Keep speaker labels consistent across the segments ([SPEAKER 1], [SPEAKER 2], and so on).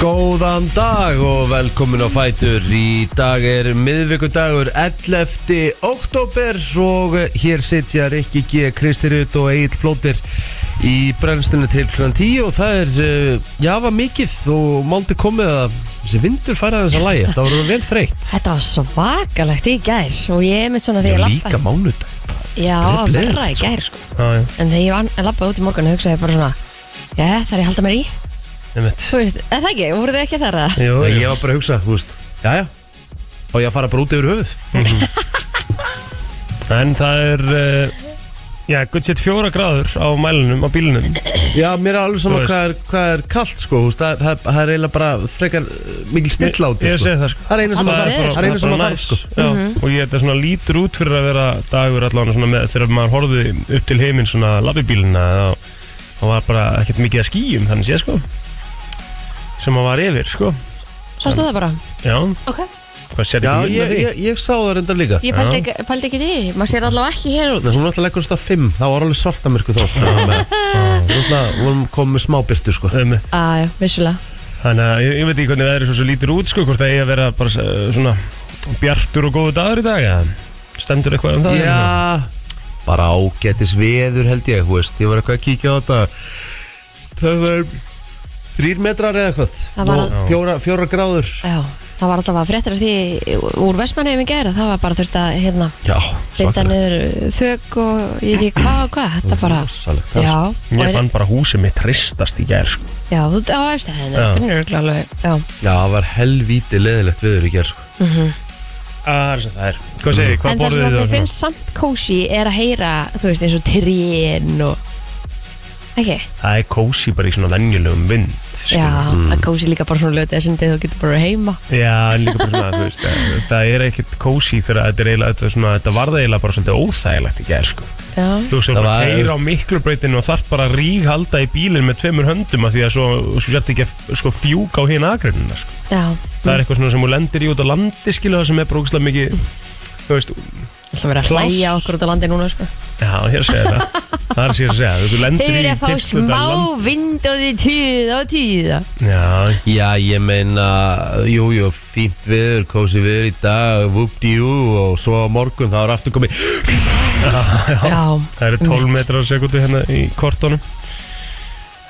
[SPEAKER 1] Góðan dag og velkomin á Fætur Í dag er miðvikudagur 11. oktober og hér sitja Rikki G. Kristirut og Egil Plóter í brennstunni til kl. 10 og það er, uh, jafa mikið og málti komið að þessi vindur fara þess að lægja, það voru vel þreytt
[SPEAKER 2] Þetta var svakalegt í gær og ég er með svona þegar ég
[SPEAKER 1] líka
[SPEAKER 2] lappa
[SPEAKER 1] mánudag
[SPEAKER 2] Já,
[SPEAKER 1] Það er bleðilegt,
[SPEAKER 2] verra í gær sko
[SPEAKER 1] Já, já,
[SPEAKER 2] En þegar ég var- lappaði út í morgun hugsaði ég bara svona Já, það er ég að halda mér í
[SPEAKER 1] nefnt
[SPEAKER 2] Þú veist, eða það ekki, voruð þið ekki þar að
[SPEAKER 3] Jú,
[SPEAKER 1] Nei,
[SPEAKER 3] jú.
[SPEAKER 1] Ég var bara að hugsa, þú veist, jæja Og ég að fara bara út yfir höfuð
[SPEAKER 3] En það er uh, Já, gutt sett fjóra gráður á mælinum, á bílinum
[SPEAKER 1] Já, mér er alveg
[SPEAKER 3] Þú
[SPEAKER 1] saman
[SPEAKER 3] veist.
[SPEAKER 1] hvað er, hvað er kallt sko, þú veist, það, það, það er eiginlega bara frekar uh, mikil stilláti
[SPEAKER 3] Ég
[SPEAKER 1] sko.
[SPEAKER 3] segi það sko
[SPEAKER 1] Það er eina sem
[SPEAKER 2] Alveg
[SPEAKER 1] að þarf,
[SPEAKER 2] veður.
[SPEAKER 1] það er eina sem að þarf
[SPEAKER 3] næs.
[SPEAKER 1] sko.
[SPEAKER 3] Já, og ég þetta svona lítur út fyrir að vera dagur allan svona með þegar maður horfði upp til heiminn svona labbibílina þá, þá var bara ekkert mikið að skýjum þannig sé sko sem maður var yfir sko
[SPEAKER 2] Svo stóð það bara
[SPEAKER 3] Já,
[SPEAKER 2] Ok,
[SPEAKER 3] hvað sér
[SPEAKER 1] Já,
[SPEAKER 3] ekki
[SPEAKER 1] ég, ég, ég sá það reyndar líka.
[SPEAKER 2] ég pældi ekki, pældi ekki því Maður sér allavega ekki hér
[SPEAKER 1] Nei,
[SPEAKER 2] út
[SPEAKER 1] hún alltaf leggur þetta á fimm, þá var alveg svartamirku þá sko. Þannig að við vorum komið með smábyrtu sko.
[SPEAKER 3] Um,
[SPEAKER 2] Æ, vissulega
[SPEAKER 3] þannig að ég, ég veit ekki hvernig veðri svo, svo lítur út sko hvort það eigi að vera bara eh, svona bjartur og góðu dagur í dag eða stendur eitthvað um það
[SPEAKER 1] Já, bara ágætis veður held ég, þú veist, ég var eitthvað að kíkja á þetta. Það var þrýr metrar eða eitthvað.
[SPEAKER 2] Það var
[SPEAKER 1] Og
[SPEAKER 2] al-
[SPEAKER 1] fjóra, fjóra gráður.
[SPEAKER 2] Já, það var allavega fréttir af því úr Vestmannheim í gær að Það var bara þurft að, hérna,
[SPEAKER 1] Já,
[SPEAKER 2] bytta
[SPEAKER 1] svakalegt.
[SPEAKER 2] niður þök og ég veit ekki hvað og hvað Þetta bara,
[SPEAKER 1] Rosalegt, það sko. er
[SPEAKER 2] já og
[SPEAKER 3] Ég
[SPEAKER 2] er-
[SPEAKER 3] fann bara húsið mitt hristast í gær sko.
[SPEAKER 2] Já, þú á efstæðinu,
[SPEAKER 3] Já.
[SPEAKER 2] finnur örugglega alveg Já,
[SPEAKER 1] Já, það var helvíti leðilegt viður í gerð sko.
[SPEAKER 3] Ah, Það er sem það er Hvað segir,
[SPEAKER 2] en
[SPEAKER 3] hvað
[SPEAKER 2] það sem
[SPEAKER 3] borðið hérna.
[SPEAKER 2] að
[SPEAKER 3] þið
[SPEAKER 2] mér finnst samt kósi er að heyra, þú veist, eins og trén og ekki,
[SPEAKER 3] Það er kósi bara í svona venjulegum vind sko. skilur.
[SPEAKER 2] já, að kósi líka bara svona lötu þessum þegar þú getur bara heima
[SPEAKER 3] Já, en líka bara svona, þú veist eh, Það er ekkert kósi þegar þetta er eiginlega Þetta, er svona, þetta varða eiginlega bara svolítið óþægilegt í gær sko.
[SPEAKER 2] já,
[SPEAKER 3] Þú veist,
[SPEAKER 1] Það
[SPEAKER 3] þú erum að
[SPEAKER 1] var-
[SPEAKER 3] keira á miklubrautinu og þarf bara að ríghalda í bílinn með tveimur höndum af því að svo, svo sért ekki að sko, fjúka á hinn agrinuna sko.
[SPEAKER 2] já,
[SPEAKER 3] Það er eitthvað svona sem hún lendir í út á landi skilu það sem er brókslega mikið Þú veist,
[SPEAKER 2] alltaf verið að
[SPEAKER 3] Pláss.
[SPEAKER 2] hlæja okkur út á landi núna, sko
[SPEAKER 3] já, ég er að segja það Það er að segja að segja, þú veist, þú
[SPEAKER 2] Þau
[SPEAKER 3] lendir
[SPEAKER 2] eru
[SPEAKER 3] í
[SPEAKER 2] að fá
[SPEAKER 3] kyrrt út á
[SPEAKER 2] smá
[SPEAKER 3] land-
[SPEAKER 2] vind og því tíða og tíða
[SPEAKER 3] Já,
[SPEAKER 1] Já, ég meina, jú, jú, fínt viður, kósi viður í dag, vupdi-jú og svo á morgun þá er aftur komið
[SPEAKER 2] Já,
[SPEAKER 3] Það eru 12 metrar á sekundu hérna í kortónum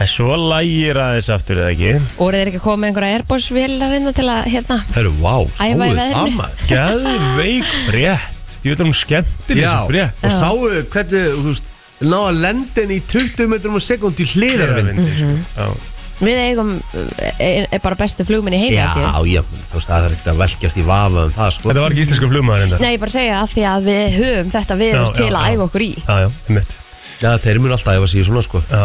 [SPEAKER 3] En svo lægir aðeins aftur eða ekki
[SPEAKER 2] og þeir ekki að koma með einhverja airbósvélar innan til að, hérna
[SPEAKER 1] Herru, vá,
[SPEAKER 2] Æfa í
[SPEAKER 1] sáuð
[SPEAKER 2] veðrinu.
[SPEAKER 1] það, maður?
[SPEAKER 3] Gæðveik frétt Ég vil um skemmtileg
[SPEAKER 1] Já,
[SPEAKER 3] sem frétt
[SPEAKER 1] og sáuðu hvernig, þú veist, náða lendin í 20 metrum á sekund í hliðarvind
[SPEAKER 3] Gleðarvindi,
[SPEAKER 2] Mhm.
[SPEAKER 3] sko. Já.
[SPEAKER 2] Við eigum, eh, er, er bara bestu flugminni heim
[SPEAKER 1] Já, já, þú veist, það er ekkert að velkjast í vafa um það, sko
[SPEAKER 3] Þetta var ekki íslensku flugmaður enda
[SPEAKER 2] Nei, ég bara segja af því að við höfum þetta
[SPEAKER 3] Já,
[SPEAKER 2] viður
[SPEAKER 3] já,
[SPEAKER 2] til að
[SPEAKER 3] já.
[SPEAKER 2] æfa okkur í
[SPEAKER 3] Já, já, einmitt
[SPEAKER 1] Já, þeir mun alltaf æfa sig í svona, sko
[SPEAKER 3] Já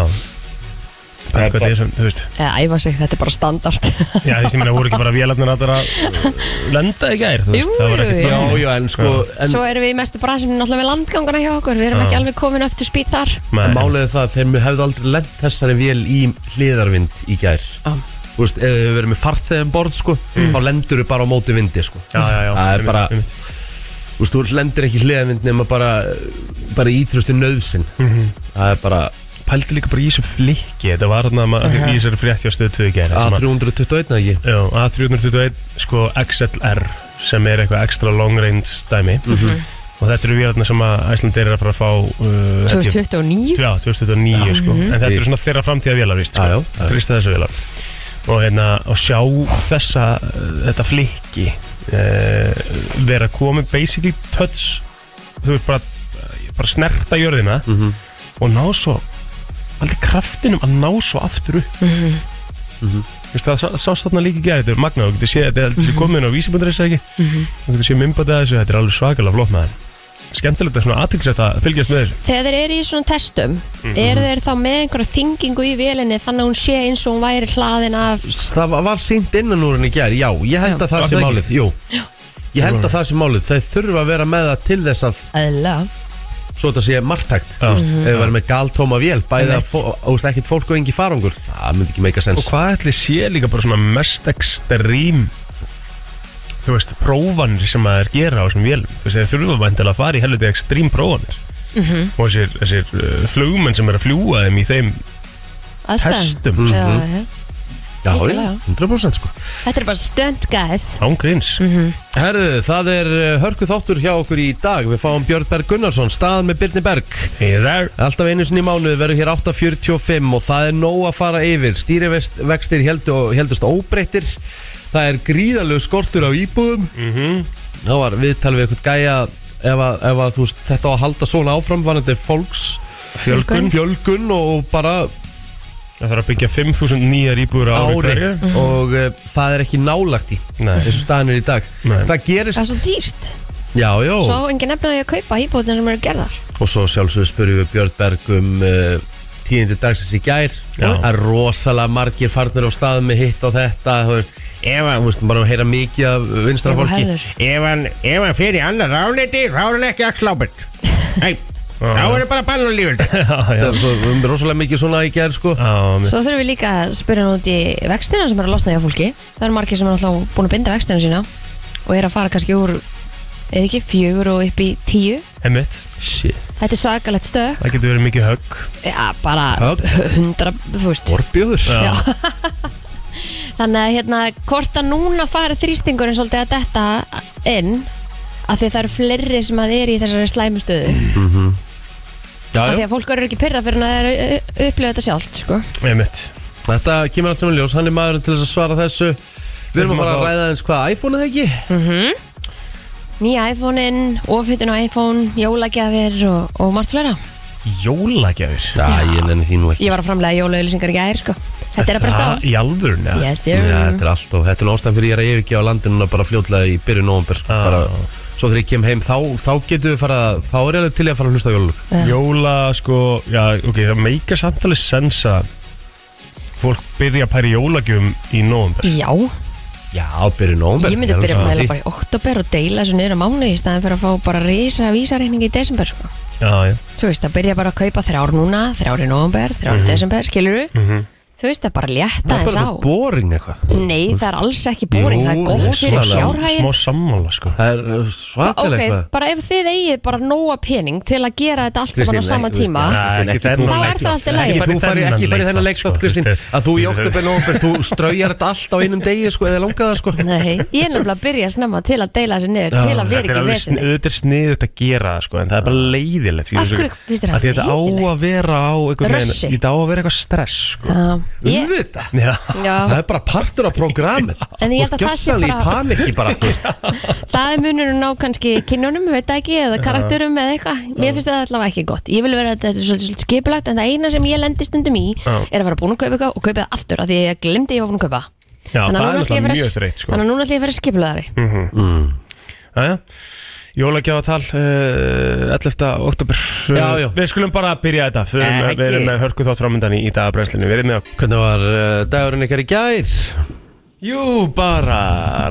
[SPEAKER 3] Pæði hvað það er sem, þú veist
[SPEAKER 2] Eða æfa sig, þetta er bara standard
[SPEAKER 3] Já, því sem ég voru ekki bara vélarnar allar að uh, lenda í gær þú veist,
[SPEAKER 2] Jú,
[SPEAKER 3] það var
[SPEAKER 2] jú,
[SPEAKER 3] ekkert
[SPEAKER 2] jú.
[SPEAKER 1] Já,
[SPEAKER 3] þannig.
[SPEAKER 1] já, en sko, en
[SPEAKER 2] Svo erum við í mestu bransum náttúrulega með landgangana hjá okkur Við erum
[SPEAKER 3] Já.
[SPEAKER 2] ekki alveg komin upp til spýt þar
[SPEAKER 3] Nei.
[SPEAKER 1] málið er það að þeir hefðu aldrei lent þessari vél í hliðarvind í gær
[SPEAKER 2] Já. Mm.
[SPEAKER 1] Þú veist, ef þau verið með farþegum borð, sko, þá lendur þau bara á móti vindi, sko
[SPEAKER 3] Já, já, já
[SPEAKER 1] Það er
[SPEAKER 3] einmitt,
[SPEAKER 1] bara-
[SPEAKER 3] einmitt.
[SPEAKER 1] Þú veist, þú lendir ekki hliðavind nema bara, bara ítrusti nöðsin
[SPEAKER 3] Mhm.
[SPEAKER 1] Það er bara
[SPEAKER 3] Pældi líka bara í þessu flikki Þetta var þarna að því í þessari frétt hjá stöðu 2 í gær sem að-
[SPEAKER 1] A321 eða ekki
[SPEAKER 3] Já, A321 sko XLR sem er eitthvað extra long range dæmi
[SPEAKER 2] Mhm.
[SPEAKER 3] og þetta eru vélarnar sem að Æslandir er að fara að fá uh, held ég-
[SPEAKER 2] 2029
[SPEAKER 3] já, 2009 sko en þetta eru svona þeirra framtíða vélar víst
[SPEAKER 1] Mhm. Já, já,
[SPEAKER 3] sko.
[SPEAKER 1] já.
[SPEAKER 3] trista þessu vélar og hérna og sjá þessa uh, þetta flikki uh, vera komið basically touch þú veist bara, bara snerta jörðina
[SPEAKER 1] Mhm.
[SPEAKER 3] og ná svo aldrei kraftinum að ná svo aftur upp
[SPEAKER 1] Mhm.
[SPEAKER 3] Veist, það sá- sást þarna líka ekki að þetta er magna þú getur séð þetta er
[SPEAKER 1] Mhm.
[SPEAKER 3] mm -hmm. komin á vísibundarins ekki þú getur séð mymbandið að þessu þetta er alveg svakalega flott með skemmtilegt að svona aðtilsett að fylgjast með þessu
[SPEAKER 2] Þegar þeir eru í svona testum
[SPEAKER 1] Mhm.
[SPEAKER 2] Eru þeir þá með einhverja þingingu í vélinni Þannig að hún sé eins og hún væri hlaðin af
[SPEAKER 1] Það var- var sýnt innan úr henni í gær, já Ég held að
[SPEAKER 3] Var
[SPEAKER 1] það sé
[SPEAKER 3] það ekki?
[SPEAKER 1] málið, jú Ég held að það sé málið, þau þurfa að vera með það til þess að
[SPEAKER 2] Æðla
[SPEAKER 1] Svo þetta sé margtækt
[SPEAKER 3] Já.
[SPEAKER 1] Ef við verðum með galtóma vél Bæði að
[SPEAKER 2] Einmitt.
[SPEAKER 1] fó- og þú veist, ekkert fólk og engi farangur Það myndi ekki meika sens
[SPEAKER 3] og hvað ætli sé líka bara svona mest ekstrím þú veist, prófanir sem að þeir gera á þessum vélum, þú veist, þeir þurfa væntanlega að fara í helviti ekstrím prófanir
[SPEAKER 2] Mhm.
[SPEAKER 3] og þessir, þessir uh, flugmenn sem er að fljúa þeim í þeim
[SPEAKER 2] Aðstæðan
[SPEAKER 1] Mhm.
[SPEAKER 3] testum
[SPEAKER 2] Já,
[SPEAKER 1] Já,
[SPEAKER 2] já.
[SPEAKER 1] já,
[SPEAKER 2] Algjörlega.
[SPEAKER 1] 100% sko
[SPEAKER 2] Þetta er bara stunt guys
[SPEAKER 3] Ángríns
[SPEAKER 2] Mhm.
[SPEAKER 1] Herðu, það er hörku þáttur hjá okkur í dag Við fáum Björn Berg Gunnarsson, stað með Birni Berg
[SPEAKER 3] Hey there
[SPEAKER 1] Alltaf einu sinni í mánuði verður hér 8.45 og það er nóg að fara yfir. Stýrivextir heldu, heldust óbreyttir. Það er gríðalög skortur á íbúðum. Mm
[SPEAKER 3] Mhm.
[SPEAKER 1] -hmm. Það var viðtal við eitthvað gæja ef, að, ef að, þú veist, þetta á að halda svona áfram varandi fólks
[SPEAKER 2] Fjölgun.
[SPEAKER 1] fjölgun og bara
[SPEAKER 3] Það þarf að byggja 5.000 nýjar íbúður á ári
[SPEAKER 1] ári
[SPEAKER 3] hverju.
[SPEAKER 1] og uh, það er ekki nálagt í
[SPEAKER 3] Nei.
[SPEAKER 1] þessu staðan er í dag.
[SPEAKER 3] Nei.
[SPEAKER 1] Það gerist...
[SPEAKER 2] Það er svo dýrt
[SPEAKER 1] Já, já.
[SPEAKER 2] Svo á engin nefnaði að kaupa íbúðin sem eru gerðar
[SPEAKER 1] Og svo sjálfsögur spurðum við Björn Berg um uh, tíðindi dagsins í gær
[SPEAKER 3] Já.
[SPEAKER 1] Það er rosalega margir farnir á staðum með hitt og þetta þú veist, Ef hann, þú veist, bara að heyra mikið af vinstra
[SPEAKER 2] Ef þú
[SPEAKER 1] fólki
[SPEAKER 2] hefðir.
[SPEAKER 1] Ef hann, ef hann fyrir annar ráleiti, þá er hann ekki að slábært Nei,
[SPEAKER 3] þá er
[SPEAKER 1] bara bann og líföld
[SPEAKER 3] Já, já.
[SPEAKER 1] Það er svo, um, rosalega mikið svona í gær sko
[SPEAKER 3] Já, mér-
[SPEAKER 2] Svo þurfum við líka að spyrja hann út í vextina sem eru að losna hjá fólki Það eru margir sem er alltaf búin að binda vextina sína og er að fara kannski úr eða ekki fjögur og upp í tíu
[SPEAKER 3] Einmitt Shit
[SPEAKER 2] Þetta er svakalegt stökk
[SPEAKER 3] Það getur verið mikið högg
[SPEAKER 2] Já, bara
[SPEAKER 1] Högg.
[SPEAKER 2] hundra, þú veist
[SPEAKER 1] Borbjóður
[SPEAKER 3] Já.
[SPEAKER 2] Þannig að hérna, hvort að núna fari þrýstingurinn svolítið að detta inn að því það eru fleiri sem að er í þessari slæmu stöðu
[SPEAKER 1] Mhm. Já,
[SPEAKER 2] af því
[SPEAKER 1] já.
[SPEAKER 2] að fólk eru ekki pyrra fyrir en að það eru ö, ö, upplifa þetta sjálft sko.
[SPEAKER 3] Einmitt
[SPEAKER 1] Þetta kemur allt saman í ljós, hann er maðurinn til þess að svara þessu Við erum að fara að ræða eins hvað iPhone eða ekki
[SPEAKER 2] Nýja iPhone-in, ofhytun á iPhone, jólagjafir og, og margt fleira
[SPEAKER 3] Jólagjafir
[SPEAKER 1] Já, ég nenni því nú ekki
[SPEAKER 2] Ég var að framlega jólauglusingar í gær sko. Þetta er að bresta á
[SPEAKER 3] Það í alvörun ja.
[SPEAKER 2] Yes,
[SPEAKER 1] Já,
[SPEAKER 2] sir
[SPEAKER 1] þetta er alltaf, þetta er ástæðan fyrir ég er að yfirgefa landinu bara fljótlega í byrju nóvumber sko,
[SPEAKER 3] Ah.
[SPEAKER 1] bara, svo þegar ég kem heim þá, þá getum við fara, þá er ég alveg til ég að fara að hlusta á jólulug
[SPEAKER 2] Já.
[SPEAKER 3] Jóla sko Já, ok Það meika samtalið sens að Fólk byrja að pæri jólagjum í nóvumber
[SPEAKER 2] Já,
[SPEAKER 1] Já, byrju nóvumber
[SPEAKER 2] ég myndi að byrja að mæla bara í oktober og deila þessu niður á mánu í staðan fyrir að fá bara risa vísareikning í desember sko.
[SPEAKER 3] Já, já
[SPEAKER 2] Þú veist, að byrja bara að kaupa þrjár núna, þrjár í november, þrjár í desember, skilur
[SPEAKER 3] mm -hmm.
[SPEAKER 2] Þú veist, að bara létta
[SPEAKER 1] Það er
[SPEAKER 2] þess
[SPEAKER 1] bara
[SPEAKER 2] á
[SPEAKER 1] svo boring eitthvað
[SPEAKER 2] Nei, það er alls ekki bóring,
[SPEAKER 1] Jú,
[SPEAKER 2] það er gott fyrir Ah.
[SPEAKER 1] rosalega.
[SPEAKER 2] fjárhægin
[SPEAKER 3] Smá sammála sko
[SPEAKER 1] Það er uh, svakalega
[SPEAKER 2] Ok,
[SPEAKER 1] eitthvað
[SPEAKER 2] bara ef þið eigið bara nóa pening til að gera þetta allt saman á sama
[SPEAKER 1] Kristín,
[SPEAKER 2] tíma
[SPEAKER 1] nei, Kristín,
[SPEAKER 3] Nei,
[SPEAKER 1] ekki
[SPEAKER 3] ekki
[SPEAKER 1] þú-
[SPEAKER 3] þennan
[SPEAKER 2] Þá er það allt í lagi.
[SPEAKER 1] Ekki
[SPEAKER 3] Ekki
[SPEAKER 1] þú fari,
[SPEAKER 3] fara í
[SPEAKER 1] ekki
[SPEAKER 3] þennan
[SPEAKER 1] fari
[SPEAKER 3] leik
[SPEAKER 1] þennan
[SPEAKER 3] samt,
[SPEAKER 1] leikþátt,
[SPEAKER 3] sko,
[SPEAKER 1] Kristín
[SPEAKER 3] þetta er-
[SPEAKER 1] Að þú í oktober, november, þú straujar þetta allt á einum degi, sko, eða langaða, sko
[SPEAKER 2] Nei, ég er nefnilega að byrja snemma til að deila þessu niður, til að vera
[SPEAKER 3] Þetta er
[SPEAKER 2] ekki
[SPEAKER 3] alveg sn-
[SPEAKER 2] vesinni
[SPEAKER 3] auðvitað er sniðut að gera það sko En það er bara leiðilegt
[SPEAKER 2] Af hverju finnst þér það
[SPEAKER 3] það leiðilegt? Þetta á
[SPEAKER 2] leiðilegt?
[SPEAKER 3] að vera á einhvern veginn
[SPEAKER 2] Russi.
[SPEAKER 3] Þetta á að vera eitthvað stress sko
[SPEAKER 2] ég,
[SPEAKER 1] Uðvitað
[SPEAKER 3] Já
[SPEAKER 1] Það
[SPEAKER 2] já,
[SPEAKER 1] er bara partur af prógramin
[SPEAKER 2] En ég held að það sé
[SPEAKER 1] í
[SPEAKER 2] bara-
[SPEAKER 1] paniki bara þú veist.
[SPEAKER 2] Það er munur að ná kannski kynjónum, veit það ekki, eða karakterum eða eitthvað Mér finnst það allavega ekki gott Ég vil vera að þetta er svolítið svolítið skipulagt En það eina sem ég lendi stundum í
[SPEAKER 3] Já.
[SPEAKER 2] er að vera búin að kaupa eitthvað og kaupa það aftur af Því að ég glemdi að ég var búin að kaupa
[SPEAKER 3] Já, það
[SPEAKER 2] Þannig að
[SPEAKER 3] er
[SPEAKER 2] núna ætla ég
[SPEAKER 3] náttúrulega
[SPEAKER 2] að
[SPEAKER 3] mjög
[SPEAKER 2] vera-
[SPEAKER 3] þreytt sko Mm.
[SPEAKER 2] Þannig að núna ætlum ég að vera skipulagari
[SPEAKER 3] Jæja, jólagjáðatal uh, 11. oktober
[SPEAKER 1] Já, já.
[SPEAKER 3] Við skulum bara byrja þetta Við erum,
[SPEAKER 1] Ekki.
[SPEAKER 3] við erum með hörku þátt framöndan í, í dagabrænslinu Við erum með okkur
[SPEAKER 1] Hvernig var uh, dagurinn ykkar í gær?
[SPEAKER 3] Jú, bara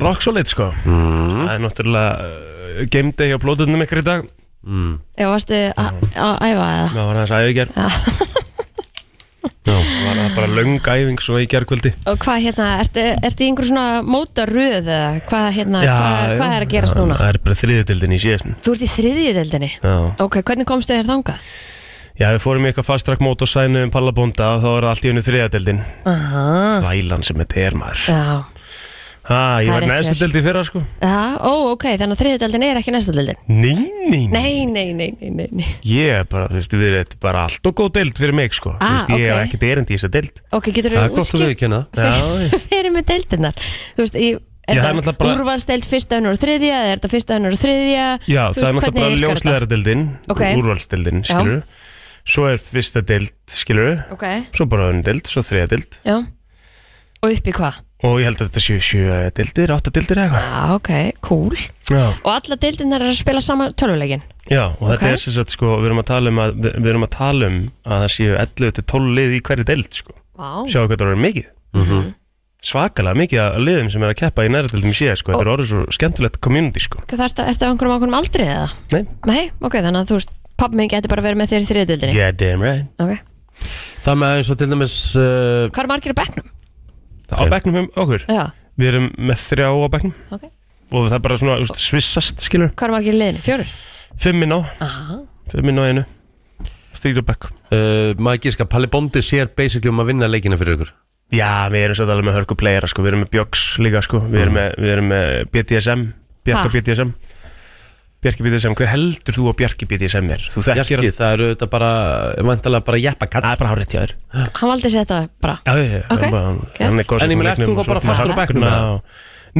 [SPEAKER 3] rock solid sko
[SPEAKER 2] Mhm.
[SPEAKER 3] Það er náttúrulega uh, game day hjá blóðunum ykkur í dag
[SPEAKER 2] Já, varstu
[SPEAKER 3] Mm.
[SPEAKER 2] að að æfa eða?
[SPEAKER 3] Það var aðeins æfing í gær Það var að bara löng æfing svo í gerkvöldi
[SPEAKER 2] Og hvað hérna, ertu, ertu í einhver svona mótaröð eða hvað hérna, hvað, er, hvað er að gerast núna?
[SPEAKER 3] Það er bara þriðutildin í síðastin
[SPEAKER 2] Þú ert í þriðju deildinni?
[SPEAKER 3] Já.
[SPEAKER 2] Ok, hvernig komstu þér þangað?
[SPEAKER 3] Já, við fórum í eitthvað fastrak mót og sænum pallabónda og þá var allt í unni þriðadeldin
[SPEAKER 2] Aha,
[SPEAKER 3] Þvælan sem þetta er maður
[SPEAKER 2] Ah. já.
[SPEAKER 3] Ha,
[SPEAKER 2] Það er
[SPEAKER 3] ég var
[SPEAKER 2] rétt hjá
[SPEAKER 3] neðstu
[SPEAKER 2] þér.
[SPEAKER 3] deldi fyrra sko
[SPEAKER 2] Já, ó, ok, þannig að þriðju deildin er ekki næsta deildin?
[SPEAKER 3] Nei, nei, nei
[SPEAKER 2] Nei, nei, nei, nei, nei, nei.
[SPEAKER 3] Ég er bara, þú veist, við erum bara allt og góð deild fyrir mig, sko
[SPEAKER 2] Ah,
[SPEAKER 3] Þú veist, Ég
[SPEAKER 2] ok.
[SPEAKER 3] hef ekkert erindi í þessa deild
[SPEAKER 2] Ok, getur
[SPEAKER 1] Það er
[SPEAKER 2] þú
[SPEAKER 1] gott að viðurkenna það.
[SPEAKER 3] Já,
[SPEAKER 2] fyrir með deildinnar? Þú veist, í, er
[SPEAKER 3] Já, það er
[SPEAKER 2] þetta
[SPEAKER 3] náttúrulega bara-
[SPEAKER 2] úrvalsdeild fyrsta, önnur og þriðja eða er þetta fyrsta, önnur og þriðja?
[SPEAKER 3] já
[SPEAKER 2] Þú
[SPEAKER 3] það er
[SPEAKER 2] veist,
[SPEAKER 3] náttúrulega
[SPEAKER 2] hvernig
[SPEAKER 3] bara
[SPEAKER 2] virkar þetta?
[SPEAKER 3] ljósleðara deildin
[SPEAKER 2] Ok.
[SPEAKER 3] Úrvalsdeildin,
[SPEAKER 2] Já.
[SPEAKER 3] skilur Svo er fyrsta deild, skilur
[SPEAKER 2] Ok,
[SPEAKER 3] Svo bara önn deild, svo þriða deild
[SPEAKER 2] já. Og upp í hvað?
[SPEAKER 3] Og ég held að þetta séu sjö deildir, átta deildir eða
[SPEAKER 2] Já, ok, cool.
[SPEAKER 3] eitthvað Já,
[SPEAKER 2] Og alla deildinnar er að spila sama tölvuleikin?
[SPEAKER 3] já og
[SPEAKER 2] Ok.
[SPEAKER 3] þetta er sem sagt, sko Við erum að tala um að, við- við erum að, tala um að það séu 11 til 12 lið í hverju deild, sko
[SPEAKER 2] Vá.
[SPEAKER 3] Sjáu hvað það er mikið Mhm. Svakalega mikið að liðum sem er að keppa í næra deildum síðar, sko Þetta er orðið svo skemmtilegt community, sko
[SPEAKER 2] Það ertu, ertu á einhverjum ákveðum aldri eða?
[SPEAKER 3] Nei,
[SPEAKER 2] Nei, ok, þannig að þú veist, pappi minn geti bara verið með þér í þriðdildinni
[SPEAKER 3] yeah, damn right
[SPEAKER 2] Ok,
[SPEAKER 1] Það með eins og til dæmis uh,
[SPEAKER 2] hvað er margir á bekknum?
[SPEAKER 3] Á bekknum um okkur
[SPEAKER 2] Já,
[SPEAKER 3] Við erum með þrjá á bekknum
[SPEAKER 2] ok
[SPEAKER 3] Og það er bara svona úst, svissast skilur
[SPEAKER 2] Hvað er margir í liðinu? Fjórir?
[SPEAKER 3] Fimm inn á,
[SPEAKER 2] Aha
[SPEAKER 3] fimm inn á einu Þrýra bekk
[SPEAKER 1] uh, maður gíska Palli Bondi sér basically um að vinna leikina fyrir ykkur
[SPEAKER 3] Já, við erum svolítið alveg með hörku playera sko. Við erum með Björks líka sko. Við erum með, við erum með BDSM Bjarka
[SPEAKER 2] Ha?
[SPEAKER 3] BDSM Bjarki BDSM, hver heldur þú að Bjarki BDSM er? Þú þekkir
[SPEAKER 1] Bjarki,
[SPEAKER 3] hann-
[SPEAKER 1] það eru þetta bara, vantalega bara jeppakall
[SPEAKER 3] Það er bara hárið hjá þér
[SPEAKER 2] Hann valdi sér þetta bara
[SPEAKER 3] Já, já, já
[SPEAKER 2] Ok,
[SPEAKER 3] hann bara-
[SPEAKER 2] gett.
[SPEAKER 3] hann er góð
[SPEAKER 1] En ég
[SPEAKER 3] sem
[SPEAKER 1] meina,
[SPEAKER 3] hún
[SPEAKER 1] ert þú
[SPEAKER 3] leiknum
[SPEAKER 1] þá
[SPEAKER 3] og
[SPEAKER 1] bara
[SPEAKER 3] svona.
[SPEAKER 1] fastur á bekknum,
[SPEAKER 3] Ná.
[SPEAKER 1] eða?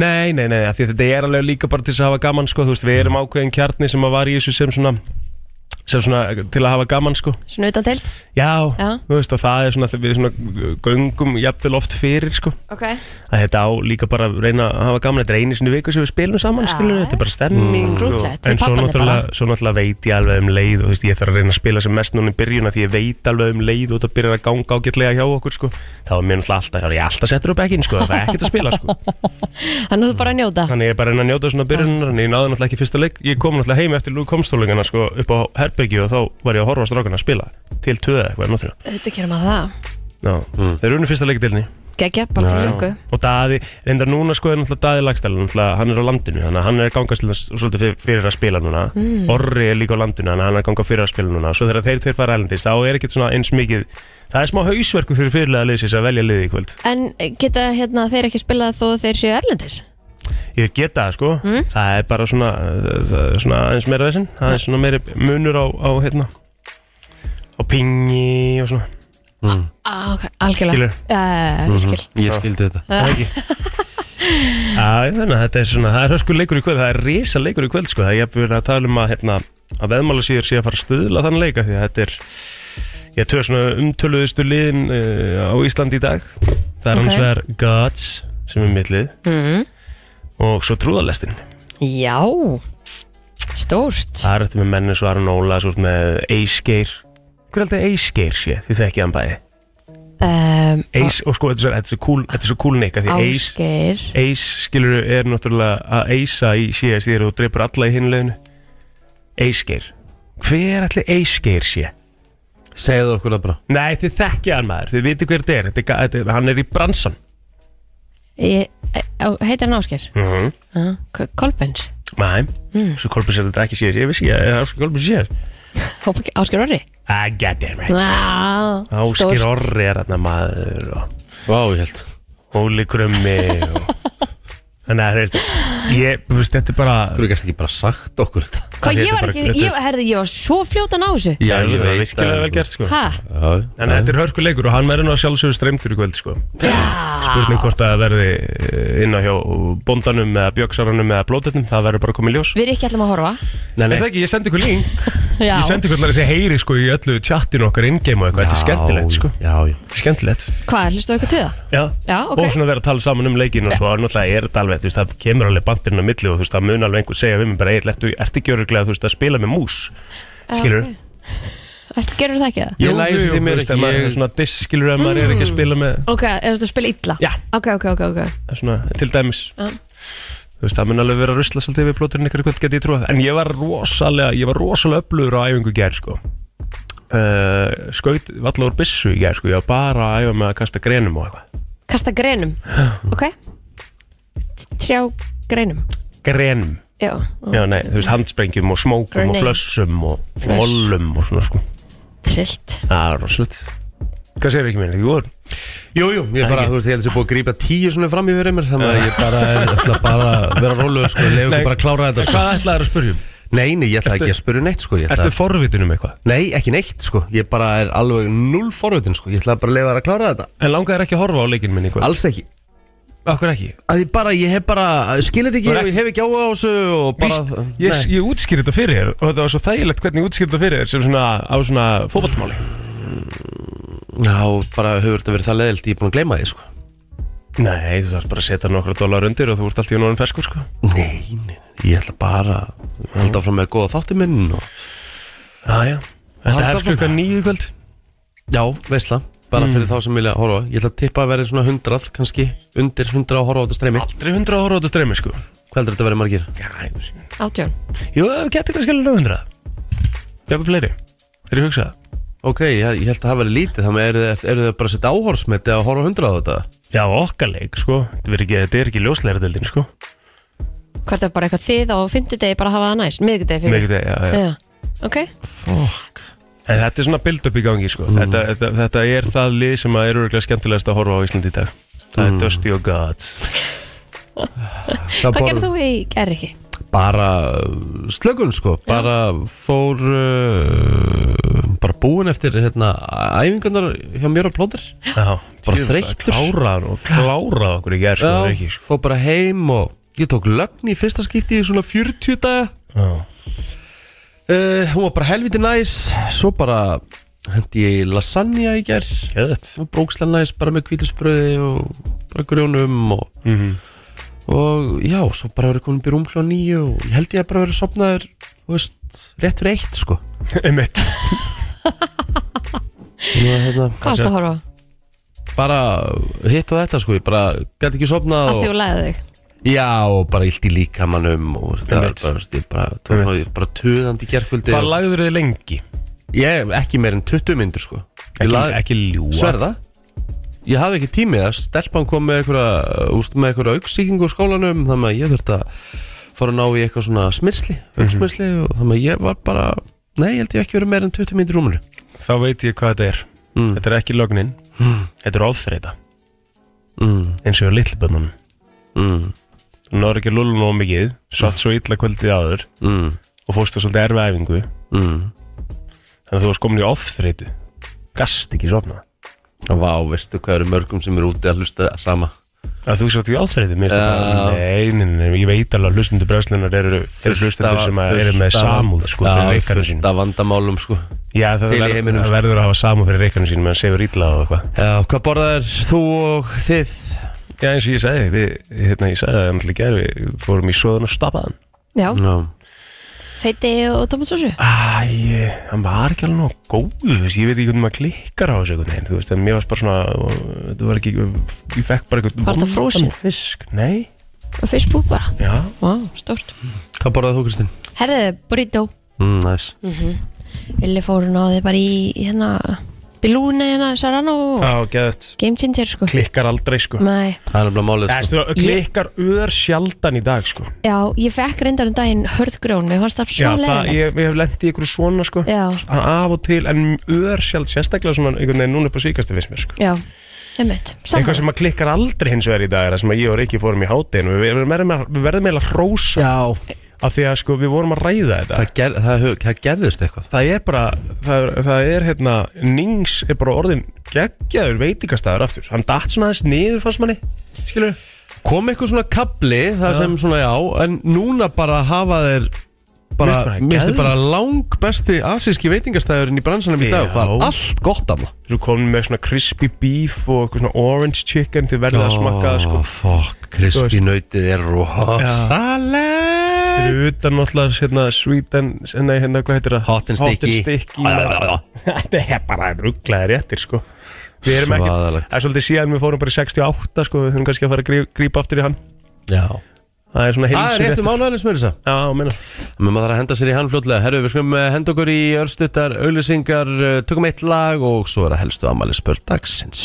[SPEAKER 3] Nei, nei, nei, af því þetta er alveg líka bara til þess að hafa gaman sko. Þú veist, Við erum ákveðin kjarni sem að var í þessu sem svona sem svona til að hafa gaman sko.
[SPEAKER 2] Svona utan til
[SPEAKER 3] Já,
[SPEAKER 2] Já.
[SPEAKER 3] þú veist og það er svona við svona göngum jafnvel oft fyrir sko.
[SPEAKER 2] Ok
[SPEAKER 3] að þetta á líka bara að reyna að hafa gaman þetta er einu sinni í viku sem við spilum saman
[SPEAKER 2] Já.
[SPEAKER 3] skilur, þetta er bara stemning
[SPEAKER 2] Mm.
[SPEAKER 3] og-
[SPEAKER 2] Krúttlegt,
[SPEAKER 3] en
[SPEAKER 2] með
[SPEAKER 3] svo
[SPEAKER 2] pabbarnir
[SPEAKER 3] náttúrulega, svo náttúrulega veit ég alveg um leið og þú veist, ég þarf að reyna að spila sem mest núna í byrjun af því ég veit alveg um leið og þetta byrjar að ganga ágætlega hjá okkur sko. þá er mér náttúrulega alltaf, ég er alltaf settur upp ekki sko, það er ekkert að spila sko.
[SPEAKER 2] Þannig að þú bara að njóta
[SPEAKER 3] þannig ég er bara að reyna að njóta svona byrjunar en ég náði náttúrulega ekki fyrsta leik ég kom náttúrulega heim eftir lúkomstólingana sko, upp á herbyggju og þá var ég að horfa á strákana að spila til töða eitthvað um nóttina.
[SPEAKER 2] Þetta gerum að það
[SPEAKER 3] Já. þeir unnu fyrsta leikdilni
[SPEAKER 2] Gægja, bara til
[SPEAKER 1] Já, já.
[SPEAKER 2] lukku
[SPEAKER 3] og Daði, reyndar núna sko er náttúrulega Daði Lagstæl, náttúrulega hann er á landinu þannig að hann er að ganga svolítið- svolítið fyr- fyrir að spila núna Orri er líka á landinu þannig að hann er að ganga fyrir að spila núna svo þegar þeir tveir fara ælendis þá er ekkert svona eins mikið það er smá hausverku fyrir fyrirlega liðsins að velja liði í kvöld
[SPEAKER 2] En geta hérna þeir ekki spilað þó þeir séu erlendis?
[SPEAKER 3] ég geta það sko, það er bara svona, uh, það er svona aðeins meira þessin það er svona meiri munur á, á hérna á pingi og svona
[SPEAKER 2] Ah, ok, algjörlega
[SPEAKER 3] Skilur. Mhm.
[SPEAKER 2] Já, já, já, ég skil
[SPEAKER 1] Ég skildi þetta
[SPEAKER 3] Það ekki Já, þannig að þetta er svona, það er hörkur leikur í kvöld, það er risa leikur í kvöld sko, það er jafnvel verið að tala um að, hérna, að veðmála síður sé að fara að stuðla þann leika því að þetta er, ég tvö svona umtöluðustu liðin uh, á Íslandi í dag, það er
[SPEAKER 2] Ok.
[SPEAKER 3] hans vegar Gods sem er mittlið
[SPEAKER 2] mm.
[SPEAKER 3] og svo trúðalestin,
[SPEAKER 2] Já Stórt
[SPEAKER 3] það er eftir með menni svo Aron Óla, svo ertu með Eisgeir, hver held að Eisgeir sé, því þekki hann bæði,
[SPEAKER 2] um,
[SPEAKER 3] Eis, og sko þetta er svo- þetta er svo cool, þetta er svo cool neika því Eis,
[SPEAKER 2] Ásgeir
[SPEAKER 3] Ace skilur er náttúrulega að eisa í CS þegar þú dreipur alla í hinleginu Acegeir Hver ætli Acegeir sé?
[SPEAKER 1] Segðu okkur það bara
[SPEAKER 3] Nei, þið þekkja hann maður, þið viti hver þetta er, þetta er, ga- þetta er Hann er í bransan
[SPEAKER 2] Ég- á- Heitir hann Ásgeir?
[SPEAKER 3] mm -hmm.
[SPEAKER 2] Uh, Kolbens
[SPEAKER 3] Nei,
[SPEAKER 2] Mm.
[SPEAKER 3] svo Kolbjörn sér þetta ekki CS Ég vissi ekki að það er Kolbjörn sér
[SPEAKER 2] Ásgeir Orri
[SPEAKER 3] Ah, goddamn right
[SPEAKER 2] Vá,
[SPEAKER 3] Ásgeir
[SPEAKER 2] stórt.
[SPEAKER 3] Orri er þarna maður og
[SPEAKER 1] Vá, ég held
[SPEAKER 3] Óli Krummi og Þannig að þú veist, ég, þú veist, þetta er bara
[SPEAKER 1] Hverju gæst ekki bara sagt okkur þetta?
[SPEAKER 2] Hvað
[SPEAKER 3] Þetta
[SPEAKER 2] ég
[SPEAKER 3] er
[SPEAKER 2] var
[SPEAKER 3] bara-
[SPEAKER 2] ekki,
[SPEAKER 3] þetta er-
[SPEAKER 2] ég, herði, ég var svo fljótan á þessu
[SPEAKER 1] Já, ég
[SPEAKER 3] það er
[SPEAKER 1] veit
[SPEAKER 3] virkilega
[SPEAKER 1] að-
[SPEAKER 3] vel gert, sko
[SPEAKER 2] Hæ?
[SPEAKER 1] Já,
[SPEAKER 3] En þetta er hörkuleikur og hann verður nú að sjálfsögur streymtur í kvöld sko. Spurning hvort að það verði eh, inn á hjá bondanum eða bjöksaranum eða blótetnum, það verður bara komið ljós
[SPEAKER 2] Við erum ekki allir að horfa
[SPEAKER 1] Nei,
[SPEAKER 3] Er
[SPEAKER 1] nei,
[SPEAKER 3] það ekki, ég sendi ykkur link
[SPEAKER 2] Já,
[SPEAKER 3] Ég sendi ykkur allir því heyri sko í öllu tjattinu okkar ingame og eitthvað, þetta er skemmtilegt sko
[SPEAKER 1] Já, já
[SPEAKER 3] Þetta er skemmtilegt
[SPEAKER 2] hvað, hlustu okkur töða?
[SPEAKER 3] Já,
[SPEAKER 2] Já, ok.
[SPEAKER 3] og svona vera að tala saman um leikinn og svo er náttúrulega er þetta alveg, þú veist, það kemur alveg bandurinn á milli og þú veist, það mun alveg einhver segja við mig bara, eitthvað, ertu ert ekki öruglega, þú veist, að spila með mús, skilur
[SPEAKER 2] ok. Ertu, gerur það ekki það?
[SPEAKER 1] Ég lægist því mér ekki
[SPEAKER 3] Ég er
[SPEAKER 1] ég-
[SPEAKER 3] svona diss, skilur, að maður er
[SPEAKER 2] Mm.
[SPEAKER 3] ekki að spila með
[SPEAKER 2] Ok, eða þú spila illa?
[SPEAKER 3] Já.
[SPEAKER 2] Ok, ok, ok, ok
[SPEAKER 3] Það er svona, til dæmis
[SPEAKER 2] Já.
[SPEAKER 3] Þú veist, það mun alveg vera að rusla svolítið við plóturinn ykkur í kvöld geti ég trúið En ég var rosalega, ég var rosalega öflugur á æfingu í gær, sko uh, Skaut valla úr byssu í gær, sko Ég var bara að æfa með að kasta grenum og eitthvað
[SPEAKER 2] Kasta greinum, ok Trjá greinum
[SPEAKER 3] Grenum,
[SPEAKER 2] Já,
[SPEAKER 3] já nei, þú veist, handsprengjum og smókum og
[SPEAKER 2] Grenades.
[SPEAKER 3] flössum og
[SPEAKER 2] Flöss.
[SPEAKER 3] mollum og svona, sko
[SPEAKER 2] trillt
[SPEAKER 3] Það er rosalegt Hvað segir ekki mér, ekki voru?
[SPEAKER 1] Jú, jú, ég bara,
[SPEAKER 3] Ekki.
[SPEAKER 1] þú veist, ég held sér búið að grípa tíu svona fram yfir mér Þannig að ég bara, ég ætla bara að vera rólegur, sko Leif
[SPEAKER 3] Nei.
[SPEAKER 1] ekki bara að klára þetta, sko
[SPEAKER 3] Hvað ætlaðir að spurjum?
[SPEAKER 1] Nei, nei, ég ætla ekki að spyrja neitt, sko Ég ætla
[SPEAKER 3] Ertu forvitin um eitthvað?
[SPEAKER 1] Nei, ekki neitt sko, ég bara er alveg null forvitin sko, ég ætla bara að leifa þær að klára þetta
[SPEAKER 3] En langaðir ekki að horfa á leikinn minn í kvöld?
[SPEAKER 1] Alls ekki,
[SPEAKER 3] Akkur ekki?
[SPEAKER 1] að ég bara, ég hef bara, skilja þetta ekki,
[SPEAKER 3] Bara ekki-
[SPEAKER 1] ég hef ekki áhuga á þessu og bara
[SPEAKER 3] Víst, ég,
[SPEAKER 1] Nei.
[SPEAKER 3] ég útskýr þetta fyrir þér og þetta var svo þægilegt hvernig ég útskýr þetta fyrir þér sem svona á svona fótballmáli
[SPEAKER 1] Já, bara hefur þetta verið það leðilt, ég er búin að gleyma því sko
[SPEAKER 3] Nei, þú þarf bara að setja nokkra dólar undir og þú ert alltaf í núna ferskur sko
[SPEAKER 1] Nei, nei, nei, ég ætla bara að halda áfram með góða þátti minn og
[SPEAKER 3] Já, já Þetta
[SPEAKER 1] Ah, Halda
[SPEAKER 3] hefst
[SPEAKER 1] áfram.
[SPEAKER 3] klukkan nýju í kvöld
[SPEAKER 1] Já, veistla, bara
[SPEAKER 3] Mm.
[SPEAKER 1] fyrir þá sem vilja horfa Ég ætla að tippa að verði svona hundrað, kannski, undir hundrað að horfa á þetta streymi
[SPEAKER 3] Aldrei hundra ára á þetta streymi sko
[SPEAKER 1] Hvað heldur þetta verið margir?
[SPEAKER 3] Já, ég veist ekki.
[SPEAKER 2] Átjón
[SPEAKER 3] Jú, það getur kannski alveg hundra Jafnir fleiri Er ég hugsað?
[SPEAKER 1] Ok, ég, ég held að það verið lítið, þannig eru þið, eru þið bara að setja áhorsmeti að horfa á hundrað á þetta?
[SPEAKER 3] Já, okkar leik sko Þetta er ekki, þetta er ekki ljósleira deildin sko
[SPEAKER 2] Hvert er bara eitthvað þið á fimmtudegi bara að hafa það næst Miðgudegi fyrir
[SPEAKER 3] Mikið, já, já
[SPEAKER 2] Já, ok
[SPEAKER 1] Fuck
[SPEAKER 3] En þetta er svona build-up í gangi
[SPEAKER 1] Mm.
[SPEAKER 3] sko. þetta, þetta, þetta er það lið sem að er örgulega skemmtilegast að horfa á Íslandi í dag Það
[SPEAKER 1] Mm.
[SPEAKER 3] er Dusty og Gods
[SPEAKER 2] Hvað gerðu þú í gerð ekki?
[SPEAKER 1] bara uh, slökun sko bara fór uh, bara búin eftir hérna, æfingarnar hjá mér og plóður
[SPEAKER 3] Já,
[SPEAKER 1] Bara
[SPEAKER 3] djöfull,
[SPEAKER 1] þreyttur.
[SPEAKER 3] Klárar og klárar okkur í gerð sko, það er ekki, sko.
[SPEAKER 1] fór bara heim og ég tók lögn í fyrsta skipti í svona 40 daga
[SPEAKER 3] Já.
[SPEAKER 1] uh, hún var bara helviti næs svo bara hendi ég í lasagna í gær
[SPEAKER 3] Geðveikt.
[SPEAKER 1] og brókslega næs bara með kvítusbröði og bara grjónum og,
[SPEAKER 3] Mhm.
[SPEAKER 1] og já, svo bara verið komin upp í rúm klá nýju og ég held ég að bara verið sopnaður þú veist, rétt fyrir eitt sko
[SPEAKER 3] Einmitt.
[SPEAKER 1] Nú, hérna,
[SPEAKER 2] Hvað varst að horfa? á?
[SPEAKER 1] bara hitt á þetta sko, ég bara gæti ekki sopnað
[SPEAKER 2] Að
[SPEAKER 1] og,
[SPEAKER 2] því og læði þig
[SPEAKER 1] já, og bara illt í líkamannum og það var
[SPEAKER 3] Einmitt.
[SPEAKER 1] bara, veist, ég bara, það var ég bara töðandi gerkvöldi
[SPEAKER 3] Hvað lagður þið lengi?
[SPEAKER 1] ég, ekki meir en 20 myndir sko Ég
[SPEAKER 3] Ekki,
[SPEAKER 1] lagði-
[SPEAKER 3] ekki ljúa
[SPEAKER 1] Sverða Ég hafði ekki tími það Stelpan kom með einhverja, uh, úst, með einhverja auksíkingu á skólanum Þannig að ég þurfti að fara að ná í eitthvað svona smyrsli Auksmyrsli og þannig að ég var bara Nei, ég held ég hafi ekki verið meira en 20 mínútur í rúminu
[SPEAKER 3] Þá veit ég hvað þetta er
[SPEAKER 1] Mm.
[SPEAKER 3] Þetta er ekki lögnin Þetta er ofþreita
[SPEAKER 1] mm,
[SPEAKER 3] eins og litli bönnum
[SPEAKER 1] mm,
[SPEAKER 3] Þú náður ekki að lúla nóg mikið Svart svo illa kvöldið áður
[SPEAKER 1] mm,
[SPEAKER 3] Og fórstu á svolítið erfi æfingu
[SPEAKER 1] mm.
[SPEAKER 3] Þannig að þú varst komin í ofþreitu Gast ekki sofna
[SPEAKER 1] Vá, veistu hvað eru mörgum sem eru úti að hlusta sama
[SPEAKER 3] Að þú svolítið í ofþreitu Mér finnst
[SPEAKER 1] Já.
[SPEAKER 3] þetta Nei, nei, nei, nei, ég veit alveg að hlustundu bröðslunar eru, eru hlustendur sem að eru með samúð sko, fyrir
[SPEAKER 1] Já,
[SPEAKER 3] reikarnir sínum.
[SPEAKER 1] fullt af vandamálum sko
[SPEAKER 3] Já, það
[SPEAKER 1] til í
[SPEAKER 3] verð-
[SPEAKER 1] heiminum,
[SPEAKER 3] það
[SPEAKER 1] sko.
[SPEAKER 3] verður að hafa samúð fyrir reikarnir sínum en sefur illa og eitthvað
[SPEAKER 1] Já, hvað borðar þú og þið?
[SPEAKER 3] Já, eins og ég sagði, við, hérna, ég sagði það náttúrulega í gær, við fórum í svoðan og stapaðan. Mm.
[SPEAKER 2] Já,
[SPEAKER 1] Já,
[SPEAKER 2] feiti og tomatsósu
[SPEAKER 3] Æ, hann var ekki alveg nóg góð, þú veist, ég veit ekki hvernig maður klikkar á þessu einhvern veginn, þú veist, en mér varst bara svona, þetta var ekki, ég fekk bara einhvern
[SPEAKER 2] Var þetta
[SPEAKER 3] vondan
[SPEAKER 2] frosin?
[SPEAKER 3] Fisk, nei,
[SPEAKER 2] og Facebook bara
[SPEAKER 3] já,
[SPEAKER 2] Vá, stórt
[SPEAKER 1] hvað borðar þú Kristinn?
[SPEAKER 2] Herðu, burrito
[SPEAKER 1] Mm, næs
[SPEAKER 2] Vili fóru náði bara í hérna Bilúni hérna, Sarano
[SPEAKER 3] já, geðvægt,
[SPEAKER 2] Game changer sko
[SPEAKER 3] klikkar aldrei, sko.
[SPEAKER 2] Nei,
[SPEAKER 1] Það er nefnilega málið
[SPEAKER 3] Það
[SPEAKER 1] sko
[SPEAKER 3] sko. klikkar öður sjaldan í dag, sko.
[SPEAKER 2] já, ég fekk reyndar um daginn hörðgrjón, mér fannst það
[SPEAKER 3] Já,
[SPEAKER 2] svo
[SPEAKER 3] það,
[SPEAKER 2] leiðilegt
[SPEAKER 3] ég, ég hef lendið í einhverju svona, sko,
[SPEAKER 2] Já,
[SPEAKER 3] af og til, en öður sjald, sérstaklega svona, einhvern veginn, núna upp á síkastu fyrst mér, sko.
[SPEAKER 2] já, einmitt
[SPEAKER 3] Eitthvað
[SPEAKER 2] Saman,
[SPEAKER 3] sem að klikkar aldrei hins vegar í dag er það sem að ég og Riki fórum í hátinn við, við verðum eiginlega- við verðum eiginlega að hrósa
[SPEAKER 1] Já,
[SPEAKER 3] af því að sko við vorum að ræða þetta
[SPEAKER 1] það, ger, það, hö- það gerðist eitthvað
[SPEAKER 3] það er bara, það er, það er hérna Nings er bara orðin geggjaður veitingastæður aftur, hann datt svona aðeins niður fannst manni, skilur
[SPEAKER 1] kom eitthvað svona kabli það
[SPEAKER 3] Já.
[SPEAKER 1] sem svona já en núna bara hafa þeir
[SPEAKER 3] Mér finnst bara
[SPEAKER 1] bara, misti
[SPEAKER 3] geðveikt.
[SPEAKER 1] bara lang besti asíski veitingastæðurinn í bransanum í dag
[SPEAKER 3] Já.
[SPEAKER 1] það er allt gott af
[SPEAKER 3] þú komin með svona crispy beef og eitthvað svona orange chicken til verðið að smakka það, sko
[SPEAKER 1] fuck,
[SPEAKER 3] Þú
[SPEAKER 1] krispi nautið er rosaleg
[SPEAKER 3] fyrir utan náttúrulega hérna sweet and, nei hérna hvað heitir það
[SPEAKER 1] Hot and sticky.
[SPEAKER 3] sticky. þetta er bara rugglaði réttir sko við erum ekki,
[SPEAKER 1] Svaðalegt.
[SPEAKER 3] það er svolítið síðan við fórum bara í 68 sko, við þurfum kannski að fara að grí- grípa aftur í hann
[SPEAKER 1] já
[SPEAKER 3] það er svona
[SPEAKER 1] Það er
[SPEAKER 3] heilsu
[SPEAKER 1] rétt um ánæðileg smurðis að
[SPEAKER 3] já, meina
[SPEAKER 1] Menn maður þarf að henda sér í hann fljótlega Herru, við skulum eh, henda okkur í örstuttar, auðlýsingar eh, Tökum eitt lag og svo er að helstu amali spörd dagsins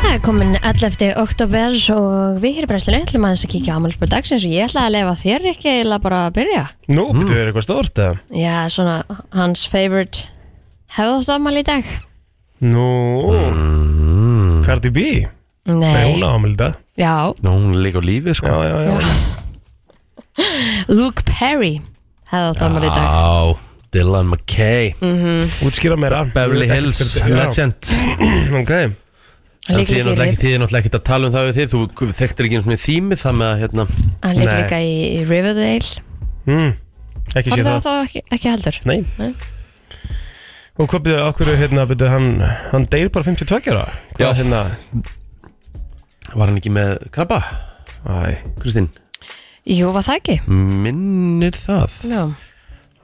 [SPEAKER 2] það er komin 11. oktober og við hér í brennslinu ætlum aðeins að kíkja á ámælspöld dagsins og ég ætla að lefa þér ekki eða bara að byrja
[SPEAKER 3] nú, mm. betur við eitthvað stórt eða
[SPEAKER 2] Já, svona hans favorite hefðu það ámæl í dag
[SPEAKER 3] nú, mm. Cardi B nei,
[SPEAKER 2] Nei,
[SPEAKER 3] hún á ámelda
[SPEAKER 2] já,
[SPEAKER 1] Nú, hún er líka á lífi sko
[SPEAKER 3] já, já, já,
[SPEAKER 2] Luke Perry hefðu það ámæl í dag Mm.
[SPEAKER 1] Já, Dylan McKay
[SPEAKER 3] útskýra meira
[SPEAKER 1] Beverly Hills,
[SPEAKER 3] Já,
[SPEAKER 1] legend
[SPEAKER 3] ok,
[SPEAKER 2] Hann
[SPEAKER 1] En
[SPEAKER 2] leikur
[SPEAKER 1] þið er
[SPEAKER 2] líka í
[SPEAKER 1] náttúrulega
[SPEAKER 2] Riv-
[SPEAKER 1] ekki, þið er náttúrulega ekki að tala um það við þið Þú þekktir ekki einhvern veginn þými það með að hérna
[SPEAKER 2] hann leikur
[SPEAKER 3] Nei.
[SPEAKER 2] líka í í Riverdale
[SPEAKER 3] mm. ekki sé
[SPEAKER 2] Var það
[SPEAKER 3] það
[SPEAKER 2] þá ekki, ekki heldur?
[SPEAKER 3] nei
[SPEAKER 2] Nei.
[SPEAKER 3] Og hvað byrjuðu, okkur hérna, byrjuðu, hann, hann deyr bara 52 ára? Hvað
[SPEAKER 1] Já.
[SPEAKER 3] hérna,
[SPEAKER 1] Var hann ekki með krabba,
[SPEAKER 3] æ,
[SPEAKER 1] Kristín?
[SPEAKER 2] Jú, var það ekki?
[SPEAKER 1] Minnir það
[SPEAKER 2] Já,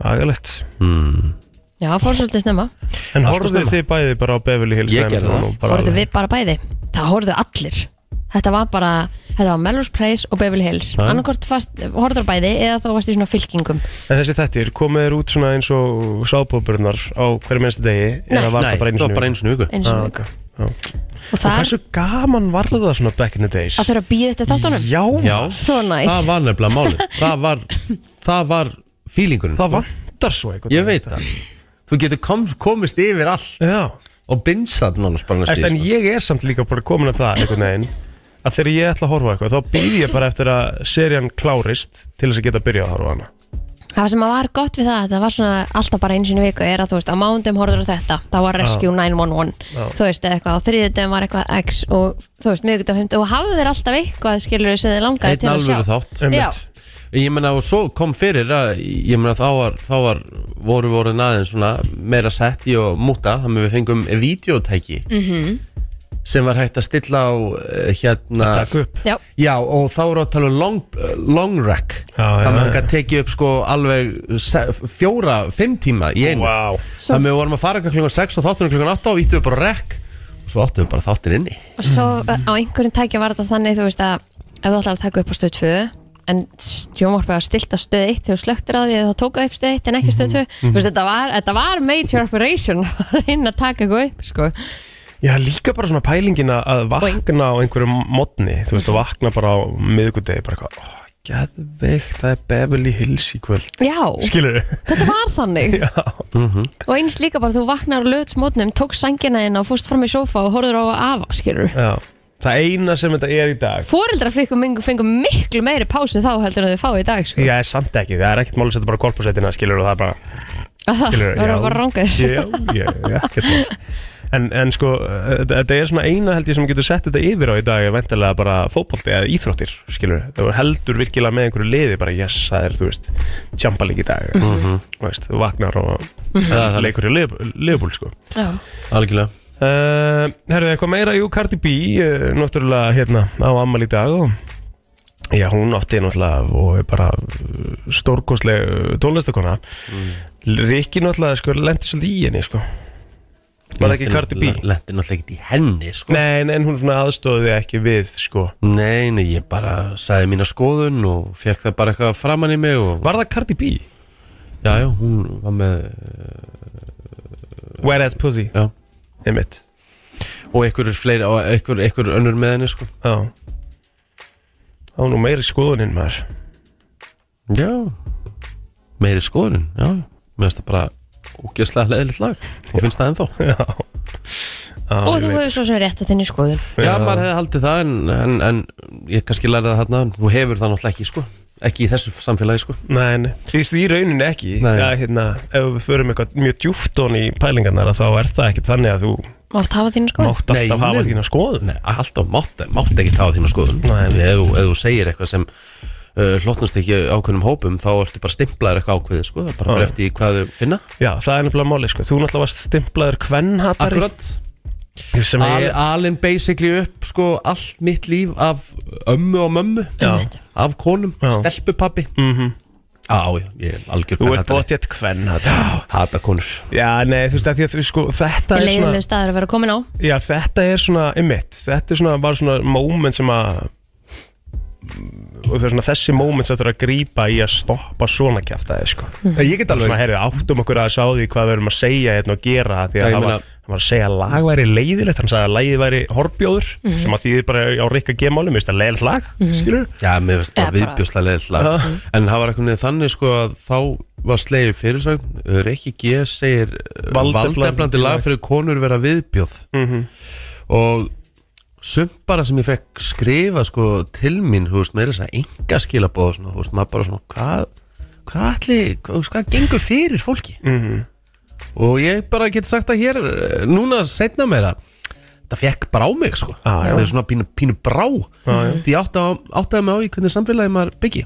[SPEAKER 3] agalegt.
[SPEAKER 1] mm.
[SPEAKER 2] já fór svolítið snemma
[SPEAKER 3] En
[SPEAKER 1] Allt of
[SPEAKER 3] horfðu
[SPEAKER 1] snemma.
[SPEAKER 3] þið bæði bara á Beverly Hills?
[SPEAKER 1] Ég
[SPEAKER 3] Nei,
[SPEAKER 1] gerði
[SPEAKER 3] nú
[SPEAKER 1] það.
[SPEAKER 3] bara
[SPEAKER 2] Hóruðu
[SPEAKER 3] alveg.
[SPEAKER 2] við bara bæði Það hóruðu allir Þetta var bara, þetta var Melrose Place og Beverly Hills
[SPEAKER 1] Já.
[SPEAKER 2] Annarkort hóruður bæði eða þá varst í svona fylkingum
[SPEAKER 3] En þessi þettir, komið þér út svona eins og sábóburnar á hverju minnstu degi?
[SPEAKER 2] Nei.
[SPEAKER 3] eða var
[SPEAKER 1] Nei,
[SPEAKER 3] það bara einu
[SPEAKER 1] það var bara einu sinni í viku
[SPEAKER 2] eins og ah,
[SPEAKER 3] okay.
[SPEAKER 2] Og
[SPEAKER 3] Og
[SPEAKER 2] þar
[SPEAKER 3] hversu gaman var það svona back in the days?
[SPEAKER 2] að þurfa að býða eftir þáttunum
[SPEAKER 3] Já,
[SPEAKER 1] Já,
[SPEAKER 2] Svo næs
[SPEAKER 1] það var nefnilega málið Það var, það var fílingurinn
[SPEAKER 3] það vantar svo eitthvað.
[SPEAKER 1] Ég veit það þú getur kom, komist yfir allt
[SPEAKER 3] Já,
[SPEAKER 1] og binsað nánast bara næstu sko.
[SPEAKER 3] Æst, en ég er samt líka bara komin að það einhvern veginn að þegar ég ætla að horfa á eitthvað þá býð ég bara eftir að serían klárist til þess að geta að byrja að horfa á hana
[SPEAKER 2] Það sem var gott við það, það var svona alltaf bara eins og einu viku, er að þú veist, á mándum horfður á þetta, það var Rescue 911, þú veist, eða eitthvað, á þriðutum var eitthvað X og þú veist, miðvikutum, fimmtum og hafðu þeir alltaf eitthvað, skilur þau, sem þeir langaði
[SPEAKER 1] einn
[SPEAKER 2] til að sjá.
[SPEAKER 1] alvöru þátt
[SPEAKER 3] Einmitt.
[SPEAKER 1] ég meina og svo kom fyrir að ég meina þá var, þá var voru voru aðeins svona meira sett í og múta þannig við fengum videotæki -hmm. sem var hægt að stilla á eh, hérna
[SPEAKER 3] Takk upp
[SPEAKER 2] Já,
[SPEAKER 1] Já, og þá eru að tala um long, long rack
[SPEAKER 3] Já, já,
[SPEAKER 1] Þannig að hann
[SPEAKER 3] já.
[SPEAKER 1] gæti tekið upp sko alveg se- fjóra, fimm tíma í einu
[SPEAKER 3] Vá,
[SPEAKER 2] Svo-
[SPEAKER 1] Þannig að við vorum að fara klukkan 6 og þáttunum klukkan 8 og íttum við bara rack og svo áttum við bara þáttinn inni
[SPEAKER 2] og svo á einhverjum tækja var þetta þannig, þú veist, að ef þú ætlar að taka upp á stöð 2, en sjónvarpið var stilt á stöð 1 þegar þú slöktir á því þá tók það upp stöð 1 en ekki stöð 2
[SPEAKER 3] Mhm.
[SPEAKER 2] þú veist, þetta var, þetta var major operation að reyna að taka eitthvað upp, sko
[SPEAKER 3] Já, líka bara svona pælingin að- að vakna á einhverjum modni, þú veist, að vakna bara á miðgudegi, bara eitthvað, ó, geðveikt, það er Beverly Hills í kvöld,
[SPEAKER 2] Já,
[SPEAKER 3] skilur
[SPEAKER 2] þetta var þannig
[SPEAKER 3] Já, Mhm.
[SPEAKER 2] og eins líka bara þú vaknar á löðsmótnum tók sængina þinn og fórst fram í sófa og horfður á afa, skilur
[SPEAKER 3] já, það eina sem þetta er í dag,
[SPEAKER 2] Fóreldrar fengu, fengu miklu meiri pásu þá heldur en þau fá í dag, sko
[SPEAKER 3] já, er samt ekki, það er ekkert máli að setja bara korpusettina, skilur, og það er bara,
[SPEAKER 2] Það
[SPEAKER 3] skilur,
[SPEAKER 2] var bara rangaðis
[SPEAKER 3] Já, já, já, ekkert mál. En, en sko, eh, þetta þetta er svona eina held ég sem getur sett þetta yfir á í dag er vendilega bara fótbolti eða íþróttir, skilur Það var heldur virkilega með einhverju liði bara, yes, það er, þú veist, tjampalík í dag Þú veist, þú vaknar og
[SPEAKER 1] Það er
[SPEAKER 3] leikur í liðbúl, sko
[SPEAKER 2] Já,
[SPEAKER 1] algjörlega
[SPEAKER 3] uh, Herðu, eitthvað meira, jú, Cardi B uh, Náttúrulega, hérna, á ammal í dag og Já, hún átti náttúrulega og er bara eh, stórkostleg tónlistakona mm. Rikki náttúrulega, sko, lendi svolítið í henni, sko Var það ekki Cardi B?
[SPEAKER 1] Lendi náttúrulega ekki í henni sko
[SPEAKER 3] Nei, en- en hún svona aðstóði ekki við, sko
[SPEAKER 1] Nei, nei, ég bara sagði mína skoðun og fekk það bara eitthvað framann í mig og
[SPEAKER 3] Var það Cardi B?
[SPEAKER 1] Já, já, hún var með
[SPEAKER 3] Wet ass pussy
[SPEAKER 1] Já.
[SPEAKER 3] Einmitt
[SPEAKER 1] og einhver er fleiri og einhver, einhver önnur með henni sko
[SPEAKER 3] Já Það var nú meiri skoðuninn maður
[SPEAKER 1] Já Meiri skoðun, já Mér finnst það bara ógeðslega leðilegt lag og finnst það ennþá
[SPEAKER 3] Já, Já
[SPEAKER 2] og
[SPEAKER 3] ég
[SPEAKER 2] þú
[SPEAKER 3] veit.
[SPEAKER 2] hefur svo sem rétt að þinni skoðun
[SPEAKER 1] Já, maður hefði haldið það en, en, en ég kannski lærði það hérna en þú hefur það náttúrulega ekki sko ekki í þessu samfélagi sko
[SPEAKER 3] Nei, nei Þú veist, í rauninni ekki
[SPEAKER 1] Nei.
[SPEAKER 3] Það er hérna Ef við förum eitthvað mjög djúft honni í pælingarnar að Þá er það ekkert þannig að þú
[SPEAKER 2] Mátt hafa þínu skoðun
[SPEAKER 3] mátt alltaf
[SPEAKER 1] Nei,
[SPEAKER 3] hafa
[SPEAKER 1] nei.
[SPEAKER 3] þína skoðun
[SPEAKER 1] Nei, alltaf mátt, mátt ekki tafa þína skoðun
[SPEAKER 3] Nei.
[SPEAKER 1] ef, þú- ef þú segir eitthvað sem uh, hlotnast ekki ákveðnum hópum þá ertu bara stimplaður eitthvað ákveðið sko það er bara
[SPEAKER 3] Já.
[SPEAKER 1] fyrir eftir í hvað þau finna
[SPEAKER 3] Já, það er nefnilega máli, sko Þú náttúrulega varst stimplaður kvennhatari
[SPEAKER 1] Akkurat
[SPEAKER 3] Sem
[SPEAKER 1] Al,
[SPEAKER 3] ég
[SPEAKER 1] Alin basically upp sko allt mitt líf af ömmu og mömmu
[SPEAKER 3] Já.
[SPEAKER 1] af konum,
[SPEAKER 3] Já.
[SPEAKER 1] stelpupappi
[SPEAKER 3] mm
[SPEAKER 1] Já, já, ég er algjör
[SPEAKER 3] Þú ert
[SPEAKER 1] kvennhatari.
[SPEAKER 3] bótt jætt kvennhatari
[SPEAKER 1] Hata konur
[SPEAKER 3] Já, nei, þú veist, að því að þú sko Þetta er svona
[SPEAKER 2] Leiðileg staður að vera komin á
[SPEAKER 3] Já, þetta er svona, einmitt, þetta er svona, var svona moment sem að og það er svona þessi moment sem þarf að grípa í að stoppa svona kjaftaði, sko.
[SPEAKER 1] Ég get
[SPEAKER 3] Svona, heyrðu, áttum okkur að sá því hvað við erum að segja hérna og gera, því
[SPEAKER 1] Já,
[SPEAKER 3] að
[SPEAKER 1] ég
[SPEAKER 3] hann
[SPEAKER 1] meina-
[SPEAKER 3] var, hann var að segja að lag væri leiðilegt, hann sagði að lagið væri horfbjóður,
[SPEAKER 2] Mhm.
[SPEAKER 3] sem að þýðir bara á rikka gemálum, veist að leiðilegt lag, mm -hmm. skilur?
[SPEAKER 1] Já, mér finnst bara
[SPEAKER 2] Eða bara-
[SPEAKER 1] viðbjóðslega leðilega En það var eitthvað niður þannig sko að þá var slegið fyrirsögn Eh, Rikki G segir uh,
[SPEAKER 3] Valdeflandi-
[SPEAKER 1] valdeflandi lag fyrir konur vera viðbjóð
[SPEAKER 3] Mhm.
[SPEAKER 1] Og sumt bara sem ég fekk skrifa sko til mín, þú veist, meira þess að enga skilabóð svona, þú veist, maður bara svona, hvað hvað allir, hvað, þú veist, hvað gengur fyrir fólki
[SPEAKER 3] Mhm.
[SPEAKER 1] og ég bara get sagt það hér eh, núna setna meira það fekk brá mig sko
[SPEAKER 3] Ah, já.
[SPEAKER 1] það er svona pínu, pínu brá ah, því ég átta, áttaði mig á í hvernig samfélagi maður byggi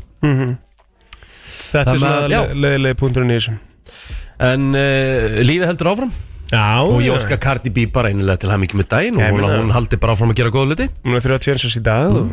[SPEAKER 3] Þetta
[SPEAKER 1] Það
[SPEAKER 3] er
[SPEAKER 1] með-
[SPEAKER 3] svona
[SPEAKER 1] já.
[SPEAKER 3] le- leiðilegi punkturinn í þessu.
[SPEAKER 1] en uh, lífið heldur áfram
[SPEAKER 3] Já,
[SPEAKER 1] og ég
[SPEAKER 3] já.
[SPEAKER 1] óska Cardi B bara einilega til hæmingi með daginn og
[SPEAKER 3] Ég
[SPEAKER 1] hún,
[SPEAKER 3] meina-
[SPEAKER 1] hún haldi bara áfram að gera góða luti
[SPEAKER 3] Hún er 30 eins og sér dag og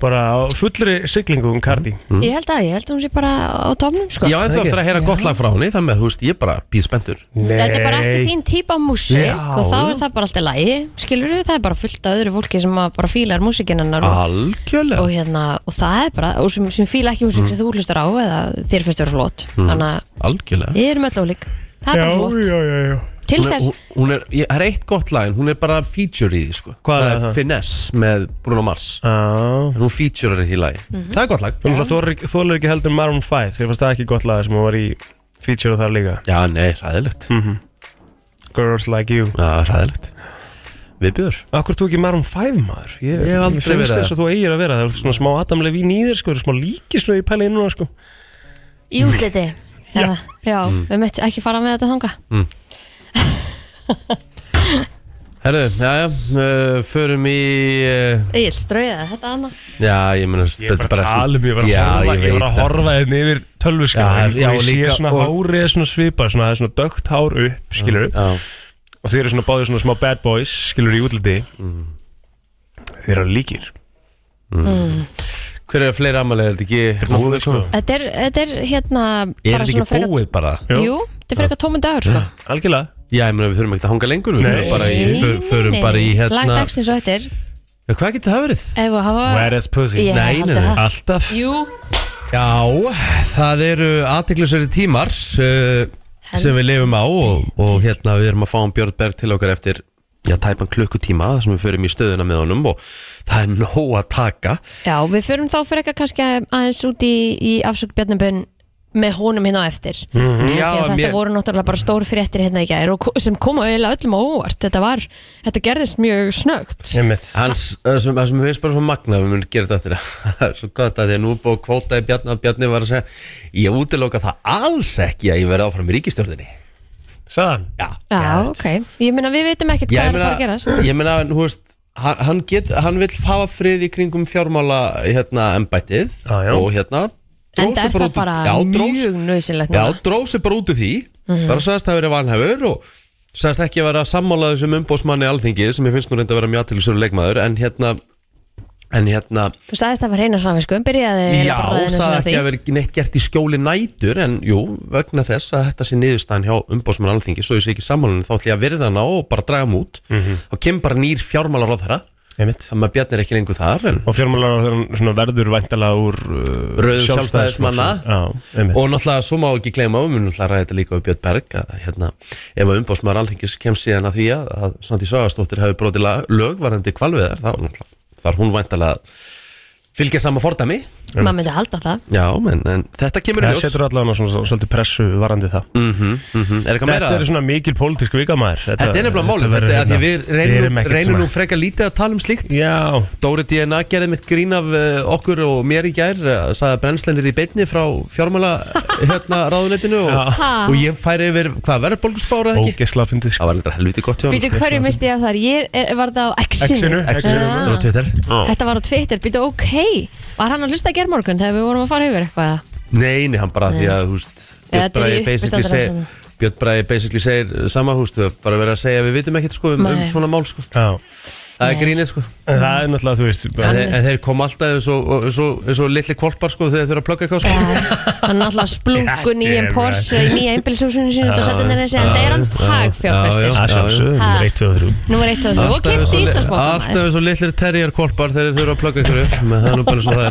[SPEAKER 3] bara á fullri siglingu um Cardi.
[SPEAKER 2] Ég held að, ég held að hún sé bara á tómnum sko
[SPEAKER 1] ég á ennþá
[SPEAKER 3] ekki.
[SPEAKER 1] eftir að heyra gott lag frá henni þannig að þú veist, ég er bara býð spenntur
[SPEAKER 2] Þetta er bara
[SPEAKER 3] Nei.
[SPEAKER 2] eftir þín típa af músík
[SPEAKER 1] Já.
[SPEAKER 2] og þá er það bara alltaf lægi skilur það er bara fullt af öðru fólki sem að bara fílar músíkinn hennar
[SPEAKER 1] Ah,
[SPEAKER 2] og,
[SPEAKER 1] algjörlega
[SPEAKER 2] og, hérna, og það er bara, og sem, sem fíla ekki músík sem þú hlustar á eða þér finnst vera flott þannig að
[SPEAKER 1] algjörlega
[SPEAKER 2] við erum öll ólík það er
[SPEAKER 3] Já,
[SPEAKER 2] bara flott,
[SPEAKER 3] já, já, já.
[SPEAKER 2] til
[SPEAKER 1] Hún er,
[SPEAKER 2] þess
[SPEAKER 1] hún- hún er, ég, það er eitt gott lag en hún er bara feature í því sko
[SPEAKER 3] Hvað
[SPEAKER 1] það
[SPEAKER 3] er það? Ah.
[SPEAKER 1] Finesse með Bruno Mars
[SPEAKER 3] Já.
[SPEAKER 1] en hún
[SPEAKER 2] Mhm.
[SPEAKER 1] featurear í því lagi það er gott lag
[SPEAKER 3] Þú náttúrulega þolir ekki heldur Maroon 5 þegar fannst það ekki gott lag sem hún var í feature þar líka
[SPEAKER 1] Já, nei, ræðilegt
[SPEAKER 3] mm Girls Like You
[SPEAKER 1] Já, ræðilegt Viðbjör
[SPEAKER 3] Akkur þú ekki Maroon 5 maður? Ég,
[SPEAKER 1] Ég hef aldrei
[SPEAKER 3] finnst
[SPEAKER 1] verið
[SPEAKER 3] þess að þú eigir að vera Það er svona smá adamlega vín í þér sko Það er smá líkist við í pæla inn núna sko
[SPEAKER 2] Í útliti Já, já við mitt ekki fara með þetta þanga
[SPEAKER 1] Herru, já, já uh, Förum í uh,
[SPEAKER 2] Egil strauða þetta annað
[SPEAKER 1] Já, ég meina
[SPEAKER 3] Ég er
[SPEAKER 1] þetta
[SPEAKER 3] bara að
[SPEAKER 1] svona-
[SPEAKER 3] tala um, ég var að
[SPEAKER 1] Já,
[SPEAKER 3] horfa
[SPEAKER 1] ég
[SPEAKER 3] Ég var
[SPEAKER 1] veit
[SPEAKER 3] að horfa hérna yfir
[SPEAKER 1] Já,
[SPEAKER 3] tölvuskjáin
[SPEAKER 1] já,
[SPEAKER 3] Og ég
[SPEAKER 1] líka-
[SPEAKER 3] sé svona
[SPEAKER 1] og-
[SPEAKER 3] hárið er svona svipað Svona, það er svona dögt hár upp, skilur
[SPEAKER 1] Já,
[SPEAKER 3] Og þeir eru svona báðir svona smá bad boys, skilur í útliti
[SPEAKER 1] Mm.
[SPEAKER 3] Þeir eru líkir
[SPEAKER 1] hver er fleiri ammali, er þetta ekki
[SPEAKER 3] Búið sko
[SPEAKER 2] Þetta er, þetta er hérna
[SPEAKER 1] Er
[SPEAKER 2] bara
[SPEAKER 1] þetta
[SPEAKER 2] svona
[SPEAKER 1] ekki búið bara?
[SPEAKER 3] Jú.
[SPEAKER 2] Jú, þetta er frekar tómund dagur sko
[SPEAKER 3] Algjörlega
[SPEAKER 1] Já, ég meina við þurfum ekkert að hanga lengur Við
[SPEAKER 3] Nei.
[SPEAKER 1] förum bara í, för, förum
[SPEAKER 2] Nei,
[SPEAKER 1] bara í
[SPEAKER 2] nei. Lag
[SPEAKER 1] hérna
[SPEAKER 2] dagsins og eftir
[SPEAKER 1] Já, Hvað getur það verið?
[SPEAKER 2] Ef við hafa
[SPEAKER 3] Where is pussy?
[SPEAKER 2] Ég
[SPEAKER 1] Nei,
[SPEAKER 2] held
[SPEAKER 1] nei,
[SPEAKER 2] að
[SPEAKER 1] nei.
[SPEAKER 2] það-
[SPEAKER 3] Alltaf
[SPEAKER 2] Jú,
[SPEAKER 1] Já, það eru aðteglisverði tímar uh, sem við lifum á og, og hérna við erum að fáum Björn Berg til okkar eftir já, tæpan klukkutíma þar sem við förum í stöðuna með honum og það er nóg að taka
[SPEAKER 2] já, við förum þá frekar kannski aðeins út í, í afsökk Bjarnabun með honum hérna á eftir
[SPEAKER 1] Mm. Já,
[SPEAKER 2] Því að þetta
[SPEAKER 1] mér,
[SPEAKER 2] voru náttúrulega bara stór fréttir hérna í gær og ko- sem kom auðvitað öllum á óvart þetta var, þetta gerðist mjög snögt
[SPEAKER 3] Ég mitt
[SPEAKER 1] hans, það sem, það sem við veist bara svo magna við munum gera þetta eftir það er svo gott að því að nú er búið að kvóta í Bjarni að Bjarni var að segja ég útiloka það alls ekki að ég verði áfram í ríkistjórninni
[SPEAKER 3] Saðan
[SPEAKER 1] Já,
[SPEAKER 2] Já, ok, ég meina við veitum ekkert
[SPEAKER 1] Já, ég
[SPEAKER 2] hvað er að fara að gerast
[SPEAKER 1] meina, ég meina hú veist, hann, hann, get, hann vil hafa frið í kringum fjármála hérna embættið
[SPEAKER 3] Já, já.
[SPEAKER 1] og hérna dró
[SPEAKER 2] en það
[SPEAKER 1] sig
[SPEAKER 2] er það
[SPEAKER 1] út-
[SPEAKER 2] bara
[SPEAKER 1] já, dró, sig-
[SPEAKER 2] mjög nöðsynlegt
[SPEAKER 1] Já,
[SPEAKER 2] núna Mhm.
[SPEAKER 1] dróð sér bara út úr því bara sagðist að vera vanhefur og sagðist ekki að vera sammála þessum umbósmanni alþingi sem ég finnst nú reynda að vera mjög aðtilisöru leikmaður en hérna en hérna
[SPEAKER 2] Þú sagðist það var reyna samviskum, byrjaði eiginlega
[SPEAKER 1] Já,
[SPEAKER 2] bara ræðina
[SPEAKER 1] það
[SPEAKER 2] sína á
[SPEAKER 1] ekki
[SPEAKER 2] því.
[SPEAKER 1] að vera neitt gert í skjóli nætur en jú, vegna þess að þetta sé niðurstaðan hjá umbóðsmann alþingi svo ég sé ekki sammálinu þá ætlum ég að virða hana og bara draga hann út
[SPEAKER 3] Mhm.
[SPEAKER 1] þá kemur bara nýr fjármálar á þeirra
[SPEAKER 3] Ég mitt
[SPEAKER 1] sem að Bjarni er ekki lengur þar en,
[SPEAKER 3] Og fjármálaráðherrann verður væntalega úr uh,
[SPEAKER 1] Röðum Sjálfstæðismanna.
[SPEAKER 3] Já, einmitt
[SPEAKER 1] og náttúrulega svo má ekki gleyma við munum náttúrulega ræða þetta líka við Björn Berg að, hérna, ef að umbóðsmann alþingis kemst síðan að því að, að Sandi Svagastóttir hafi brotið la- lög varandi kvalviðar þá náttúrulega þarf hún væntalega að fylgja sama fordami
[SPEAKER 2] Maður myndi halda það
[SPEAKER 1] já, en, en þetta kemur í
[SPEAKER 3] Það
[SPEAKER 1] ljós
[SPEAKER 3] setur allavega svona svona svolítið pressu varandi það
[SPEAKER 1] mm er eitthvað meira
[SPEAKER 3] Þetta er svona mikil pólitísk vika maður
[SPEAKER 1] Þetta er nefnilega málið, þetta er að
[SPEAKER 3] hérna-
[SPEAKER 1] því við reynum, reynum nú frekar lítið að tala um slíkt
[SPEAKER 3] Já,
[SPEAKER 1] Dóri DNA gerði mitt grín af eh, okkur og mér í gær eh, sagði að brennslan er í beinni frá fjármála hérna ráðunetinu og,
[SPEAKER 3] Já.
[SPEAKER 1] og ég færi yfir hvað verðbólgusbárað ekki
[SPEAKER 3] ógesla að fyndið sko
[SPEAKER 1] Það var eitthvað helviti gott hjá
[SPEAKER 2] Býtu
[SPEAKER 1] hann
[SPEAKER 2] hverju misti ég af þar, ég er, var það á X-inu
[SPEAKER 3] X-inu, X-inu,
[SPEAKER 2] Já.
[SPEAKER 1] Það var Twitter
[SPEAKER 2] Þetta var á Twitter, býtu ok Var hann að hlusta að gera morgun þegar við vorum að fara yfir eitthvað
[SPEAKER 1] Nei, nei, hann bara því að þú veist
[SPEAKER 2] Eða
[SPEAKER 1] Björn Bræði
[SPEAKER 2] þetta er í
[SPEAKER 1] basically
[SPEAKER 2] uppistandara
[SPEAKER 1] segir
[SPEAKER 2] svona.
[SPEAKER 1] Björn Bræði basically segir sama húst bara verið að segja að við vitum ekkert sko um, um
[SPEAKER 2] Nei.
[SPEAKER 1] svona mál sko
[SPEAKER 3] Já,
[SPEAKER 1] Það er
[SPEAKER 2] Nei.
[SPEAKER 1] grínið sko
[SPEAKER 3] en það er náttúrulega, þú veist
[SPEAKER 1] En
[SPEAKER 3] bara-
[SPEAKER 1] þeir, en þeir kom alltaf eins og, eins og, eins og litli kvolpar sko þegar þeir eru að plugga eitthvað sko
[SPEAKER 2] Hann er alltaf splungun í einn
[SPEAKER 3] Þetta er
[SPEAKER 2] Porsche í nýja einbilsúsinu sínu og setti henni að segja, þetta er hann
[SPEAKER 1] Já,
[SPEAKER 2] fagfjárfestir
[SPEAKER 1] já.
[SPEAKER 3] Að sjálfsögðu,
[SPEAKER 2] Ha.
[SPEAKER 3] númer 1, 2 og 3
[SPEAKER 2] Nú var eitt og þú og kipti
[SPEAKER 1] Alltaf
[SPEAKER 2] Íslandsbókum
[SPEAKER 1] eins og litlir terjarkvolpar þegar þeir eru að plugga ykkur upp Men það er nú bara eins og það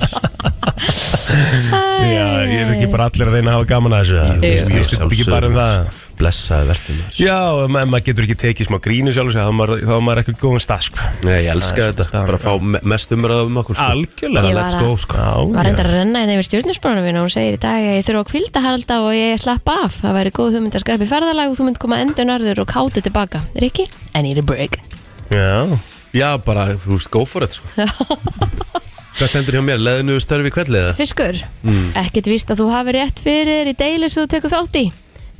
[SPEAKER 1] er
[SPEAKER 3] Já, ég er ekki bara allir að reyna að hafa gaman að þessu það-
[SPEAKER 1] Jú,
[SPEAKER 3] Ég veist þetta ekki
[SPEAKER 1] sjálfsögðu.
[SPEAKER 3] bara um það
[SPEAKER 1] Blessaði verðum þér
[SPEAKER 3] Já, ef ma- ef maður getur ekki tekið smá grínu sjálfsög þá er maður- þá er maður ekki góðum stað sko
[SPEAKER 1] Nei, ég elska
[SPEAKER 3] Það
[SPEAKER 1] þetta,
[SPEAKER 3] er svolítið
[SPEAKER 1] bara að fá me- mest umræða um okkur sko.
[SPEAKER 3] Algjörlega
[SPEAKER 2] Ég var
[SPEAKER 1] Let's
[SPEAKER 2] að-
[SPEAKER 1] go sko
[SPEAKER 3] Já,
[SPEAKER 2] Var
[SPEAKER 3] já.
[SPEAKER 2] reyndar að renna henni yfir stjórnarsprónum minn og hún segir í dag að ég þurfa að kvilda halda og ég slappa af. Það væri góð hugmynd að skrepa í ferðalag og þú mynd koma endur nörður og kátu tilbaka. Rikki, I need a break.
[SPEAKER 3] Já,
[SPEAKER 1] Já, bara, þú veist, go for it sko Hvað stendur hjá mér, leðinu störfi kvelli eða?
[SPEAKER 2] Fiskur,
[SPEAKER 1] Hmm.
[SPEAKER 2] ekkert víst að þú hafi rétt fyrir þér í deilu sem þú tekur þátt í.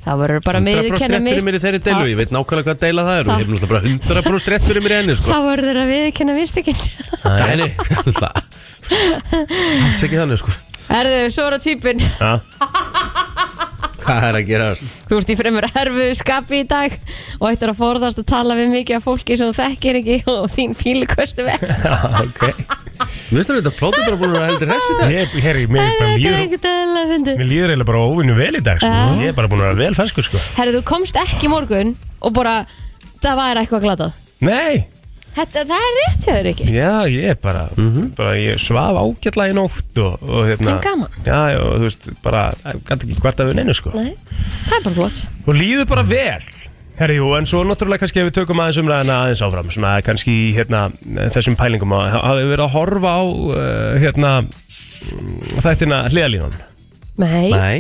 [SPEAKER 2] Þá verður bara að
[SPEAKER 1] 100%
[SPEAKER 2] viðurkenna
[SPEAKER 1] rétt fyrir
[SPEAKER 2] mist-
[SPEAKER 1] mér í þeirri deilu,
[SPEAKER 2] Já,
[SPEAKER 1] ég veit nákvæmlega hvað deila það er og ég hef náttúrulega bara 100% rétt fyrir mér í henni sko
[SPEAKER 2] Þá verður þeir að viðkenna mistökinn.
[SPEAKER 1] Nei, nei, það Alls ekki þannig sko
[SPEAKER 2] Erðu, svo er að týpin.
[SPEAKER 3] já
[SPEAKER 1] Hvað er að gera?
[SPEAKER 2] Þú ert í fremur erfiðu skapi í dag og ættir að forðast að tala við mikið af fólki sem þú þekkir ekki og þín fílukostu vekk.
[SPEAKER 3] Já, ok
[SPEAKER 1] Mér finnst þetta plótið bara búin að vera heldur hessi þetta
[SPEAKER 3] Ég, herri, mér bara
[SPEAKER 2] Þetta er
[SPEAKER 3] líður
[SPEAKER 2] ekkert eðlilega fyndið.
[SPEAKER 3] Mér líður eiginlega bara óvinnu vel í dag sko.
[SPEAKER 2] Já.
[SPEAKER 3] Ég er bara búin að vera vel ferskur sko.
[SPEAKER 2] Herðu, þú komst ekki í morgun og bara, það var eitthvað glatað.
[SPEAKER 3] Nei,
[SPEAKER 2] Þetta, það er rétt hjá þér ekki.
[SPEAKER 3] já, ég er bara, bara Ég svaf ágætla í nótt og, og hérna
[SPEAKER 2] En gaman.
[SPEAKER 3] Já, já, og þú veist, bara Gæti ekki hvert að við neinu sko.
[SPEAKER 2] Nei, það er bara flott.
[SPEAKER 3] Og líður bara vel Herri, jú, en svo náttúrulega kannski ef við tökum aðeins umræðina aðeins áfram Svona kannski í, hérna, þessum pælingum að hafa verið að horfa á eh, uh, hérna mm, þættina hliðalínan
[SPEAKER 2] Nei,
[SPEAKER 1] Nei,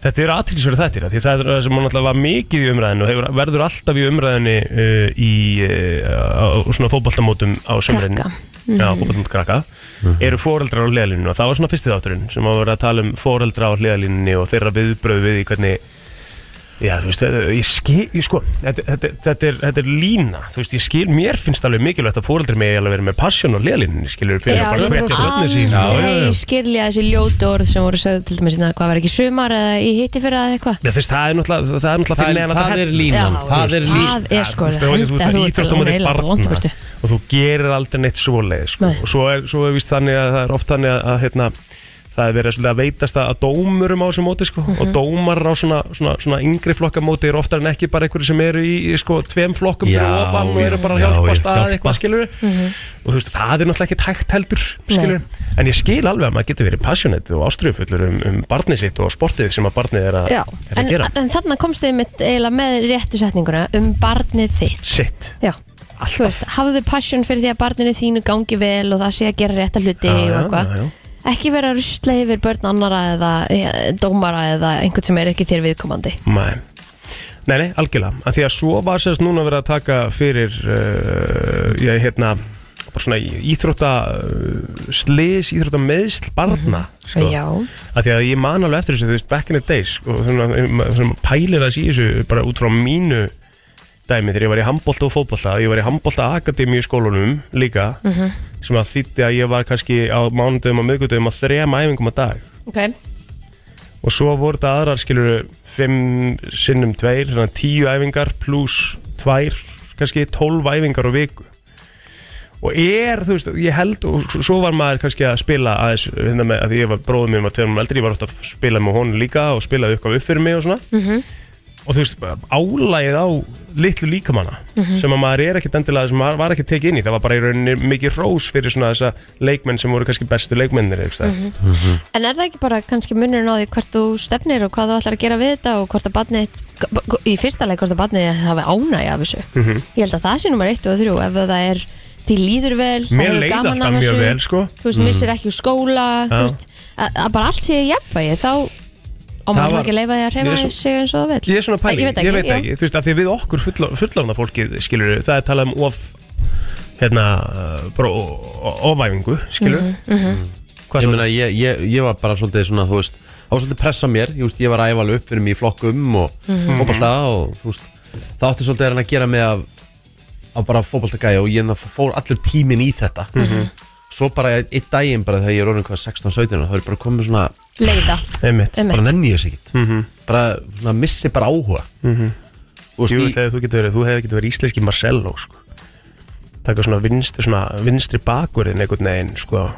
[SPEAKER 3] Þetta eru aðtilsverið þættir af Því það er það sem náttúrulega var mikið í umræðinu og hefur, verður alltaf í umræðinu uh, í uh, á, á svona fótboltamótum á sömurinn
[SPEAKER 2] Krakka.
[SPEAKER 3] Já, fótboltamót krakka
[SPEAKER 1] Mhm.
[SPEAKER 3] Eru foreldrar á hliðalínunni og það var svona fyrsti þátturinn sem var verið að tala um foreldra á hliðalínunni og þeirra viðbröð við í hvernig Já, þú veist, þetta- ég skil, ég sko, þetta, þetta, þetta, er, þetta er lína, þú veist, ég skil, mér finnst alveg mikilvægt að fóreldri mig alveg verið með passion og leðlinni, skilur, fyrir að bara
[SPEAKER 2] ég
[SPEAKER 3] hvetja
[SPEAKER 2] mun
[SPEAKER 3] börnin sín.
[SPEAKER 2] aldrei skilja þessi ljótu orð sem voru sögð til dæmis hérna, hvað var ekki sumar eða í hitti fyrir eða eitthvað
[SPEAKER 3] Já, þú veist, það er náttúrulega, það er náttúrulega
[SPEAKER 1] Það er-
[SPEAKER 3] fyrir neðan
[SPEAKER 1] það
[SPEAKER 3] allar
[SPEAKER 1] er
[SPEAKER 3] hellur.
[SPEAKER 1] línan,
[SPEAKER 2] Já,
[SPEAKER 1] það er línan
[SPEAKER 2] Það er sko
[SPEAKER 3] Þú veist,
[SPEAKER 2] held að þú
[SPEAKER 3] þú ert
[SPEAKER 2] ert
[SPEAKER 3] íþrótt á
[SPEAKER 2] alveg
[SPEAKER 3] móti
[SPEAKER 2] heila bara langt í
[SPEAKER 3] barna
[SPEAKER 2] burtu.
[SPEAKER 3] og þú gerir aldrei neitt svoleið sko.
[SPEAKER 2] Nei.
[SPEAKER 3] og svo er, svo er vist þannig að það er oft þannig að, að hérna, það er verið svolítið að veitast að, að dómurum á þessu móti sko.
[SPEAKER 2] Mhm.
[SPEAKER 3] og dómar á svona, svona, svona yngri flokkamóti er oftar en ekki bara einhverju sem eru í, í sko, tveim flokkum
[SPEAKER 1] Já,
[SPEAKER 3] fyrir ofan og eru bara að
[SPEAKER 1] já,
[SPEAKER 3] hjálpast
[SPEAKER 1] já,
[SPEAKER 3] að
[SPEAKER 1] hjálpa.
[SPEAKER 3] eitthvað skilur
[SPEAKER 2] Mhm.
[SPEAKER 3] og þú veist það er náttúrulega ekki tækt heldur skilur en ég skil alveg að maður getur verið passionate og ástriðufullur um, um barnið sitt og sportið sem að barnið er, a,
[SPEAKER 2] Já,
[SPEAKER 3] er að
[SPEAKER 2] en,
[SPEAKER 3] gera
[SPEAKER 2] en þarna komstu þið mitt eiginlega með réttu setninguna um barnið þitt
[SPEAKER 3] sitt
[SPEAKER 2] Já, þú veist, hafðu passion fyrir því að barninu þínu gangi vel og það sé að gera rétta hluti
[SPEAKER 3] Já,
[SPEAKER 2] og
[SPEAKER 3] já,
[SPEAKER 2] eitthvað
[SPEAKER 3] já, já.
[SPEAKER 2] Ekki vera að rusla yfir börn annara eða eh, dómara eða einhvern sem er ekki þér viðkomandi
[SPEAKER 3] Nei. Nei, nei, algjörlega að Því að svo var sérst núna verið að taka fyrir uh, ég, hérna, bara svona íþrótta uh, slis, íþrótta meðsl barna sko.
[SPEAKER 2] Já,
[SPEAKER 3] að því að ég man alveg eftir þessu, þú veist, back in the days sko, svona, ma- svona pælir að sé þessu bara út frá mínu dæmi þegar ég var í handbólta og fótbolta ég var í handbólta akademi í skólanum líka sem að þýtti að ég var kannski á mánudöfum og miðgudöfum á þrem æfingum að dag
[SPEAKER 2] ok,
[SPEAKER 3] og svo voru þetta aðrar skilur 5 sinnum 2 svona 10 æfingar pluss 2 kannski 12 æfingar á viku og er, þú veist, ég held og s- svo var maður kannski að spila aðeins hérna með, að því ég var bróðum mér um að tveimum eldri ég var ofta að spila með honum líka og spilaði eitthvað upp fyrir mig og svona og þú veist, álægið á litlu líkamanna sem að maður er ekkert endilega sem maður var ekki tekið inn í, það var bara í rauninni mikið rós fyrir svona þessa leikmenn sem voru kannski bestu leikmennir, eitthvað mm -hmm.
[SPEAKER 2] En er það ekki bara kannski munurinn á því hvert þú stefnir og hvað þú ætlar að gera við þetta og hvort að barnið, í fyrsta leik hvort að barnið hafi ánægja af þessu?
[SPEAKER 3] Mhm.
[SPEAKER 2] Ég held að það sé nummer 1 og 3 ef það er, því líður vel, það
[SPEAKER 3] Mér
[SPEAKER 2] hefur
[SPEAKER 3] leið
[SPEAKER 2] gaman
[SPEAKER 3] alltaf
[SPEAKER 2] af
[SPEAKER 3] mjög
[SPEAKER 2] þessu,
[SPEAKER 3] vel, sko
[SPEAKER 2] þú veist, missir ekki úr skóla, þú
[SPEAKER 3] Já.
[SPEAKER 2] veist, að, að bara allt því að jafnvægi, þá og
[SPEAKER 1] Það
[SPEAKER 2] maður
[SPEAKER 1] var-
[SPEAKER 2] var, ekki leifa því að
[SPEAKER 3] Ég er
[SPEAKER 2] reyfa
[SPEAKER 3] svo-
[SPEAKER 2] sig eins og það vil.
[SPEAKER 3] Ég er svona pæling,
[SPEAKER 2] Ég veit ekki,
[SPEAKER 3] ég veit
[SPEAKER 2] já.
[SPEAKER 3] ekki þú veist, af því að við okkur fulla, fullafna fólkið skilur, það er talað um of hérna, uh, bara o- o- ofæfingu skilur
[SPEAKER 2] Mhm,
[SPEAKER 3] Hvað
[SPEAKER 1] Ég
[SPEAKER 3] svo?
[SPEAKER 1] meina, ég, ég, ég var bara svolítið svona, þú veist, það var svolítið pressa mér, ég, veist, ég var að æfa alveg upp fyrir mig í flokkum og
[SPEAKER 3] Mhm.
[SPEAKER 1] fótballta og þú veist, það átti svolítið að reyna að gera mig af, af bara fótballtagæja og ég náttúrulega fór allur tíminn í þetta.
[SPEAKER 3] Mhm.
[SPEAKER 1] Svo bara einn daginn bara þegar ég er orðin hvað 16-17 þá er ég bara komið svona,
[SPEAKER 2] Leiða,
[SPEAKER 3] Einmitt,
[SPEAKER 1] bara
[SPEAKER 2] emmitt.
[SPEAKER 1] nenni ég þess ekkert.
[SPEAKER 3] Mhm.
[SPEAKER 1] Bara svona missi bara áhuga. Þú veist,
[SPEAKER 3] jú,
[SPEAKER 1] í-
[SPEAKER 3] þegar þú getur verið þú hefði getur verið íslenski Marcello sko. taka svona vinstri, svona vinstri bakurðin einhvern veginn, sko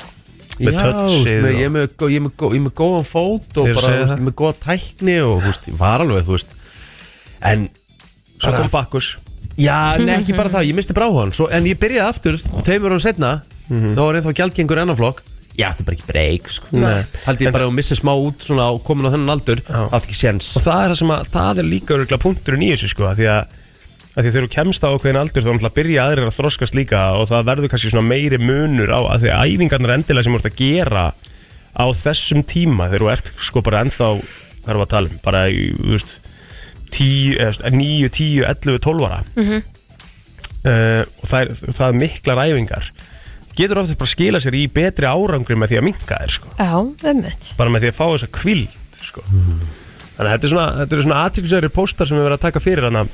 [SPEAKER 1] Já, þú
[SPEAKER 3] með
[SPEAKER 1] veist,
[SPEAKER 3] tötsið
[SPEAKER 1] með- ég er með, gó- ég er með, gó- ég er með góðan fót og
[SPEAKER 3] Þeir
[SPEAKER 1] bara,
[SPEAKER 3] segja
[SPEAKER 1] þú veist,
[SPEAKER 3] það.
[SPEAKER 1] ég er með góða tækni og, þú veist, ég var alveg, þú veist, en
[SPEAKER 3] og svo
[SPEAKER 1] bara-
[SPEAKER 3] kom Bakkus
[SPEAKER 1] Já, en ekki bara það, ég misti bráðan svo, En ég byrjaði aftur, tveimur árum setna Þá var ennþá gjaldgengur ennaflokk Ég átti bara ekki breyk sko.
[SPEAKER 3] Mhm. Nei.
[SPEAKER 1] Haldi ég
[SPEAKER 3] En
[SPEAKER 1] bara að missa smá út svona á komin á þennan aldur
[SPEAKER 3] Já.
[SPEAKER 1] Átti ekki séns
[SPEAKER 3] og það er það sem að það er líka örugla punkturinn í þessu sko af því að, að því að þegar þú kemst á okkur aldur þá náttúrulega byrja aðrir að þroskast líka og það verður kannski svona meiri munur á að því að æfingarnar endilega sem þú ert að gera á þessum tíma þegar þú ert sko bara ennþá hvað erum við að tala um bara í þú veist 10, eða, þú veist, 9, 10, 11, 12 ára uh, og það er, það er miklar æfingar getur ofta bara að skila sér í betri árangri með því að minka þér sko
[SPEAKER 2] Já, emmitt.
[SPEAKER 3] bara með því að fá þessa kvild sko. þannig að þetta er svona, þetta er svona aðtilsæri póstar sem við verðum að taka fyrir hana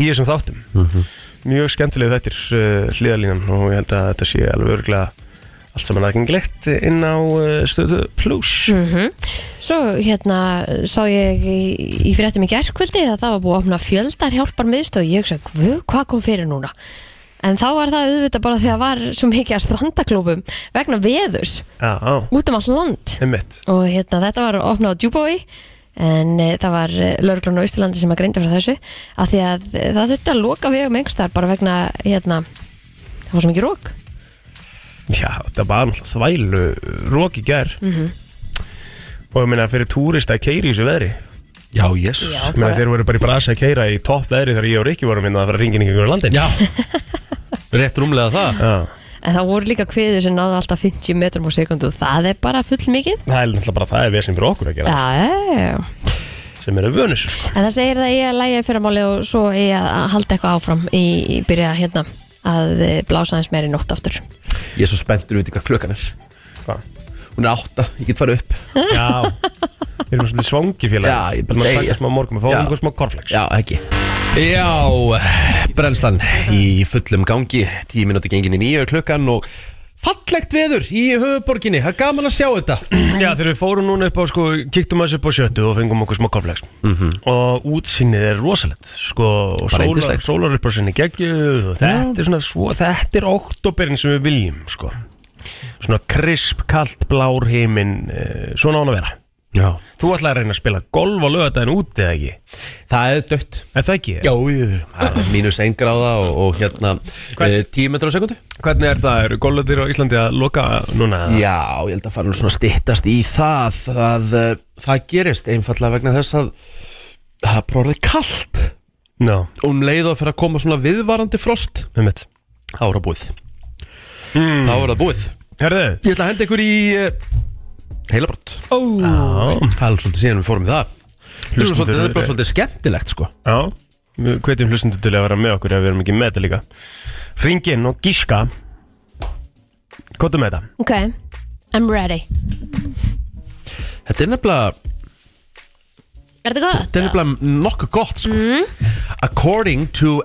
[SPEAKER 3] í þessum þáttum mjög skemmtilega þetta er uh, hliðalínan og ég held að þetta sé alveg örgulega allt saman aðgengilegt inn á uh, stöðu pluss
[SPEAKER 2] Mm. Svo hérna sá ég í, í fréttum í gerkvöldi að það var búið að opna fjöldar hjálpar miðstöð og ég hugsa, "Guð, hvað kom fyrir núna? En þá var það auðvitað bara því að var svo mikið að strandaklúpum vegna veðurs
[SPEAKER 3] Já, á,
[SPEAKER 2] út um allt land
[SPEAKER 3] einmitt
[SPEAKER 2] og hérna þetta var opnað á Djúbói en e, það var e, lögreglun á Ísturlandi sem að greinda frá þessu af því að e, það þurfti að loka vegum einhverstaðar bara vegna hérna, það var svo mikið rók
[SPEAKER 3] Já, þetta var náttúrulega þvælu rók í gær
[SPEAKER 2] Mhm.
[SPEAKER 3] og ég meina fyrir túrista að keiri í þessu veðri
[SPEAKER 1] Já, jésus
[SPEAKER 2] Já.
[SPEAKER 3] ég meina þeir voru bara í brasa að keira í topp veðri þegar ég og Rikki vorum hérna að fara að ringin í ykkur landin
[SPEAKER 1] Já Rétt rúmlega það
[SPEAKER 3] Já.
[SPEAKER 2] en það voru líka kviðir sem náðu alltaf 50 metrum á sekundu það er bara full mikið
[SPEAKER 3] Það er náttúrulega bara það er vesinn fyrir okkur að
[SPEAKER 2] já,
[SPEAKER 3] gera
[SPEAKER 2] já, já, já.
[SPEAKER 3] sem eru vönus sko.
[SPEAKER 2] en það segir það ég að lægja í fyrramáli og svo ég að halda eitthvað áfram í, í byrja hérna að eh, blása aðeins meir í nótt aftur
[SPEAKER 1] Ég er svo spenntur við hvað klukkan er
[SPEAKER 3] Hvað?
[SPEAKER 1] Hún er átta, ég get farið upp
[SPEAKER 3] Já, við erum svolítið svangi félag
[SPEAKER 1] Já, ég bara
[SPEAKER 3] Við erum að
[SPEAKER 1] deyja.
[SPEAKER 3] taka smá morgum, við
[SPEAKER 1] Já.
[SPEAKER 3] fáum einhver smá korflex
[SPEAKER 1] Já, ekki Já, brennslan í fullum gangi Tíu minúti gengin í nýju klukkan og fallegt veður í höfuborginni Það er gaman að sjá þetta
[SPEAKER 3] Já, þegar við fórum núna upp á, sko, kíktum aðeins upp á sjöttu og fengum okkur smá korflex Og útsinnið er rosalegt, sko, og
[SPEAKER 1] Mhm. Bara
[SPEAKER 3] sólar,
[SPEAKER 1] yndislegt.
[SPEAKER 3] sólar upp á sinni geggju og Þetta er svona, svo, þetta er oktoberinn sem við viljum, sko Svona krisp, kalt, blár heiminn, eh, svona án að vera
[SPEAKER 1] Já
[SPEAKER 3] Þú ætlaði að reyna að spila golf á lögadaginn úti eða ekki?
[SPEAKER 1] Það er dött
[SPEAKER 3] Er það ekki?
[SPEAKER 1] Já, jú, jú. það er mínus einn gráða og, og hérna
[SPEAKER 3] Hvern-
[SPEAKER 1] eh, tíu metrar á sekundu
[SPEAKER 3] Hvernig er það? Eru golflöðir á Íslandi að loka núna? eða?
[SPEAKER 1] Já, ég held að fara nú svona stittast í það að uh, það gerist einfallega vegna þess að það er bara orðið kallt
[SPEAKER 3] Ná,
[SPEAKER 1] um leið og fyrir að koma svona viðvarandi frost
[SPEAKER 3] um mitt
[SPEAKER 1] þá er það búið þá er það búið
[SPEAKER 3] Herðu,
[SPEAKER 1] Ég ætla að henda ykkur í uh, heilabrott
[SPEAKER 3] Já,
[SPEAKER 1] Það er svolítið síðan við fórum í það Það er
[SPEAKER 3] Hlustendur-
[SPEAKER 1] svolítið, það er bara svolítið skemmtilegt sko
[SPEAKER 3] já Við hvetjum hlustundu til að vera með okkur ef við erum ekki með þetta líka Ringin og gíska Kóttu með þetta
[SPEAKER 2] ok, I'm ready
[SPEAKER 1] Þetta er nefnilega
[SPEAKER 2] er þetta gott?
[SPEAKER 1] Þetta er nefnilega nokkuð gott sko. According to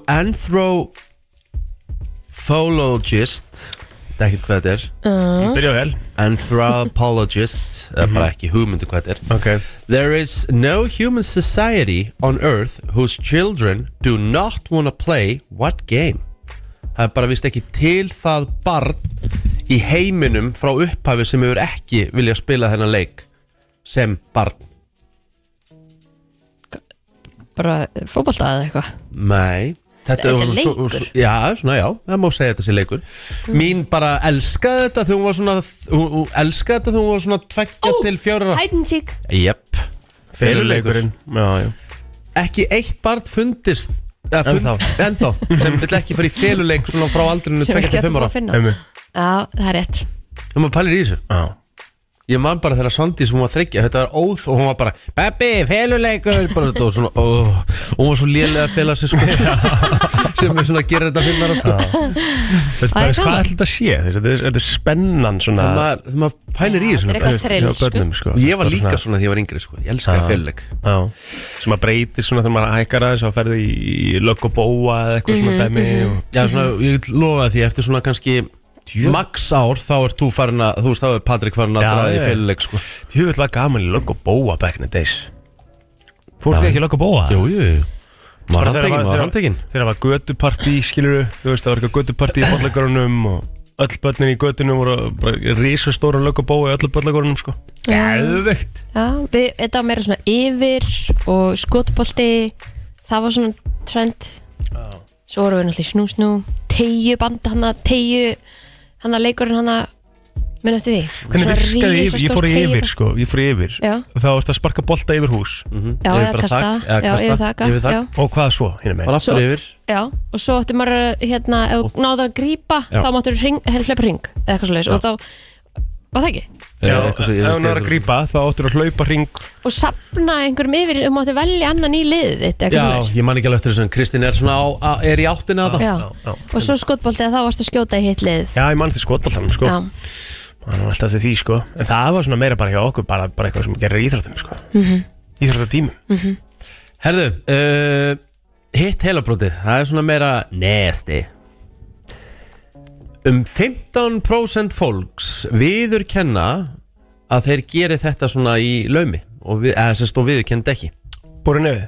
[SPEAKER 1] anthropologist Þetta er ekkert hvað þetta er
[SPEAKER 3] Byrja vel
[SPEAKER 1] Anthropologist Það er bara ekki hugmyndu hvað þetta er
[SPEAKER 3] Ok
[SPEAKER 1] There is no human society on earth whose children do not want to play what game? Það er bara vist ekki til það barn í heiminum frá upphafi sem hefur ekki vilja spila þennan leik sem barn
[SPEAKER 2] bara fótbolta eða eitthvað
[SPEAKER 1] Nei Þetta
[SPEAKER 2] Þetta er
[SPEAKER 1] var nú
[SPEAKER 2] leikur. Mm.
[SPEAKER 1] Svo, svo, já, svona já, það má segja þetta sé leikur Mín bara elskaði þetta þegar hún var svona Hún, hún elskaði þetta þegar hún var svona Tveggja
[SPEAKER 2] Ó,
[SPEAKER 1] til fjóra
[SPEAKER 2] hide and seek
[SPEAKER 1] Jep, feluleikur
[SPEAKER 3] Já, já
[SPEAKER 1] Ekki eitt barn fundist eða
[SPEAKER 3] Ennþá.
[SPEAKER 1] ennþá sem vil ekki fara í feluleik svona frá aldrinu
[SPEAKER 2] sem
[SPEAKER 1] 25
[SPEAKER 2] við skjöldum
[SPEAKER 1] ára
[SPEAKER 2] að finna
[SPEAKER 3] Emi
[SPEAKER 2] já, það er rétt
[SPEAKER 1] Þegar maður pælir í þessu
[SPEAKER 3] Já
[SPEAKER 1] Ég man bara þegar Svandís, hún var þryggja, þetta var óð og hún var bara Bebbi, feluleikur bara þetta og svona, ó, og hún var svo lélega að fela sig sko sem er svona að gera þetta finnara sko
[SPEAKER 3] Þetta
[SPEAKER 2] Það er
[SPEAKER 3] er hvað
[SPEAKER 2] gaman.
[SPEAKER 3] ætla þetta sé Þú veist, Þetta er, þetta er spennan svona
[SPEAKER 1] þegar maður, þegar maður pælir í þessu
[SPEAKER 2] Þetta er eitthvað
[SPEAKER 3] Hjá
[SPEAKER 2] þrill, sko.
[SPEAKER 3] börnum, sko.
[SPEAKER 1] Og Ég var
[SPEAKER 3] Bara
[SPEAKER 1] líka
[SPEAKER 3] svona-
[SPEAKER 1] svona því ég var yngri sko. Ég elskaði
[SPEAKER 3] Já.
[SPEAKER 1] fjöluleik
[SPEAKER 3] Já, sem að breyti svona þegar maður hækkar aðeins og ferði í lögg og bóa eða eitthvað svona dæmi og...
[SPEAKER 1] Já, svona,
[SPEAKER 2] Mhm.
[SPEAKER 1] ég lofa því eftir svona kannski Max ár, þá ert þú farin að Þú veist, þá er Patrik farin að
[SPEAKER 3] Já,
[SPEAKER 1] draga í
[SPEAKER 3] ég.
[SPEAKER 1] fjöluleik sko.
[SPEAKER 3] Tjöfull var gaman í lögg og bóa back in the days Fórst þið ekki í lögg og bóa?
[SPEAKER 1] Jú, jú, jú Maður
[SPEAKER 3] Bara þegar
[SPEAKER 1] handtekinn,
[SPEAKER 3] var-
[SPEAKER 1] maður
[SPEAKER 3] þegar-
[SPEAKER 1] handtekinn
[SPEAKER 3] Þegar það var gödupartí, skiluru Þú veist, það var eitthvað gödupartí í bollagörunum og öll börnin í gödunum voru bara risastóra lög og bói í öllu bollagörunum, sko Gæðvegt
[SPEAKER 2] já, við, þetta var meira svona yfir og skotbolti það var svona trend svo vorum við náttúrulega í snú snú tegju band hana, tegju hana leikurinn hana minn eftir því
[SPEAKER 3] Hvernig virkaði yfir? Ég fór í yfir,
[SPEAKER 2] já,
[SPEAKER 3] sko, ég fór í yfir
[SPEAKER 2] Já.
[SPEAKER 3] Og þá varst að sparka bolta yfir hús
[SPEAKER 2] já,
[SPEAKER 1] Yfir
[SPEAKER 2] eða
[SPEAKER 1] bara
[SPEAKER 2] kasta,
[SPEAKER 1] þak, eða
[SPEAKER 2] já,
[SPEAKER 1] kasta,
[SPEAKER 2] yfir þakka
[SPEAKER 1] yfir þak.
[SPEAKER 2] já,
[SPEAKER 3] Og hvað svo, hérna með?
[SPEAKER 1] Bara aftur
[SPEAKER 2] Svo-
[SPEAKER 1] yfir
[SPEAKER 2] já, og svo ætti maður að, hérna, ef þú náður að grípa
[SPEAKER 1] Já.
[SPEAKER 2] þá máttur hlaupa ring eða eitthvað svoleiðis og þá, var það ekki?
[SPEAKER 1] Eh,
[SPEAKER 3] Já, ef
[SPEAKER 1] eitthvað svo- ég veist,
[SPEAKER 3] hún var
[SPEAKER 1] ég-
[SPEAKER 3] að grípa, þá áttur að hlaupa hring
[SPEAKER 2] og safna einhverjum yfir og máttu velja annan í liðið þitt eitthvað
[SPEAKER 1] Já,
[SPEAKER 2] svoleiðis.
[SPEAKER 1] ég man ekki alveg eftir þessu en Kristín er svona á, á, er í áttina að það
[SPEAKER 2] Já.
[SPEAKER 3] Já, já.
[SPEAKER 2] og svo skotbolti að þá varst að skjóta í hitt liðið
[SPEAKER 3] Já, ég mann því skotbaltanum, sko
[SPEAKER 2] já,
[SPEAKER 3] Það var alltaf því því, sko En það var svona meira bara hjá okkur, bara, bara eitthvað sem gerir í íþróttum, sko
[SPEAKER 2] Mhm.
[SPEAKER 3] Íþróttatímum.
[SPEAKER 2] Mm.
[SPEAKER 1] Herðu, uh, hitt heilabrótið Það er svona meira nesti Um 15% fólks viður kenna að þeir geri þetta svona í laumi og við, eða sérst og viður kenda ekki
[SPEAKER 3] Borið
[SPEAKER 2] við
[SPEAKER 3] nefið.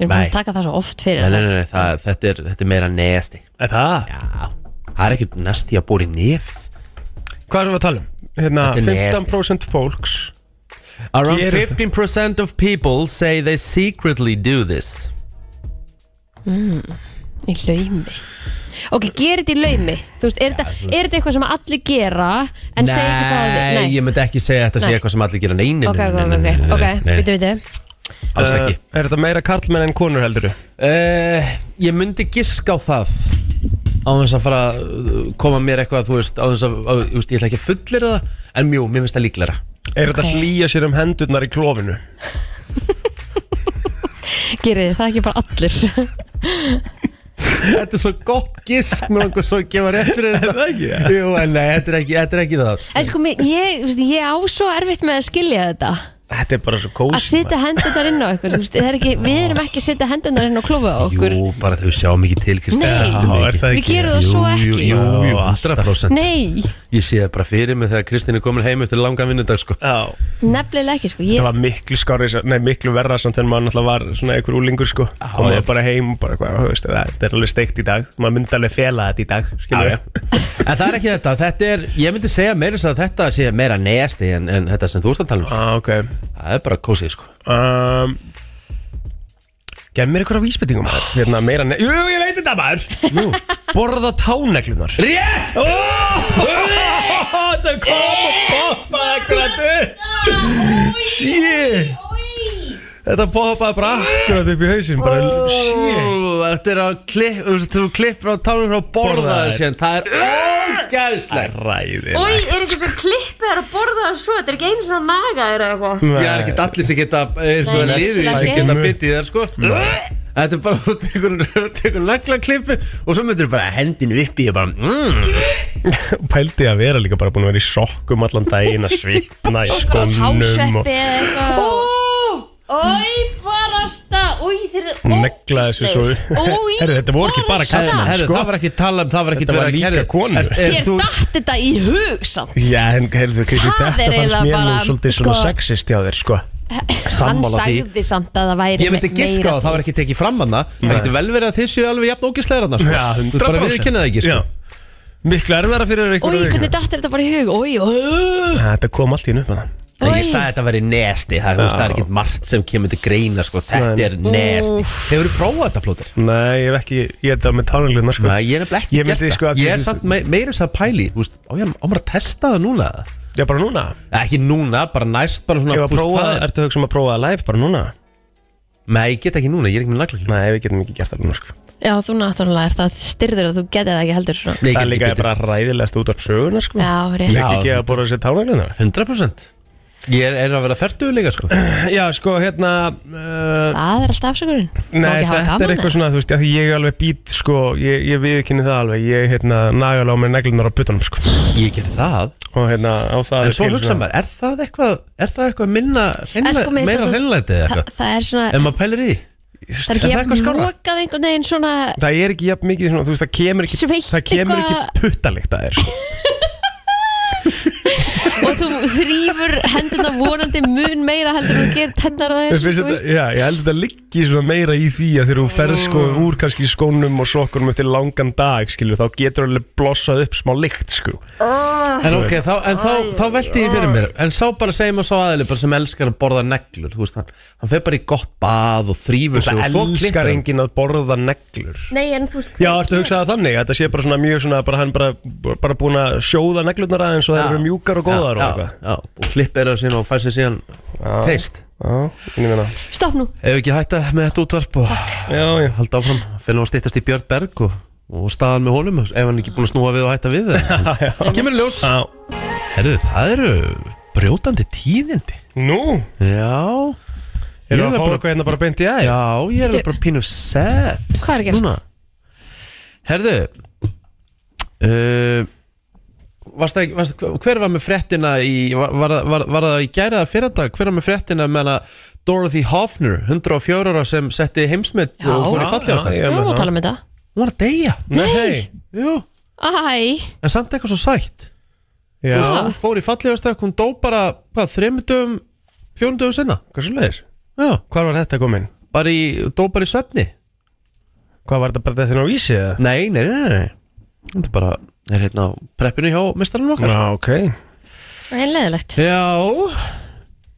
[SPEAKER 2] erum búin
[SPEAKER 1] Nei.
[SPEAKER 2] að taka það svo oft fyrir
[SPEAKER 1] Nei, nei,
[SPEAKER 2] það.
[SPEAKER 1] nei, nei það, þetta, er, þetta er meira nesti
[SPEAKER 3] Er það?
[SPEAKER 1] Já, það er ekkert nesti að bóra í nefið
[SPEAKER 3] Hvað erum við að tala um? Hérna,
[SPEAKER 1] Þetta er neðasti.
[SPEAKER 3] 15% fólks
[SPEAKER 1] Around
[SPEAKER 3] Gerir-
[SPEAKER 1] 15% of people say they secretly do this
[SPEAKER 2] í laumi ok, gerir þetta í laumi þú veist, er þetta er þetta eitthvað sem allir gera en segja ekki frá því
[SPEAKER 1] Nei,
[SPEAKER 2] Nei.
[SPEAKER 1] ég myndi ekki segja að þetta sé
[SPEAKER 2] Nei.
[SPEAKER 1] eitthvað sem allir gera Nei, nei,
[SPEAKER 2] ok,
[SPEAKER 1] nei,
[SPEAKER 2] ok,
[SPEAKER 1] nei, nei,
[SPEAKER 2] ok,
[SPEAKER 1] nei, nei,
[SPEAKER 2] ok,
[SPEAKER 1] nei, nei,
[SPEAKER 2] bitu, bitu
[SPEAKER 1] Alls
[SPEAKER 3] Eh,
[SPEAKER 1] ekki Eh,
[SPEAKER 3] Er þetta meira karlmenn en konur heldur
[SPEAKER 1] uh, Ég myndi giska á það á þess að fara uh, koma mér eitthvað þú veist, á þess að, á, þú veist, ég ætla ekki að fullir það en mjú, mér finnst það líklara
[SPEAKER 3] Er þetta
[SPEAKER 2] Ok.
[SPEAKER 3] að hlýja sér um hendurnar í klófinu?
[SPEAKER 2] Gerið þið það ekki bara allir
[SPEAKER 1] Þetta er svo gott gisk með einhver svo að gefa rétt fyrir þetta
[SPEAKER 3] það ekki?
[SPEAKER 1] Jú, en nei, þetta er ekki, þetta er ekki það
[SPEAKER 2] En sko, mér- ég, þú veist, ég á svo erfitt með að skilja þetta
[SPEAKER 3] Þetta er bara svo
[SPEAKER 2] Að
[SPEAKER 3] kósi
[SPEAKER 2] setja hendunar inn á ykkur þú veist, það er ekki, Við erum ekki að setja hendunar inn á klófa á okkur
[SPEAKER 1] Jú, bara þau sjáum ekki til Kristi
[SPEAKER 2] Nei.
[SPEAKER 1] ertu mig
[SPEAKER 3] Já, er
[SPEAKER 1] ekki?
[SPEAKER 3] það
[SPEAKER 2] Við
[SPEAKER 3] ekki?
[SPEAKER 2] gerum það svo
[SPEAKER 1] Jú,
[SPEAKER 2] ekki
[SPEAKER 1] jú, jú,
[SPEAKER 3] Já, alltaf.
[SPEAKER 1] 100%
[SPEAKER 2] Nei,
[SPEAKER 1] Ég sé það bara fyrir mig þegar Kristín er komin heim eftir langan vinnudag sko.
[SPEAKER 3] Já,
[SPEAKER 2] nefnilega ekki sko
[SPEAKER 3] það
[SPEAKER 2] ég,
[SPEAKER 3] var miklu skári, nei miklu verra samt en maður náttúrulega var svona einhver úlingur sko
[SPEAKER 1] já.
[SPEAKER 3] Komið bara heim og bara hvað, þú veist, það þetta er alveg steikt í dag Maður myndi alveg fela þetta í dag,
[SPEAKER 1] Já,
[SPEAKER 3] skilur ég
[SPEAKER 1] En það er ekki þetta, þetta er, ég myndi segja meira þess að þetta sé meira nesti en, en þetta sem þú ert að tala um sko.
[SPEAKER 3] ah, ok
[SPEAKER 1] Það er bara kósið sko
[SPEAKER 3] um, Gef mér eitthvað vísbendingum Hérna meira, ne- jú, ég veit þetta maður Jú, borða táneglunar
[SPEAKER 1] Rétt!
[SPEAKER 3] Þetta kom og poppaði akkurat upp Shit Þetta poppaði bara akkurat upp í hausinn bara, Shit
[SPEAKER 1] Þetta er að klipp, þú veist, þú klippir á tánum frá borða
[SPEAKER 3] Borðaðir.
[SPEAKER 1] þér síðan, það er
[SPEAKER 3] Það
[SPEAKER 1] ógæðslega
[SPEAKER 3] er ræðilegt
[SPEAKER 4] Új, er ekki sem klippið er að borða það svo, þetta er ekki einu svona nagaður eða eitthvað.
[SPEAKER 1] Ég er ekki allir sem geta, eh, er svo
[SPEAKER 2] Nei,
[SPEAKER 1] liðið
[SPEAKER 2] nöxlar
[SPEAKER 1] sem
[SPEAKER 2] ekki.
[SPEAKER 1] geta bitið þér sko Þetta er bara, þú tekur, tekur nagla klippu og svo myndir bara hendinu upp í og bara mm.
[SPEAKER 3] Pældi að vera líka bara búin að vera í sokkum allan daginn að svipna í skónum og
[SPEAKER 2] Hásveppi eða eitthvað Ói, barasta Ói, þeir eru
[SPEAKER 3] negla þessu svo
[SPEAKER 2] Ói,
[SPEAKER 3] Herru, þetta voru ekki bara
[SPEAKER 1] Herru,
[SPEAKER 3] kallar
[SPEAKER 1] herru,
[SPEAKER 3] sko
[SPEAKER 1] það var ekki tala um, það var ekki
[SPEAKER 3] Þetta
[SPEAKER 1] verið
[SPEAKER 3] var
[SPEAKER 1] að
[SPEAKER 3] líka
[SPEAKER 1] kerja
[SPEAKER 3] konu.
[SPEAKER 2] Þér datt þetta í hug samt
[SPEAKER 3] Já, en herru, Kristi,
[SPEAKER 2] Það
[SPEAKER 3] þetta
[SPEAKER 2] er eiginlega
[SPEAKER 3] fannst mér nú
[SPEAKER 2] bara,
[SPEAKER 3] svolítið svona
[SPEAKER 2] sko-
[SPEAKER 3] sexist hjá þér sko
[SPEAKER 2] Hann
[SPEAKER 1] Sammála því.
[SPEAKER 2] sagði samt að það væri
[SPEAKER 1] Ég myndi giska á það, það var ekki tekið fram hana Það getur vel verið að þið séu alveg jafn ógislega hana sko. Þú ert bara við það ekki sko.
[SPEAKER 3] Já. Miklu erfiðara fyrir
[SPEAKER 2] Ói,
[SPEAKER 3] ykkur en
[SPEAKER 2] hvernig
[SPEAKER 3] ykkur.
[SPEAKER 2] datt þér þetta bara í hug Ói, ói
[SPEAKER 3] Ja, Þetta kom allt í nöfn Það
[SPEAKER 1] Þegar Ég
[SPEAKER 2] Oj.
[SPEAKER 1] sagði að þetta væri nesti Það, þú veist, það er ekki margt sem kemur til greina sko. Þetta
[SPEAKER 3] Nei.
[SPEAKER 1] er nesti Hefur þú prófað þetta plótir?
[SPEAKER 3] Nei, ég hef ekki, ég hef þetta með tánaglunar sko
[SPEAKER 1] Nei, ég er nefnilega ekki
[SPEAKER 3] Ég myndi
[SPEAKER 1] gert
[SPEAKER 3] sko
[SPEAKER 1] það
[SPEAKER 3] að-
[SPEAKER 1] Ég er samt me meira þess að pæli Þú veist, Á ég á maður að testa það núna
[SPEAKER 3] Já, bara núna
[SPEAKER 1] Nei, Ekki núna, bara næst bara svona,
[SPEAKER 3] Ég var að
[SPEAKER 1] þú veist,
[SPEAKER 3] prófa,
[SPEAKER 1] hvað er-
[SPEAKER 3] ertu að hugsa um að prófa það live bara núna?
[SPEAKER 1] Nei, ég get ekki núna, ég er ekki með nagla
[SPEAKER 3] Nei, við getum ekki gert það núna sko
[SPEAKER 2] Já, þú náttúrulega er það styrður að þú getið það ekki heldur svona.
[SPEAKER 3] Það er líka bara ræðilegast út af söguna sko
[SPEAKER 2] Já, rétt
[SPEAKER 1] Já.
[SPEAKER 3] Ekki ekki að borða sér tánaglunar
[SPEAKER 1] 100% Ég er, er að vera færtugur líka sko
[SPEAKER 3] Já, sko, hérna uh,
[SPEAKER 2] Það er alltaf afsökurinn Má
[SPEAKER 3] Nei,
[SPEAKER 2] ekki hafa
[SPEAKER 3] þetta
[SPEAKER 2] gaman
[SPEAKER 3] er eitthvað
[SPEAKER 2] eða?
[SPEAKER 3] svona, þú veist, að því ég er alveg bít, sko Ég, ég viðkynni það alveg, ég, hérna, nagala á mér neglunar á putunum, sko
[SPEAKER 1] Ég ger það
[SPEAKER 3] Og hérna, á það
[SPEAKER 1] En
[SPEAKER 3] er
[SPEAKER 1] svo
[SPEAKER 3] til
[SPEAKER 1] hugsa
[SPEAKER 3] svona-
[SPEAKER 1] maður, er það eitthvað, er það eitthvað minna,
[SPEAKER 2] En
[SPEAKER 1] hreinlæ,
[SPEAKER 2] sko, mér finnst
[SPEAKER 1] meira
[SPEAKER 2] þetta-
[SPEAKER 1] hreinlætið eða
[SPEAKER 2] Þa-
[SPEAKER 1] eitthvað?
[SPEAKER 2] Það er svona
[SPEAKER 1] Ef maður pælir í því?
[SPEAKER 2] Það
[SPEAKER 1] Er
[SPEAKER 2] er
[SPEAKER 1] það
[SPEAKER 2] ekki
[SPEAKER 1] eitthvað
[SPEAKER 2] jafn
[SPEAKER 1] skárra?
[SPEAKER 2] lokað einhvern veginn svona
[SPEAKER 3] Það er ekki jafn mikið svona, þú veist, það kemur ekki
[SPEAKER 2] Sveitt
[SPEAKER 3] Það kemur
[SPEAKER 2] eitthvað-
[SPEAKER 3] ekki puttalikt að þér, sko
[SPEAKER 2] og þú þrýfur hendurna vonandi mun meira heldur en þú gerir tennar á
[SPEAKER 3] Mér
[SPEAKER 2] þér
[SPEAKER 3] finnst
[SPEAKER 2] þú
[SPEAKER 3] þetta,
[SPEAKER 2] veist.
[SPEAKER 3] Já, ég held þetta liggi svona meira í því að þegar þú ferð, sko,
[SPEAKER 2] Mm.
[SPEAKER 3] úr kannski í skónum og sokkunum eftir langan dag, skilur Þá getur alveg blossað upp smá lykt, sko
[SPEAKER 1] En ok, þá, en þá, þá velti ég fyrir mér En sá bara, segjum að sá aðeili bara sem elskar að borða neglur Þú veist, hann, hann fer bara í gott bað og þrýfur sig
[SPEAKER 3] Það
[SPEAKER 1] og svo klippir
[SPEAKER 3] elskar
[SPEAKER 1] hann
[SPEAKER 3] enginn að borða neglur
[SPEAKER 4] Nei, en þú veist,
[SPEAKER 3] Já, ertu að hugsa það þannig, þetta sé bara svona mjög svona, bara hann bara, bara búin að sjóða neglurnar aðeins og það eru mjúkar og góðar
[SPEAKER 1] já,
[SPEAKER 3] og eitthvað.
[SPEAKER 1] já, og klippir það síðan og fær sér síðan teist
[SPEAKER 3] Já, ég meina.
[SPEAKER 2] Stopp nú,
[SPEAKER 1] Ef ekki hætta með þetta útvarp og
[SPEAKER 3] Já, já.
[SPEAKER 1] halda áfram Fyrir nú að styttast í Björn Berg og, og staðan með honum Ef hann ekki búin að snúa við og hætta við það Kemur í ljós
[SPEAKER 3] Já.
[SPEAKER 1] Herðu, það eru brjótandi tíðindi
[SPEAKER 3] Nú,
[SPEAKER 1] Já Ég er
[SPEAKER 3] erum við að fá
[SPEAKER 1] bara-
[SPEAKER 3] eitthvað hérna bara beint í aðeins?
[SPEAKER 1] Já, ég er bara pínu set
[SPEAKER 2] Hvað er að gerast?
[SPEAKER 1] Herðu uh, varst það, varst, Hver var með fréttina í Var, var, var, var það í gæra það fyrir dag Hver var með fréttina með hana Dorothy Hoffner, 104 ára sem setti heimsmynd
[SPEAKER 2] Já.
[SPEAKER 1] og fór í falli ástæð
[SPEAKER 2] við erum að tala um þetta
[SPEAKER 1] Hún var að deyja
[SPEAKER 3] Nei.
[SPEAKER 1] Jú,
[SPEAKER 2] Æ,
[SPEAKER 1] en samt eitthvað svo sætt
[SPEAKER 3] Já,
[SPEAKER 2] Þú
[SPEAKER 1] Hún fór í falli ástæð, hún dó bara hvað, þremur dögum, fjórum dögum senna
[SPEAKER 3] hvað svo leiðis?
[SPEAKER 1] Já,
[SPEAKER 3] Hvar var þetta komin?
[SPEAKER 1] bara í, dó bara í svefni
[SPEAKER 3] Hvað var þetta bara þetta hérna á vísi eða?
[SPEAKER 1] Nei, nei, nei, nei Þetta er bara, er hérna á preppinu hjá mestarinn okkar
[SPEAKER 3] Já, ok.
[SPEAKER 2] einleðilegt
[SPEAKER 1] Já,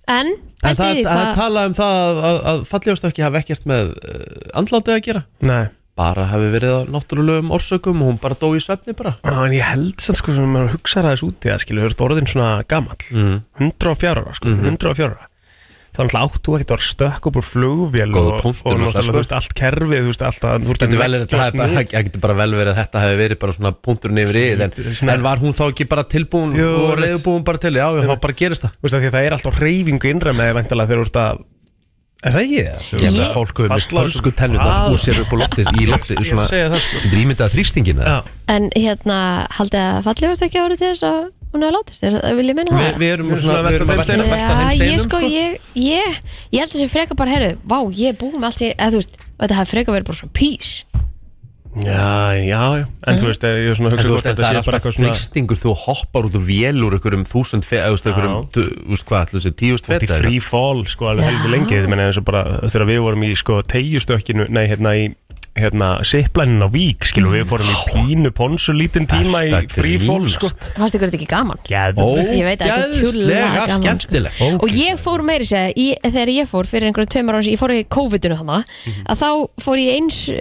[SPEAKER 2] En,
[SPEAKER 1] en
[SPEAKER 2] pældi
[SPEAKER 1] það
[SPEAKER 2] í
[SPEAKER 1] það er
[SPEAKER 2] hvað
[SPEAKER 1] talað um það að, að, að falljóðstökki hafi ekkert með uh, andlátið að gera
[SPEAKER 3] Nei.
[SPEAKER 1] Bara hafi verið að náttúrulegum orsökum og hún bara dó í svefni bara
[SPEAKER 3] Já, en ég held samt sko sem maður
[SPEAKER 1] Mhm.
[SPEAKER 3] hugsa aðeins út í það, skilur, þú ert orðin svona gamall.
[SPEAKER 1] mm.
[SPEAKER 3] 104 ára, sko, 104 ára. þá náttúrulega áttu ekkert að vera stökk upp úr flugvél
[SPEAKER 1] Góður
[SPEAKER 3] og,
[SPEAKER 1] punktur
[SPEAKER 3] og
[SPEAKER 1] náttúrulega,
[SPEAKER 3] náttúrulega
[SPEAKER 1] sko.
[SPEAKER 3] þú veist, allt kerfið þú veist, allt að, þú veist,
[SPEAKER 1] Getur vel verið að það hafi bara- það getur bara vel verið að þetta hefði verið bara svona punkturinn yfir í en,
[SPEAKER 3] Svona-
[SPEAKER 1] en var hún þá ekki bara tilbúin
[SPEAKER 3] Jú,
[SPEAKER 1] og
[SPEAKER 3] einmitt.
[SPEAKER 1] reyðbúin bara til, já, já, þá bara gerist það
[SPEAKER 3] þú veist, af því að það er alltaf reyfingu innra með þig væntanlega þegar þú ert að er það ekki það? Þú
[SPEAKER 1] Ég
[SPEAKER 3] veist,
[SPEAKER 1] með
[SPEAKER 3] að-
[SPEAKER 1] fólk hefur mist
[SPEAKER 3] Fastlaður
[SPEAKER 1] fölsku
[SPEAKER 3] sem-
[SPEAKER 1] tennurnar
[SPEAKER 3] Vá.
[SPEAKER 1] úr sér upp á lofti í lofti,
[SPEAKER 3] Ég er
[SPEAKER 1] svona
[SPEAKER 3] að segja það, sko.
[SPEAKER 1] getur ímyndað þrýstingina
[SPEAKER 3] Já.
[SPEAKER 2] En hérna, haldið að fallið varst ekki árið til þess að hún hefði látist þér, það vil ég minna
[SPEAKER 1] Vi,
[SPEAKER 2] það
[SPEAKER 1] Við erum
[SPEAKER 3] Við erum
[SPEAKER 1] svona,
[SPEAKER 3] svona
[SPEAKER 1] við erum að
[SPEAKER 3] að velta þeim
[SPEAKER 1] velta- velta þeim
[SPEAKER 2] Já, ég
[SPEAKER 1] steinum
[SPEAKER 2] sko,
[SPEAKER 1] sko
[SPEAKER 2] ég, ég, ég held að þessi freka bara, heyrðu, vá, ég er búið með allt í, eða þú veist, og þetta hefði freka verið bara svona pís.
[SPEAKER 3] Já, já, já, en þú veist, ég er svona
[SPEAKER 1] En
[SPEAKER 3] að hugsa
[SPEAKER 1] þú
[SPEAKER 3] hvort
[SPEAKER 1] veist, en það er
[SPEAKER 3] þetta sé bara
[SPEAKER 1] alltaf
[SPEAKER 3] eitthvað svona
[SPEAKER 1] þrýstingur þú hoppar út úr vél úr einhverjum þúsund fe- eða, þú veist, einhverjum,
[SPEAKER 3] Já.
[SPEAKER 1] tu- þú veist hvað, allir þessi tíust
[SPEAKER 3] Þetta
[SPEAKER 1] feta
[SPEAKER 3] er free fall, sko, alveg heldur lengi Þetta menna eins og bara, þegar við vorum í, sko, tegjustökkinu Nei, hérna í, hérna, sipplæninu á vík, skilu
[SPEAKER 2] Mm.
[SPEAKER 3] Við fórum í pínu ponsu lítinn tíma í
[SPEAKER 1] Ertu að
[SPEAKER 3] free fall, sko
[SPEAKER 1] grínast?
[SPEAKER 2] Fannst ykkur þetta ekki gaman?
[SPEAKER 3] Gæðum
[SPEAKER 2] Ég veit að þetta er tjúrlega
[SPEAKER 1] Ógæðslega
[SPEAKER 2] gaman, sko.
[SPEAKER 1] skemmtileg
[SPEAKER 2] Og ég fór meiri segja, ég, þegar ég fór fyrir einhverjum tveimur ára, ég fór í COVID-inu hana,
[SPEAKER 1] Mhm.
[SPEAKER 2] að þá fór ég eins uh,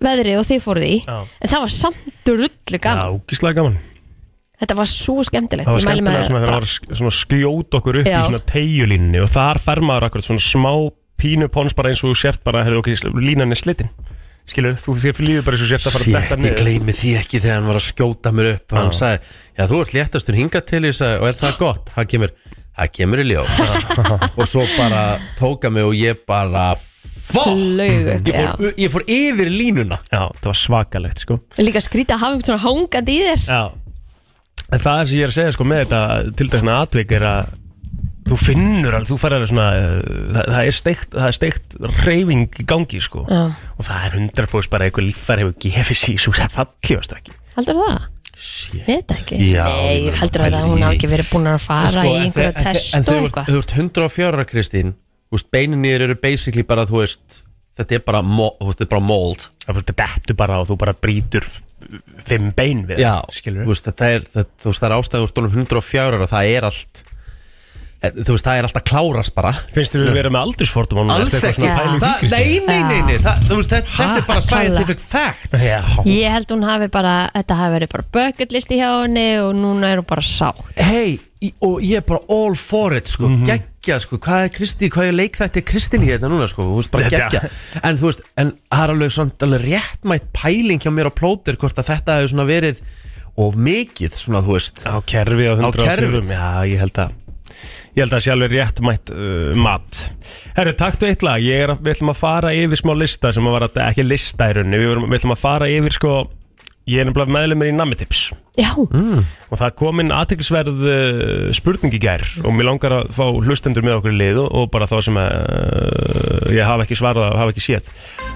[SPEAKER 2] veðri og þið fóruð í,
[SPEAKER 3] Já.
[SPEAKER 2] en það var samt drullu
[SPEAKER 3] Já,
[SPEAKER 2] gaman.
[SPEAKER 3] gíslega gaman
[SPEAKER 2] Þetta var svo skemmtilegt.
[SPEAKER 3] Það var
[SPEAKER 2] Ég mæli með
[SPEAKER 3] skemmtilega svona þegar það
[SPEAKER 2] bara-
[SPEAKER 3] var sk- svona skjót okkur upp
[SPEAKER 2] Já.
[SPEAKER 3] í svona tegjulínni Og þar fer maður akkurat svona smá pínu pons bara eins og þú sért bara Hefur okkur línan er slittin Skilu, þú þér líður bara eins og þú sért að fara að detta
[SPEAKER 1] Sétt, ég
[SPEAKER 3] niður.
[SPEAKER 1] gleymi því ekki þegar hann var að skjóta mér upp Hann
[SPEAKER 3] Já.
[SPEAKER 1] sagði, já þú ert léttastur hingað til ég sagði, og er það gott? Hann kemur, það kemur í ljó Og svo bara tóka mig og ég bara Fokk!
[SPEAKER 2] Flaug upp,
[SPEAKER 1] Ég, fór- ég fór yfir línuna
[SPEAKER 3] Já, það var svakalegt, sko
[SPEAKER 2] Líka skrítið að hafa einhvern svona hangandi í þér
[SPEAKER 3] Já En það sem ég er að segja sko með þetta til dækna atvik er að þú finnur alveg, þú færir svona uh, það, það er steikt, það er steikt reyfing í gangi sko
[SPEAKER 2] Já.
[SPEAKER 3] og það er 100% bara eitthvað líffar hefur gefið sér svo sér fallífast ekki
[SPEAKER 2] Heldur það?
[SPEAKER 1] Shit.
[SPEAKER 2] Veit ekki
[SPEAKER 1] Já,
[SPEAKER 2] Nei,
[SPEAKER 1] ég
[SPEAKER 2] heldur
[SPEAKER 1] pæli
[SPEAKER 2] það að hún
[SPEAKER 1] í
[SPEAKER 2] hafa
[SPEAKER 1] því.
[SPEAKER 2] ekki verið búin að fara
[SPEAKER 1] Sko,
[SPEAKER 2] í
[SPEAKER 1] en
[SPEAKER 2] einhverja
[SPEAKER 1] þe- en þe-
[SPEAKER 2] test
[SPEAKER 1] en
[SPEAKER 2] og
[SPEAKER 1] þú ert-
[SPEAKER 2] eitthvað
[SPEAKER 1] þú ert 104 ára, Kristín Þú veist, beinin í þér eru basically bara þú veist, þetta er bara, mo- þú veist, þetta er bara mold
[SPEAKER 3] það bara dettu bara og þú bara brýtur fimm bein við
[SPEAKER 1] Já,
[SPEAKER 3] skilur
[SPEAKER 1] þú veist, þetta er þetta, þú veist, það er ástæðum úr stónum 104 ára það er allt eh, þú veist, það er allt að klárast bara
[SPEAKER 3] finnst þér við vera með aldursfordum
[SPEAKER 2] svona pæling í
[SPEAKER 1] það, nei, nei, nei, nei það, þú veist, þetta, þetta er bara scientific facts
[SPEAKER 3] Já,
[SPEAKER 2] Ég held hún hafi bara, þetta hafi verið bara bucket listi hjá henni og núna er hún bara sá
[SPEAKER 1] hei, og ég er bara all for it sko, geggja, sko, hvað er Kristi hvað er leik þetta er Kristin í þetta núna sko, þú veist, bara
[SPEAKER 3] Þetta-
[SPEAKER 1] geggja, en þú veist en það er alveg svona alveg réttmætt pæling hjá mér á plóter hvort að þetta hefur svona verið of mikið, svona, þú veist
[SPEAKER 3] á kerfi á 100
[SPEAKER 1] kerfið.
[SPEAKER 3] já, ég held að ég held að það sé alveg rétt mætt uh, mat herru, taktu eitt lag ég er, að- við ætlum að fara yfir smá lista sem að var að, ekki lista í rauninni, við, vorum- við ætlum að fara yfir sko, ég er nefnilega meðlumir í Namitips
[SPEAKER 2] Já,
[SPEAKER 1] Mm.
[SPEAKER 3] og það kom inn aðteklisverð uh, spurning í gær og mér langar að fá hlustendur með okkur í lið og, og bara þá sem að, uh, ég hafa ekki svarað og hafa ekki séð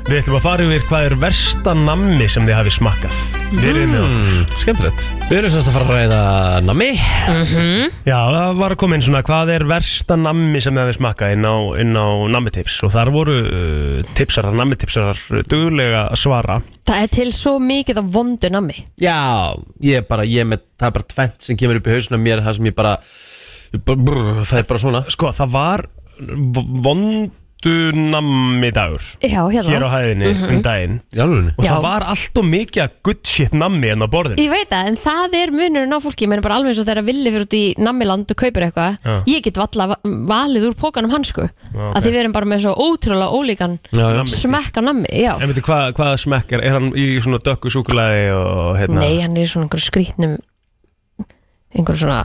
[SPEAKER 3] við ætlum að fara yfir hvað er versta nammi sem þið hafi smakkað verið með okkur
[SPEAKER 1] skemmtilegt við erum semst að fara að ræða nami
[SPEAKER 3] Já, það var að koma inn svona hvað er versta nammi sem þið hafið smakkað inn á, inn á nammitips og þar voru uh, tipsarar, nammitipsarar duglega að svara
[SPEAKER 2] það er til svo mikið af vondu nammi
[SPEAKER 1] Já, ég er bara, ég er með, það er bara tvent sem kemur upp í hausuna mér, það sem ég bara, ég bara brr, það er bara svona.
[SPEAKER 3] Sko, það var v- vondu nammi dagur
[SPEAKER 2] Já,
[SPEAKER 3] hér
[SPEAKER 2] hérna
[SPEAKER 3] á hæðinni um daginn
[SPEAKER 1] Í alveg.
[SPEAKER 3] og
[SPEAKER 2] Já.
[SPEAKER 3] það var allt og mikið af good shit nammi enn á borðin
[SPEAKER 2] Ég veit það, en það er munurinn á fólki menn bara alveg eins og þegar villi fyrir út í nammiland og kaupir
[SPEAKER 3] Já.
[SPEAKER 2] eitthvað, ég get valla valið úr pókanum hans sko
[SPEAKER 3] ok.
[SPEAKER 2] að því við erum bara með svo ótrúlega ólíkan
[SPEAKER 1] Já, já.
[SPEAKER 3] Nammi.
[SPEAKER 2] smekk af nammi, já
[SPEAKER 3] En veitu hvað, hvað smekkar, er hann í svona dökku súkulaði og hérna
[SPEAKER 2] Nei, hann er í svona einhverjum skrítnum einhverjum svona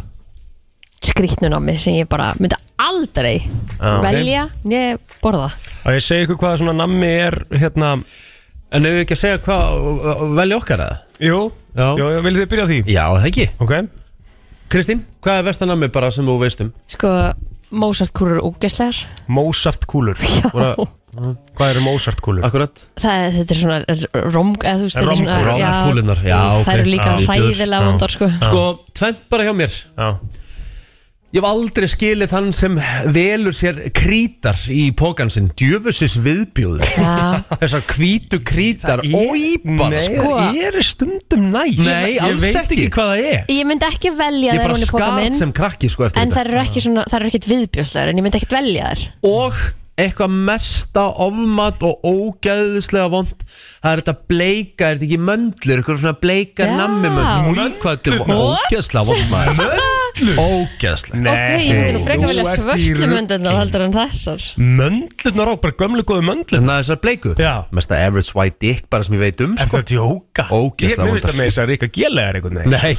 [SPEAKER 2] skrítnum á mig sem ég bara myndi aldrei
[SPEAKER 3] Já.
[SPEAKER 2] velja né borða
[SPEAKER 3] Og ég segi ykkur hvað svona nammi er hérna,
[SPEAKER 1] En ef við ekki að segja hvað, velja okkar að það?
[SPEAKER 3] jú,
[SPEAKER 1] Já.
[SPEAKER 3] jú, viljið þið byrja á því?
[SPEAKER 1] Já, það ekki.
[SPEAKER 3] Ok,
[SPEAKER 1] Kristín, hvað er vestanammi bara sem þú veist um?
[SPEAKER 2] Sko, Mozart kúrur ógeslegar
[SPEAKER 3] Mozart kúlur
[SPEAKER 1] Bara,
[SPEAKER 3] Hvað eru Mozart kúlur?
[SPEAKER 1] akkurat.
[SPEAKER 2] Það er, þetta er svona rom, eða þú veist, þetta er svona
[SPEAKER 1] Romkúlur, romkúlurnar, já, ok.
[SPEAKER 2] Það eru líka
[SPEAKER 1] Já.
[SPEAKER 2] hræðilega
[SPEAKER 3] Já.
[SPEAKER 2] vondar, sko
[SPEAKER 1] Sko, tvent bara hjá mér.
[SPEAKER 3] Já,
[SPEAKER 1] Ég hef aldrei skilið þann sem velur sér krítar í pókan sinn, djöfusis viðbjóður.
[SPEAKER 2] Já,
[SPEAKER 1] Þessar hvítu krítar, óýbar,
[SPEAKER 3] Nei,
[SPEAKER 1] sko.
[SPEAKER 2] sko.
[SPEAKER 3] það eru stundum næs
[SPEAKER 1] Nei, alls
[SPEAKER 3] Ég veit ekki
[SPEAKER 1] ekki.
[SPEAKER 3] hvað það er
[SPEAKER 2] ég myndi ekki velja
[SPEAKER 1] Ég
[SPEAKER 2] þær
[SPEAKER 1] bara
[SPEAKER 2] hún í póka
[SPEAKER 1] skarð
[SPEAKER 2] minn
[SPEAKER 1] sem krakki, sko, eftir
[SPEAKER 2] En
[SPEAKER 1] þetta.
[SPEAKER 2] það eru ekki svona, það eru ekkert viðbjóðslegar En ég myndi ekkert velja þær
[SPEAKER 1] og eitthvað mesta ofmat og ógæðislega vond það er þetta bleika, er þetta ekki möndlur eitthvað svona bleika
[SPEAKER 2] Já.
[SPEAKER 1] nammi möndlur hvað þetta er
[SPEAKER 2] What?
[SPEAKER 1] ógæðislega vond maður
[SPEAKER 3] möndlur
[SPEAKER 1] Ógæðslega
[SPEAKER 2] Ok, ég myndi nú frekar
[SPEAKER 3] þú
[SPEAKER 2] vilja
[SPEAKER 3] ert í
[SPEAKER 2] svörtlumöndunar
[SPEAKER 3] rugli.
[SPEAKER 2] heldur en þessar
[SPEAKER 3] Möndlurnar á, bara gömlu góðu möndlur
[SPEAKER 1] Þannig að Hérna, þessar bleiku
[SPEAKER 3] Já.
[SPEAKER 1] Mesta average white dick bara sem ég veit um
[SPEAKER 3] Er
[SPEAKER 1] sko.
[SPEAKER 3] það djóka?
[SPEAKER 1] Ógeðslega
[SPEAKER 3] Ég myndist
[SPEAKER 1] vondar.
[SPEAKER 3] að með þess að Ríka Gjelegar einhvern veginn
[SPEAKER 1] Nei,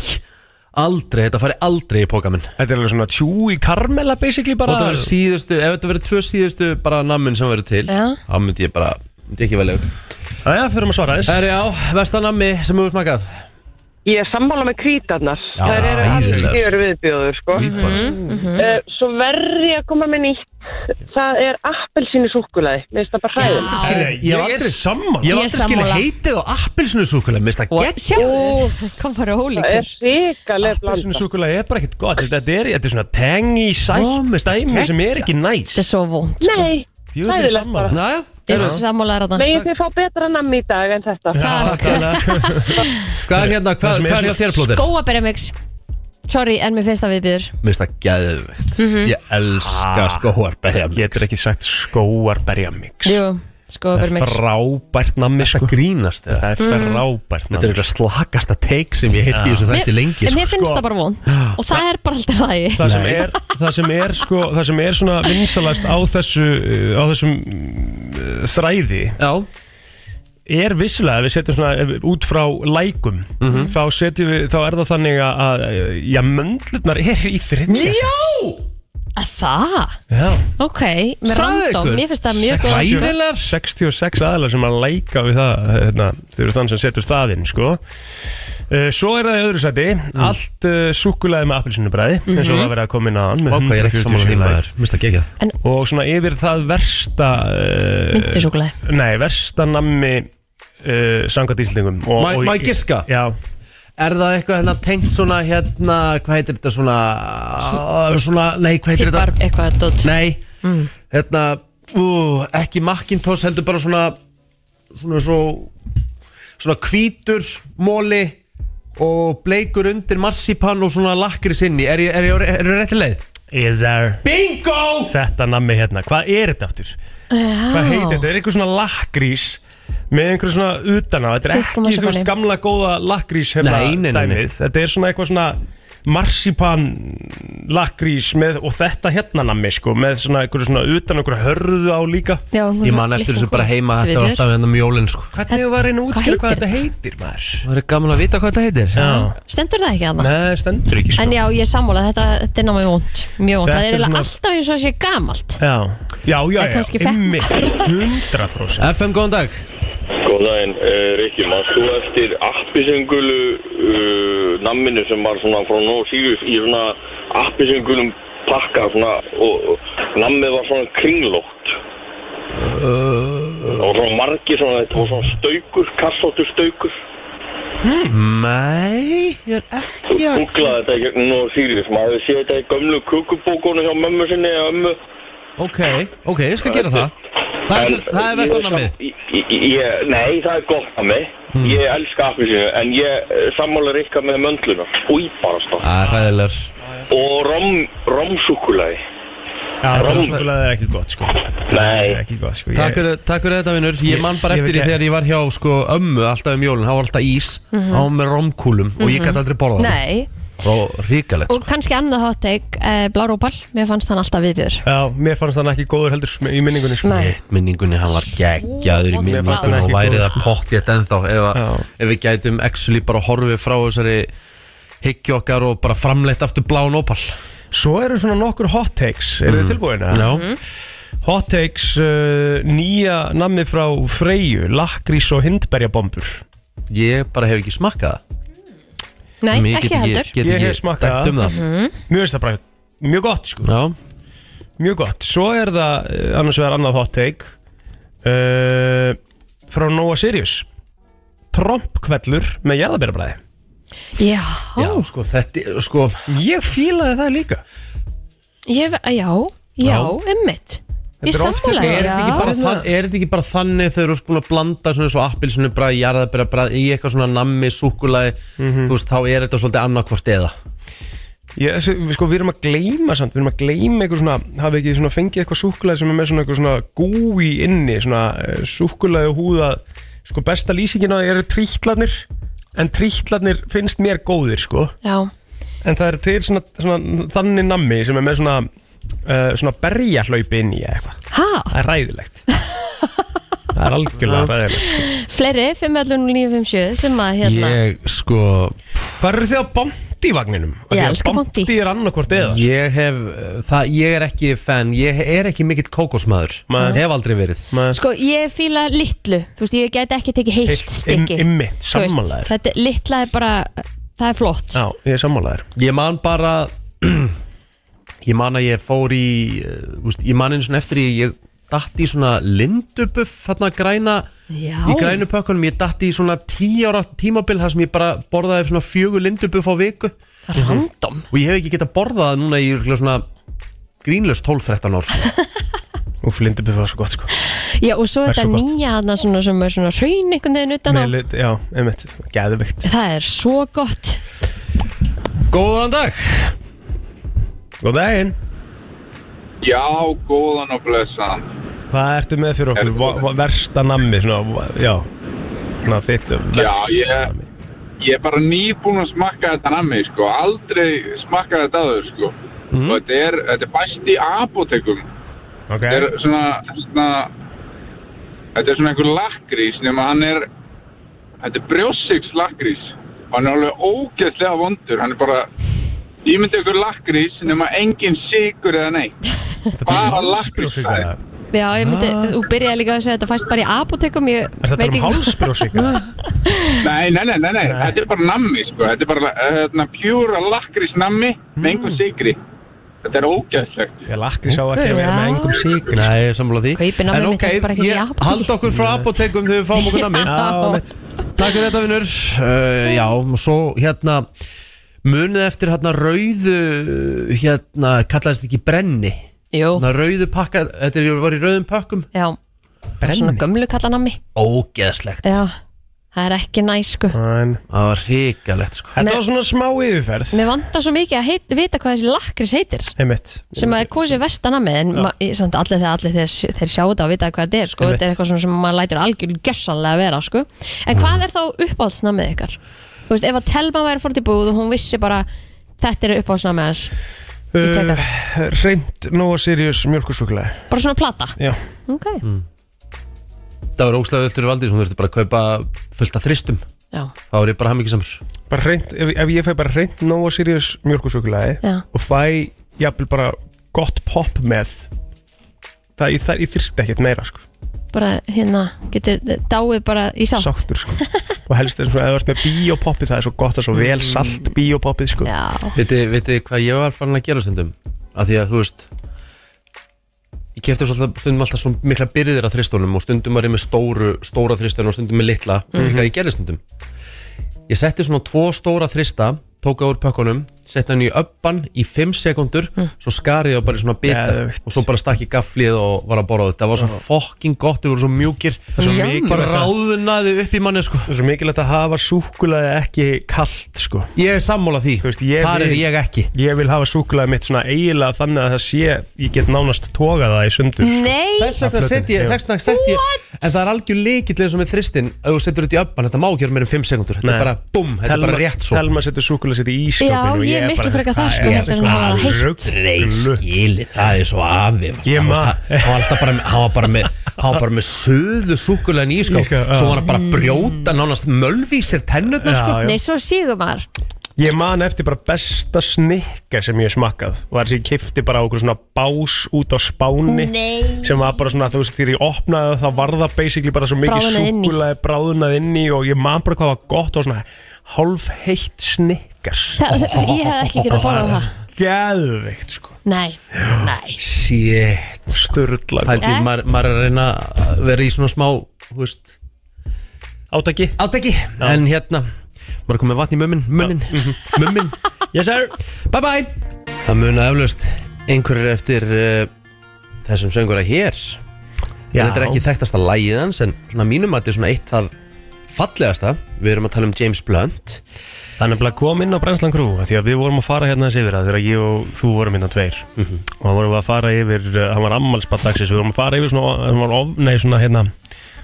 [SPEAKER 1] aldrei, þetta fari aldrei í póka minn
[SPEAKER 3] Þetta er alveg svona tjúi karmela basically
[SPEAKER 1] Og
[SPEAKER 3] bara
[SPEAKER 1] þetta verður síðustu, ef þetta verður tvö síðustu bara nammin sem verður til
[SPEAKER 2] Já.
[SPEAKER 1] Þá myndi ég bara, myndi ég ekki velja ykkur
[SPEAKER 3] Jæja, fyrir að svara þess
[SPEAKER 1] Það er já, versta nammi sem hefur smakað
[SPEAKER 5] Ég er sammála með krítarnar.
[SPEAKER 1] Já,
[SPEAKER 5] Það eru
[SPEAKER 1] hræðilegar.
[SPEAKER 5] algjör viðbjóður, sko.
[SPEAKER 2] Mhm.
[SPEAKER 1] Líparast
[SPEAKER 5] Uh, svo verði ég að koma með nýtt. Það er appelsínu súkkulaði. Mér finnst það bara
[SPEAKER 1] Ég
[SPEAKER 5] hræðilegt.
[SPEAKER 3] Ég
[SPEAKER 1] hef
[SPEAKER 3] er
[SPEAKER 1] aldrei- Ég
[SPEAKER 3] sammál
[SPEAKER 1] hef
[SPEAKER 2] Ég
[SPEAKER 1] aldrei skil
[SPEAKER 2] sammála.
[SPEAKER 1] heitið á appilsinusúkulega Mista
[SPEAKER 2] Og
[SPEAKER 1] gegn
[SPEAKER 2] sjáðu, kom bara
[SPEAKER 5] Það er
[SPEAKER 2] ólíkur
[SPEAKER 5] ríkalega
[SPEAKER 3] Appelsinu
[SPEAKER 5] blanda.
[SPEAKER 3] súkulega er bara ekkert gott Þetta þetta er, þetta er svona tangy,
[SPEAKER 1] Ó,
[SPEAKER 3] sætt
[SPEAKER 1] mér finnst það
[SPEAKER 3] dæmi sem er ekki næs
[SPEAKER 2] Þetta er svo vond
[SPEAKER 5] Nei,
[SPEAKER 3] Ég vil fyrir
[SPEAKER 5] hræðilegt
[SPEAKER 3] sammála
[SPEAKER 5] bara.
[SPEAKER 1] Næja,
[SPEAKER 2] Ég sammálaði þarna
[SPEAKER 5] megin þið fá betra namn í dag en þetta.
[SPEAKER 1] takk alveg Hvað er hérna,
[SPEAKER 3] Það
[SPEAKER 1] hvað,
[SPEAKER 3] sem er
[SPEAKER 1] hvað er hjá
[SPEAKER 3] svona
[SPEAKER 1] þér plóðir?
[SPEAKER 2] Skóaberjamix Sorry, en mér finnst það viðbjör
[SPEAKER 1] Mista geðvegt
[SPEAKER 2] Mhm.
[SPEAKER 1] Ég elska
[SPEAKER 3] Ah.
[SPEAKER 1] skóarberja
[SPEAKER 3] Ég getur ekki sagt skóarberja mix
[SPEAKER 2] Jú, skóaberjamix
[SPEAKER 3] Frábært nammi sko
[SPEAKER 1] Þetta grínast eða?
[SPEAKER 3] Það er
[SPEAKER 5] Mm.
[SPEAKER 3] frábært
[SPEAKER 1] Þetta er
[SPEAKER 3] nammi
[SPEAKER 1] eitthvað slakasta take sem ég heyrti í þessu þætti lengi
[SPEAKER 2] En
[SPEAKER 1] sko.
[SPEAKER 2] mér finnst það bara vond Og það er bara alltaf lagi
[SPEAKER 3] Það sem, er, það, sem er, sko, það sem er svona vinsalast á, þessu, uh, á þessum uh, þræði
[SPEAKER 1] Já,
[SPEAKER 3] er vissulega, við setjum svona ef- út frá lækum,
[SPEAKER 1] Mhm.
[SPEAKER 3] þá setjum við þá er það þannig að, að já, möndlurnar er í þriðja
[SPEAKER 2] Að Það?
[SPEAKER 3] Já,
[SPEAKER 2] Ok, með
[SPEAKER 1] Sagði
[SPEAKER 2] random
[SPEAKER 1] ykkur.
[SPEAKER 2] Mér finnst það mjög góð
[SPEAKER 1] hræðilegar
[SPEAKER 3] 66 aðlar sem að læka við það hérna, þau eru þann sem setur staðinn sko. uh, svo er það í öðru sæti
[SPEAKER 1] Mm.
[SPEAKER 3] allt uh, súkulaði með appelsinubræði eins og það verið að koma inn á hann með
[SPEAKER 1] Mhm. Ok, ég er ekki
[SPEAKER 3] 147
[SPEAKER 1] saman að heima
[SPEAKER 3] lagir.
[SPEAKER 1] þér Mista gegja
[SPEAKER 3] og svona yfir það versta uh,
[SPEAKER 2] Myndusúkulega
[SPEAKER 3] nei, versta nammi uh, sangat íslendingum Og-
[SPEAKER 1] Má-
[SPEAKER 3] og-
[SPEAKER 1] má ég giska?
[SPEAKER 3] Já,
[SPEAKER 1] Er það eitthvað hérna tengt svona hérna Hvað heitir þetta svona Svona, nei, hvað heitir
[SPEAKER 2] Pippar
[SPEAKER 1] þetta
[SPEAKER 2] eitthvað dot
[SPEAKER 1] Nei, hérna ú, Ekki Macintosh, heldur bara svona Svona svo Svona hvítur móli Og bleikur undir marsipan Og svona lakkris inni Er ég, er ég, er ég rétti leið?
[SPEAKER 3] is there
[SPEAKER 1] Bingo!
[SPEAKER 3] þetta nammi hérna, hvað er þetta aftur?
[SPEAKER 2] Ah.
[SPEAKER 3] Hvað heitir þetta? Er eitthvað svona lakrís með einhver svona utan á Þetta er
[SPEAKER 2] Þykkum
[SPEAKER 3] ekki, þú veist,
[SPEAKER 2] massapanni.
[SPEAKER 3] gamla góða lakrís hérna
[SPEAKER 1] Nei, nei, nei, nei.
[SPEAKER 3] dæmið Þetta er svona eitthvað svona marsipan lakrís með, og þetta hérna nammi sko, með svona einhver svona utan einhver hörðu á líka
[SPEAKER 2] Já, hún
[SPEAKER 1] Ég
[SPEAKER 2] er
[SPEAKER 1] man eftir
[SPEAKER 2] litla
[SPEAKER 1] þessu bara
[SPEAKER 2] kona.
[SPEAKER 1] heima Þetta
[SPEAKER 2] Viðbjör.
[SPEAKER 1] var alltaf hérna um jólin sko
[SPEAKER 3] Hvernig var einu
[SPEAKER 2] hvað
[SPEAKER 3] útskýra hvað
[SPEAKER 2] heitir
[SPEAKER 3] þetta heitir maður?
[SPEAKER 1] Það er gaman að vita hvað þetta heitir
[SPEAKER 3] Já,
[SPEAKER 2] Stendur það ekki að það?
[SPEAKER 3] neða, stendur ekki sko
[SPEAKER 2] En já, ég sammála, þetta, þetta er námið vond Mjög vond,
[SPEAKER 3] Þetta
[SPEAKER 2] það er
[SPEAKER 3] er
[SPEAKER 2] eiginlega
[SPEAKER 3] svona-
[SPEAKER 2] alltaf eins og það sé gamalt
[SPEAKER 3] Já, já, já,
[SPEAKER 2] Það kannski
[SPEAKER 3] já,
[SPEAKER 2] fekk-
[SPEAKER 3] einmitt, 100%
[SPEAKER 1] FM, góðan dag
[SPEAKER 6] Góðan daginn, uh, Rikki, maður þú eftir appisengulu uh, namminu sem var svona frá Nó Sirius í svona appisengulum pakka svona, og, og nammið var svona kringlótt og svona margir svona þetta var svona staukur, kassóttur staukur
[SPEAKER 1] Nei, ég er ekki að
[SPEAKER 6] Gúglaði þetta í gegnum Nó Sirius, maður hefði séð þetta í gömlu kukubókonu hjá mömmu sinni eða ömmu
[SPEAKER 1] Ok, ok, ég skal gera það Það er,
[SPEAKER 6] En
[SPEAKER 1] sérst- það er vestanamið
[SPEAKER 6] ég- ég- ég- Nei, það er gott að mig
[SPEAKER 1] Hmm.
[SPEAKER 6] Ég elska appelsinu En ég eh, sammála Rikka með möndluna Úlbarasta
[SPEAKER 1] Það er hræðilegar
[SPEAKER 6] Og rom, romsúkulagi
[SPEAKER 3] Já,
[SPEAKER 1] Þetta er
[SPEAKER 3] rámsúkulega er ekki gott sko
[SPEAKER 6] Nei.
[SPEAKER 3] Ekki gott sko Ég-
[SPEAKER 1] Takk fyrir, takk fyrir þetta vinnur Ég man bara
[SPEAKER 3] Ég- ég
[SPEAKER 1] eftir
[SPEAKER 3] veit
[SPEAKER 1] því
[SPEAKER 3] ekki-
[SPEAKER 1] þegar ég var hjá sko, ömmu alltaf um jólun, þá var alltaf ís á með romkúlum og ég gæti aldrei borðað það
[SPEAKER 2] Mhm. Nei,
[SPEAKER 1] og ríkalegt
[SPEAKER 2] og
[SPEAKER 1] sko.
[SPEAKER 2] kannski annað hot take uh, Blárópal, mér fannst hann alltaf viðbjör
[SPEAKER 3] Já, mér fannst hann ekki góður heldur í minningunni sko.
[SPEAKER 2] Nei.
[SPEAKER 1] Eitt minningunni, hann var geggjaður í
[SPEAKER 2] Mér fannst
[SPEAKER 1] minningunni og
[SPEAKER 3] hann ekki
[SPEAKER 1] væri
[SPEAKER 3] góður.
[SPEAKER 1] það pottjétt ennþá ef, að-
[SPEAKER 3] Já.
[SPEAKER 1] ef við gætum actually bara horfið frá þessari higgju okkar og bara framleitt aftur bláun opal
[SPEAKER 3] Svo eru svona nokkur hot takes Eru þið tilbúin? eða?
[SPEAKER 2] Mhm.
[SPEAKER 3] Hot takes, uh, nýja nammi frá Freyju Lakrís og hindberjabombur
[SPEAKER 1] Ég bara hef ekki smakkað það
[SPEAKER 2] Nei,
[SPEAKER 1] Mér
[SPEAKER 2] ekki
[SPEAKER 1] get
[SPEAKER 2] heldur
[SPEAKER 1] Get
[SPEAKER 3] Ég
[SPEAKER 1] ekki
[SPEAKER 3] hef smakkað
[SPEAKER 1] dæmt um það
[SPEAKER 3] Mjög veist það bara mjög gott sko
[SPEAKER 1] Já,
[SPEAKER 3] Mjög gott Svo er það uh, annars vegar annað hot take uh, Frá Noah Sirius Trompkvellur með jarðabérabræði
[SPEAKER 2] Já,
[SPEAKER 1] já sko þetta er- sko,
[SPEAKER 3] Ég fílaði það líka
[SPEAKER 2] ég, já, já, ummitt Ég
[SPEAKER 3] Þetta er oft-
[SPEAKER 2] sammála
[SPEAKER 1] er,
[SPEAKER 2] þér,
[SPEAKER 1] þetta ekki bara
[SPEAKER 2] já.
[SPEAKER 1] þann, er þetta ekki bara þannig þegar þú ert búin að blanda svona svo appilsinu bræð, jarðabæra bræð í eitthvað svona nammi, súkulaði þú veist, þá er þetta svolítið annarkvort eða
[SPEAKER 3] Ég, þessi- við, sko, við erum að gleyma samt, við erum að gleyma eitthvað svona, hafið ekki svona fengið eitthvað súkkulaði sem er með svona eitthvað svona gúi inni, svona uh, súkkulaði og húða, sko besta lýsingin á því eru trítlarnir, en trítlarnir finnst mér góðir, sko.
[SPEAKER 2] Já,
[SPEAKER 3] en það er til svona, svona þannig nammi sem er með svona uh, svona berjahlaupi inn í eða eitthvað
[SPEAKER 2] Hæ?
[SPEAKER 3] það er ræðilegt það er algjörlega ræðilegt sko.
[SPEAKER 2] Fleiri, 5.11.957 sem að hérna
[SPEAKER 1] Ég sko
[SPEAKER 3] hvað eru þið á bóndivagninum?
[SPEAKER 2] Ég elska Bounty.
[SPEAKER 3] bóndi er annarkvort eða sko.
[SPEAKER 1] Ég hef, uh, það, ég er ekki fan, ég er ekki mikill kókosmaður
[SPEAKER 3] Nei.
[SPEAKER 1] Hef aldrei verið
[SPEAKER 3] Maður-
[SPEAKER 2] Sko, ég fíla litlu Þú veist, ég gæti ekki tekið heilt
[SPEAKER 3] im-
[SPEAKER 2] stykki
[SPEAKER 3] Immitt,
[SPEAKER 2] Þú veist,
[SPEAKER 3] sammálaður
[SPEAKER 2] Þetta er- litla er bara, það er flott
[SPEAKER 3] Já, ég er sammálaður
[SPEAKER 1] Ég man bara, ég man að ég fór í, uh, úst, ég man einu svona eftir í, ég datt í svona lindubuff, hérna græna
[SPEAKER 2] Já.
[SPEAKER 1] Í grænu pökkunum, ég datt í svona tíu ára tímabil þar sem ég bara borðaði svona fjögur lindubuff á viku
[SPEAKER 3] Mhm.
[SPEAKER 2] Random
[SPEAKER 1] Og ég hef ekki getað borðað það núna í örugglega svona grínlaust 12-13 ár sko.
[SPEAKER 3] Úf, Lindubuff var svo gott sko
[SPEAKER 2] Já, og svo
[SPEAKER 3] Það er
[SPEAKER 2] þetta
[SPEAKER 3] svo gott.
[SPEAKER 2] nýja hana svona sem er svona hraun einhvern veginn utan á
[SPEAKER 3] Með lit- Já, einmitt, geðvikt
[SPEAKER 2] Það er svo gott
[SPEAKER 1] Góðan dag!
[SPEAKER 3] Góð daginn,
[SPEAKER 7] Já, góðan og blessan.
[SPEAKER 3] hvað ertu með fyrir okkur?
[SPEAKER 7] Er-
[SPEAKER 3] Va- va- Versta nammi, svona, va- já Svona þitt um,
[SPEAKER 7] Já,
[SPEAKER 3] versta
[SPEAKER 7] ég-
[SPEAKER 3] nammi.
[SPEAKER 7] Ég er bara nýbúinn að smakka þetta nammi, sko. Aldrei smakka þetta aður, sko. Og þetta er, þetta er bæst í apotekum.
[SPEAKER 3] Ok,
[SPEAKER 7] Þetta er svona, svona, þetta er svona einhver lakrís, nema hann er, þetta er brjósiks lakrís. Og hann er alveg ógeðslega vondur. Hann er bara, ég myndi einhver lakrís, nema engin sigur eða neitt.
[SPEAKER 3] þetta er
[SPEAKER 7] bara
[SPEAKER 3] hálsbrjósíka
[SPEAKER 7] lakkrísbræði.
[SPEAKER 3] Er
[SPEAKER 2] Já, ég myndi, þú byrjaði líka að segja þetta fæst bara í apotekum Ég
[SPEAKER 3] Ah. þetta
[SPEAKER 2] veit
[SPEAKER 3] um
[SPEAKER 2] ekki
[SPEAKER 3] hálsbrjósíka?
[SPEAKER 7] Nei, nei, nei, nei, nei,
[SPEAKER 3] Nei.
[SPEAKER 7] þetta er bara nammi, sko. Þetta er bara, eh, hérna, pjúra lakrís nammi með
[SPEAKER 3] Mm.
[SPEAKER 7] einhver sigri. Þetta er ógeðslegt.
[SPEAKER 3] Ég lakri sá ekki að vera
[SPEAKER 2] Já.
[SPEAKER 3] með engum sík
[SPEAKER 1] Nei, ég er sammála því
[SPEAKER 2] Kaupi nammi
[SPEAKER 1] En
[SPEAKER 2] mitt, þetta er bara ekkert í
[SPEAKER 1] ég
[SPEAKER 2] apóteki.
[SPEAKER 1] hald okkur frá apotekum þegar við fáum okkur nammi
[SPEAKER 3] Já, einmitt
[SPEAKER 1] Takk fyrir þetta vinnur uh, Já, og svo hérna Munið eftir hérna rauðu Hérna, kallaðist ekki brenni
[SPEAKER 2] Jú,
[SPEAKER 1] Hérna rauðu pakka, þetta er- var í rauðum pakkum
[SPEAKER 2] já Bara Svona
[SPEAKER 3] Brenni.
[SPEAKER 2] gömlu kallanami
[SPEAKER 1] Ógeðslegt
[SPEAKER 2] Já, það er ekki næs sko
[SPEAKER 3] En
[SPEAKER 1] Það var hrikalegt sko
[SPEAKER 3] Þetta
[SPEAKER 2] Nei.
[SPEAKER 3] var svona smá yfirferð
[SPEAKER 2] Mér vantar svo mikið að heit, vita hvað þessi lakrís heitir
[SPEAKER 3] Einmitt
[SPEAKER 2] sem að er kosið vestanamið en ma- ég- samt allir þegar allir þeir, þeir sjá þetta og vita hvað þetta er sko,
[SPEAKER 3] Einmitt.
[SPEAKER 2] þetta er eitthvað svona sem maður lætur algjörn gjössanlega vera sko. en hvað er þá uppáhaldsnamið ykkar? Þú veist, ef að Telma væri fórt í búð og hún vissi bara þetta er uppáhaldsnamið hans ég
[SPEAKER 3] Uh.
[SPEAKER 2] tek það,
[SPEAKER 3] Reynd Nóa Eh, Sirius mjölkursúkulega
[SPEAKER 2] bara svona plata
[SPEAKER 3] Já
[SPEAKER 2] ok,
[SPEAKER 3] Mm.
[SPEAKER 1] Það var ógeðslega öllur valdís, hún þurfti bara að kaupa fullt af þristum
[SPEAKER 2] já,
[SPEAKER 1] Þá var ég bara hammingisamur
[SPEAKER 3] bara reynd, ef, ef ég fæ bara reynd Nóa Sirius mjölkursúkulæði
[SPEAKER 2] Já.
[SPEAKER 3] og fæ jafnvel bara gott popp með það ég, það, ég þyrst ekkert meira sko,
[SPEAKER 2] bara hérna getur dáið bara í salt
[SPEAKER 3] sáttur sko og helst er svona, ef þú ert með bíópoppið það er svo gott að svo vel salt bíópoppið sko
[SPEAKER 2] Mm. já,
[SPEAKER 1] Vitið viti hvað ég var farin að gera stundum Af því að þú veist Ég kefti alltaf, stundum alltaf svo mikla byrðir að þristunum og stundum var ég með stóru, stóra þristunum og stundum með litla mm -hmm. Ég gerði stundum Ég setti svona tvo stóra þrista Tók það úr pökkunum, setti hann í öppan í 5 sekundur Svo skariði og bara í svona bita
[SPEAKER 3] Geðveikt.
[SPEAKER 1] Og svo bara stakk í gaflið og var að borða þetta Það var svo fokking gott, þau voru svo mjúkir
[SPEAKER 3] það er svo
[SPEAKER 1] Bara
[SPEAKER 3] mikilvægt að-
[SPEAKER 1] ráðunaði upp í manni sko
[SPEAKER 3] það er svo mikilvægt að hafa súkulæði ekki kalt sko
[SPEAKER 1] Ég er sammála því,
[SPEAKER 3] Þú veist, ég
[SPEAKER 1] þar er
[SPEAKER 3] vil-
[SPEAKER 1] ég ekki
[SPEAKER 3] ég vil hafa súkulæði mitt svona eiginlega þannig að það sé ég get nánast tókað það í sundur sko.
[SPEAKER 2] nei
[SPEAKER 1] Þess vegna
[SPEAKER 3] Af plötunni,
[SPEAKER 1] sett ég,
[SPEAKER 3] já.
[SPEAKER 1] þess vegna sett ég En það er algjör leikill eins og með þristin Ef þú setur þetta í öppan, þetta má ekki vera meira en 5 sekundur Þetta
[SPEAKER 3] Nei.
[SPEAKER 1] er bara búm, þetta er bara rétt svo
[SPEAKER 3] Telma setur súkulæði sitt í
[SPEAKER 2] Já,
[SPEAKER 3] ískapinu
[SPEAKER 2] ég er miklu frekar þar, sko, heldur en að hafa það heitt.
[SPEAKER 1] skili, það er svo afi
[SPEAKER 3] Ég
[SPEAKER 1] Hann
[SPEAKER 3] man-
[SPEAKER 1] var alltaf bara með Hann var bara með, hann var bara með söðu súkulegin í sko
[SPEAKER 3] Líka, já.
[SPEAKER 1] Svo var hann bara að brjóta nánast mölvi í sér tennurnar sko
[SPEAKER 3] Já, já.
[SPEAKER 2] nei, svo sígur maður
[SPEAKER 3] Ég man eftir bara besta snikka sem ég hef smakkað var þess að ég kifti bara á okkur svona bás út á spáni
[SPEAKER 2] Nei.
[SPEAKER 3] sem var bara svona þú veist þegar ég opnaði það þá var það basically bara svo mikið
[SPEAKER 2] Bráðnað inn í.
[SPEAKER 3] súkulega bráðunað inn í og ég man bara hvað var gott og svona hálf heitt snikkas
[SPEAKER 2] Þa, ég hef ekki getað borðað það
[SPEAKER 3] Gæðveikt sko
[SPEAKER 2] nei, nei
[SPEAKER 1] Shit
[SPEAKER 3] Sturla
[SPEAKER 1] Pældi,
[SPEAKER 2] Eh?
[SPEAKER 1] maður maður er að reyna að vera í svona smá, hú veist
[SPEAKER 3] Átaki
[SPEAKER 1] Átæki, en hérna Maður er komið vatn í mummin, munnin Mummin
[SPEAKER 3] Yes sir
[SPEAKER 1] Bye bye Það muna eflaust einhverjir eftir uh, þessum söngura hér
[SPEAKER 3] Já.
[SPEAKER 1] En þetta er ekki þekktasta lagið hans En svona mínum að þetta er svona eitt það fallegasta Við erum að tala um James Blunt
[SPEAKER 3] Það er nefnilega kom inn á Brennslan Crew af Því að við vorum að fara hérna þessi yfir að Þegar ég og þú vorum hérna tveir
[SPEAKER 1] Mhm.
[SPEAKER 3] eh, Og það vorum við að fara yfir uh, Hann var ammalspallaxis Við vorum að fara yfir svona, hann var of, nei, svona hérna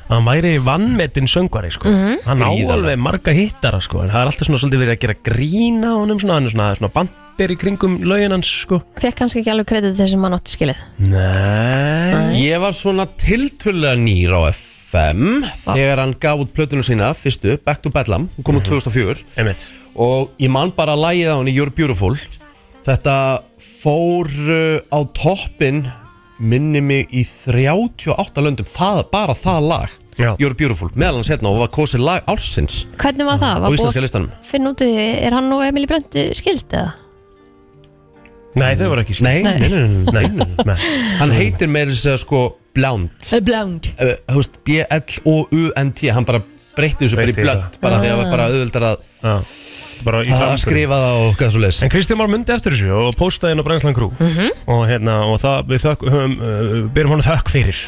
[SPEAKER 3] hann væri vannmetinn söngvari sko. hann á
[SPEAKER 1] Gríðarlega.
[SPEAKER 3] alveg marga hittara sko. en það er alltaf svona svolítið verið að gera grína honum svona, hann er svona, svona bandir í kringum lögin hans sko.
[SPEAKER 2] Fekk kannski ekki alveg kredit þessum mann átti skilið
[SPEAKER 3] Nei
[SPEAKER 1] Ég var svona tiltölulega nýr á FM þegar hann gaf út plötunum sína, fyrstu, Back to Bedlam, hún kom út 2004
[SPEAKER 3] Einmitt.
[SPEAKER 1] og ég man bara að lægið á henni You're Beautiful þetta fór uh, á toppin minni mig í 38 löndum, það, bara það lag
[SPEAKER 3] Já.
[SPEAKER 1] You're Beautiful, meðal hans hérna og var kosið lag ársins
[SPEAKER 2] Hvernig var það?
[SPEAKER 1] á
[SPEAKER 2] Var
[SPEAKER 1] íslenska
[SPEAKER 2] búið
[SPEAKER 1] listanum
[SPEAKER 2] að finna út í því, er hann og Emily Brönd skild eða?
[SPEAKER 3] Nei, þau voru ekki skipt.
[SPEAKER 1] Nei, nei, nei, nei, nei,
[SPEAKER 3] Nei, nei.
[SPEAKER 1] hann heitir meira þess að segja, sko Blount,
[SPEAKER 2] Blánd
[SPEAKER 1] uh, þú veist, B-L-O-U-N-T hann bara breytti þessu bara í
[SPEAKER 3] Breytti
[SPEAKER 1] blönd bara því að það var bara auðvöldar að,
[SPEAKER 3] Já, bara í
[SPEAKER 1] að
[SPEAKER 3] framkvæmd.
[SPEAKER 1] skrifa það og hvað svo leis
[SPEAKER 3] En Kristján Már myndi eftir þessu og postaði henn á Brænslan Krú
[SPEAKER 2] Mhm.
[SPEAKER 3] og, hérna, og það við þökk, höfum, uh, byrjum hann þökk fyrir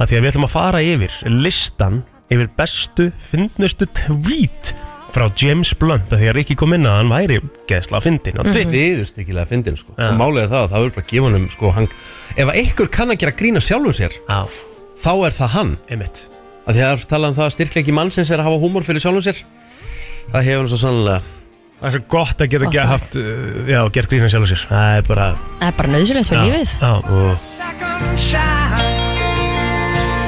[SPEAKER 3] að því að við ætlum að fara yfir listan yfir bestu, fyndnustu tweet frá James Blunt að því að Rikki kom inn að hann væri geðsla að fyndin
[SPEAKER 2] Mhm.
[SPEAKER 3] á Twitter
[SPEAKER 1] viðurstykkilega að fyndin sko.
[SPEAKER 3] Já.
[SPEAKER 1] og málega það að það verður bara að gefa honum sko, hann, ef að ykkur kann að gera grína sjálfum sér
[SPEAKER 3] Já,
[SPEAKER 1] þá er það hann
[SPEAKER 3] einmitt
[SPEAKER 1] að því að það er talað um það að styrkleiki mannsins er að hafa húmor fyrir sjálfum sér það hefur hann svo sannlega
[SPEAKER 3] Það er svo gott að geta
[SPEAKER 2] Gott
[SPEAKER 3] gott
[SPEAKER 2] lag.
[SPEAKER 3] haft, uh, já, gert grína sjálf sér Það er bara
[SPEAKER 2] Það er bara nöðsilegt fyrir
[SPEAKER 3] já,
[SPEAKER 2] lífið
[SPEAKER 3] já.
[SPEAKER 1] og
[SPEAKER 8] Second shots.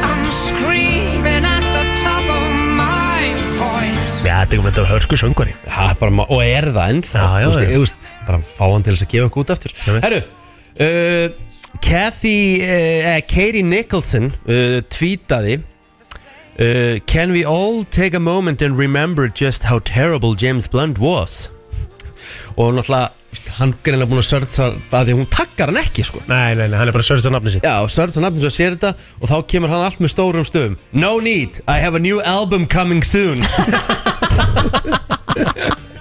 [SPEAKER 8] I'm screaming at the top of my voice.
[SPEAKER 3] já, þetta er komið að hörku söngvari
[SPEAKER 1] ha, bara, ma- og er það ennþá
[SPEAKER 3] Já,
[SPEAKER 1] Þú
[SPEAKER 3] já,
[SPEAKER 1] veist,
[SPEAKER 3] já.
[SPEAKER 1] ég- þú veist, bara fá hann til þess að gefa okkur út aftur
[SPEAKER 3] Já, við.
[SPEAKER 1] Herru uh, Kathy uh, Katie Nicholson uh, tweetaði uh, Can we all take a moment and remember just how terrible James Blunt was og náttúrulega hann greinlega búin að sörtsa að því að hún takkar hann ekki sko
[SPEAKER 3] Nei, nei, nei, hann er bara að sörsa nafni sitt
[SPEAKER 1] Já, og Sörns og Nafnins og sér þetta og þá kemur hann allt með stórum stöfum No need, I have a new album coming soon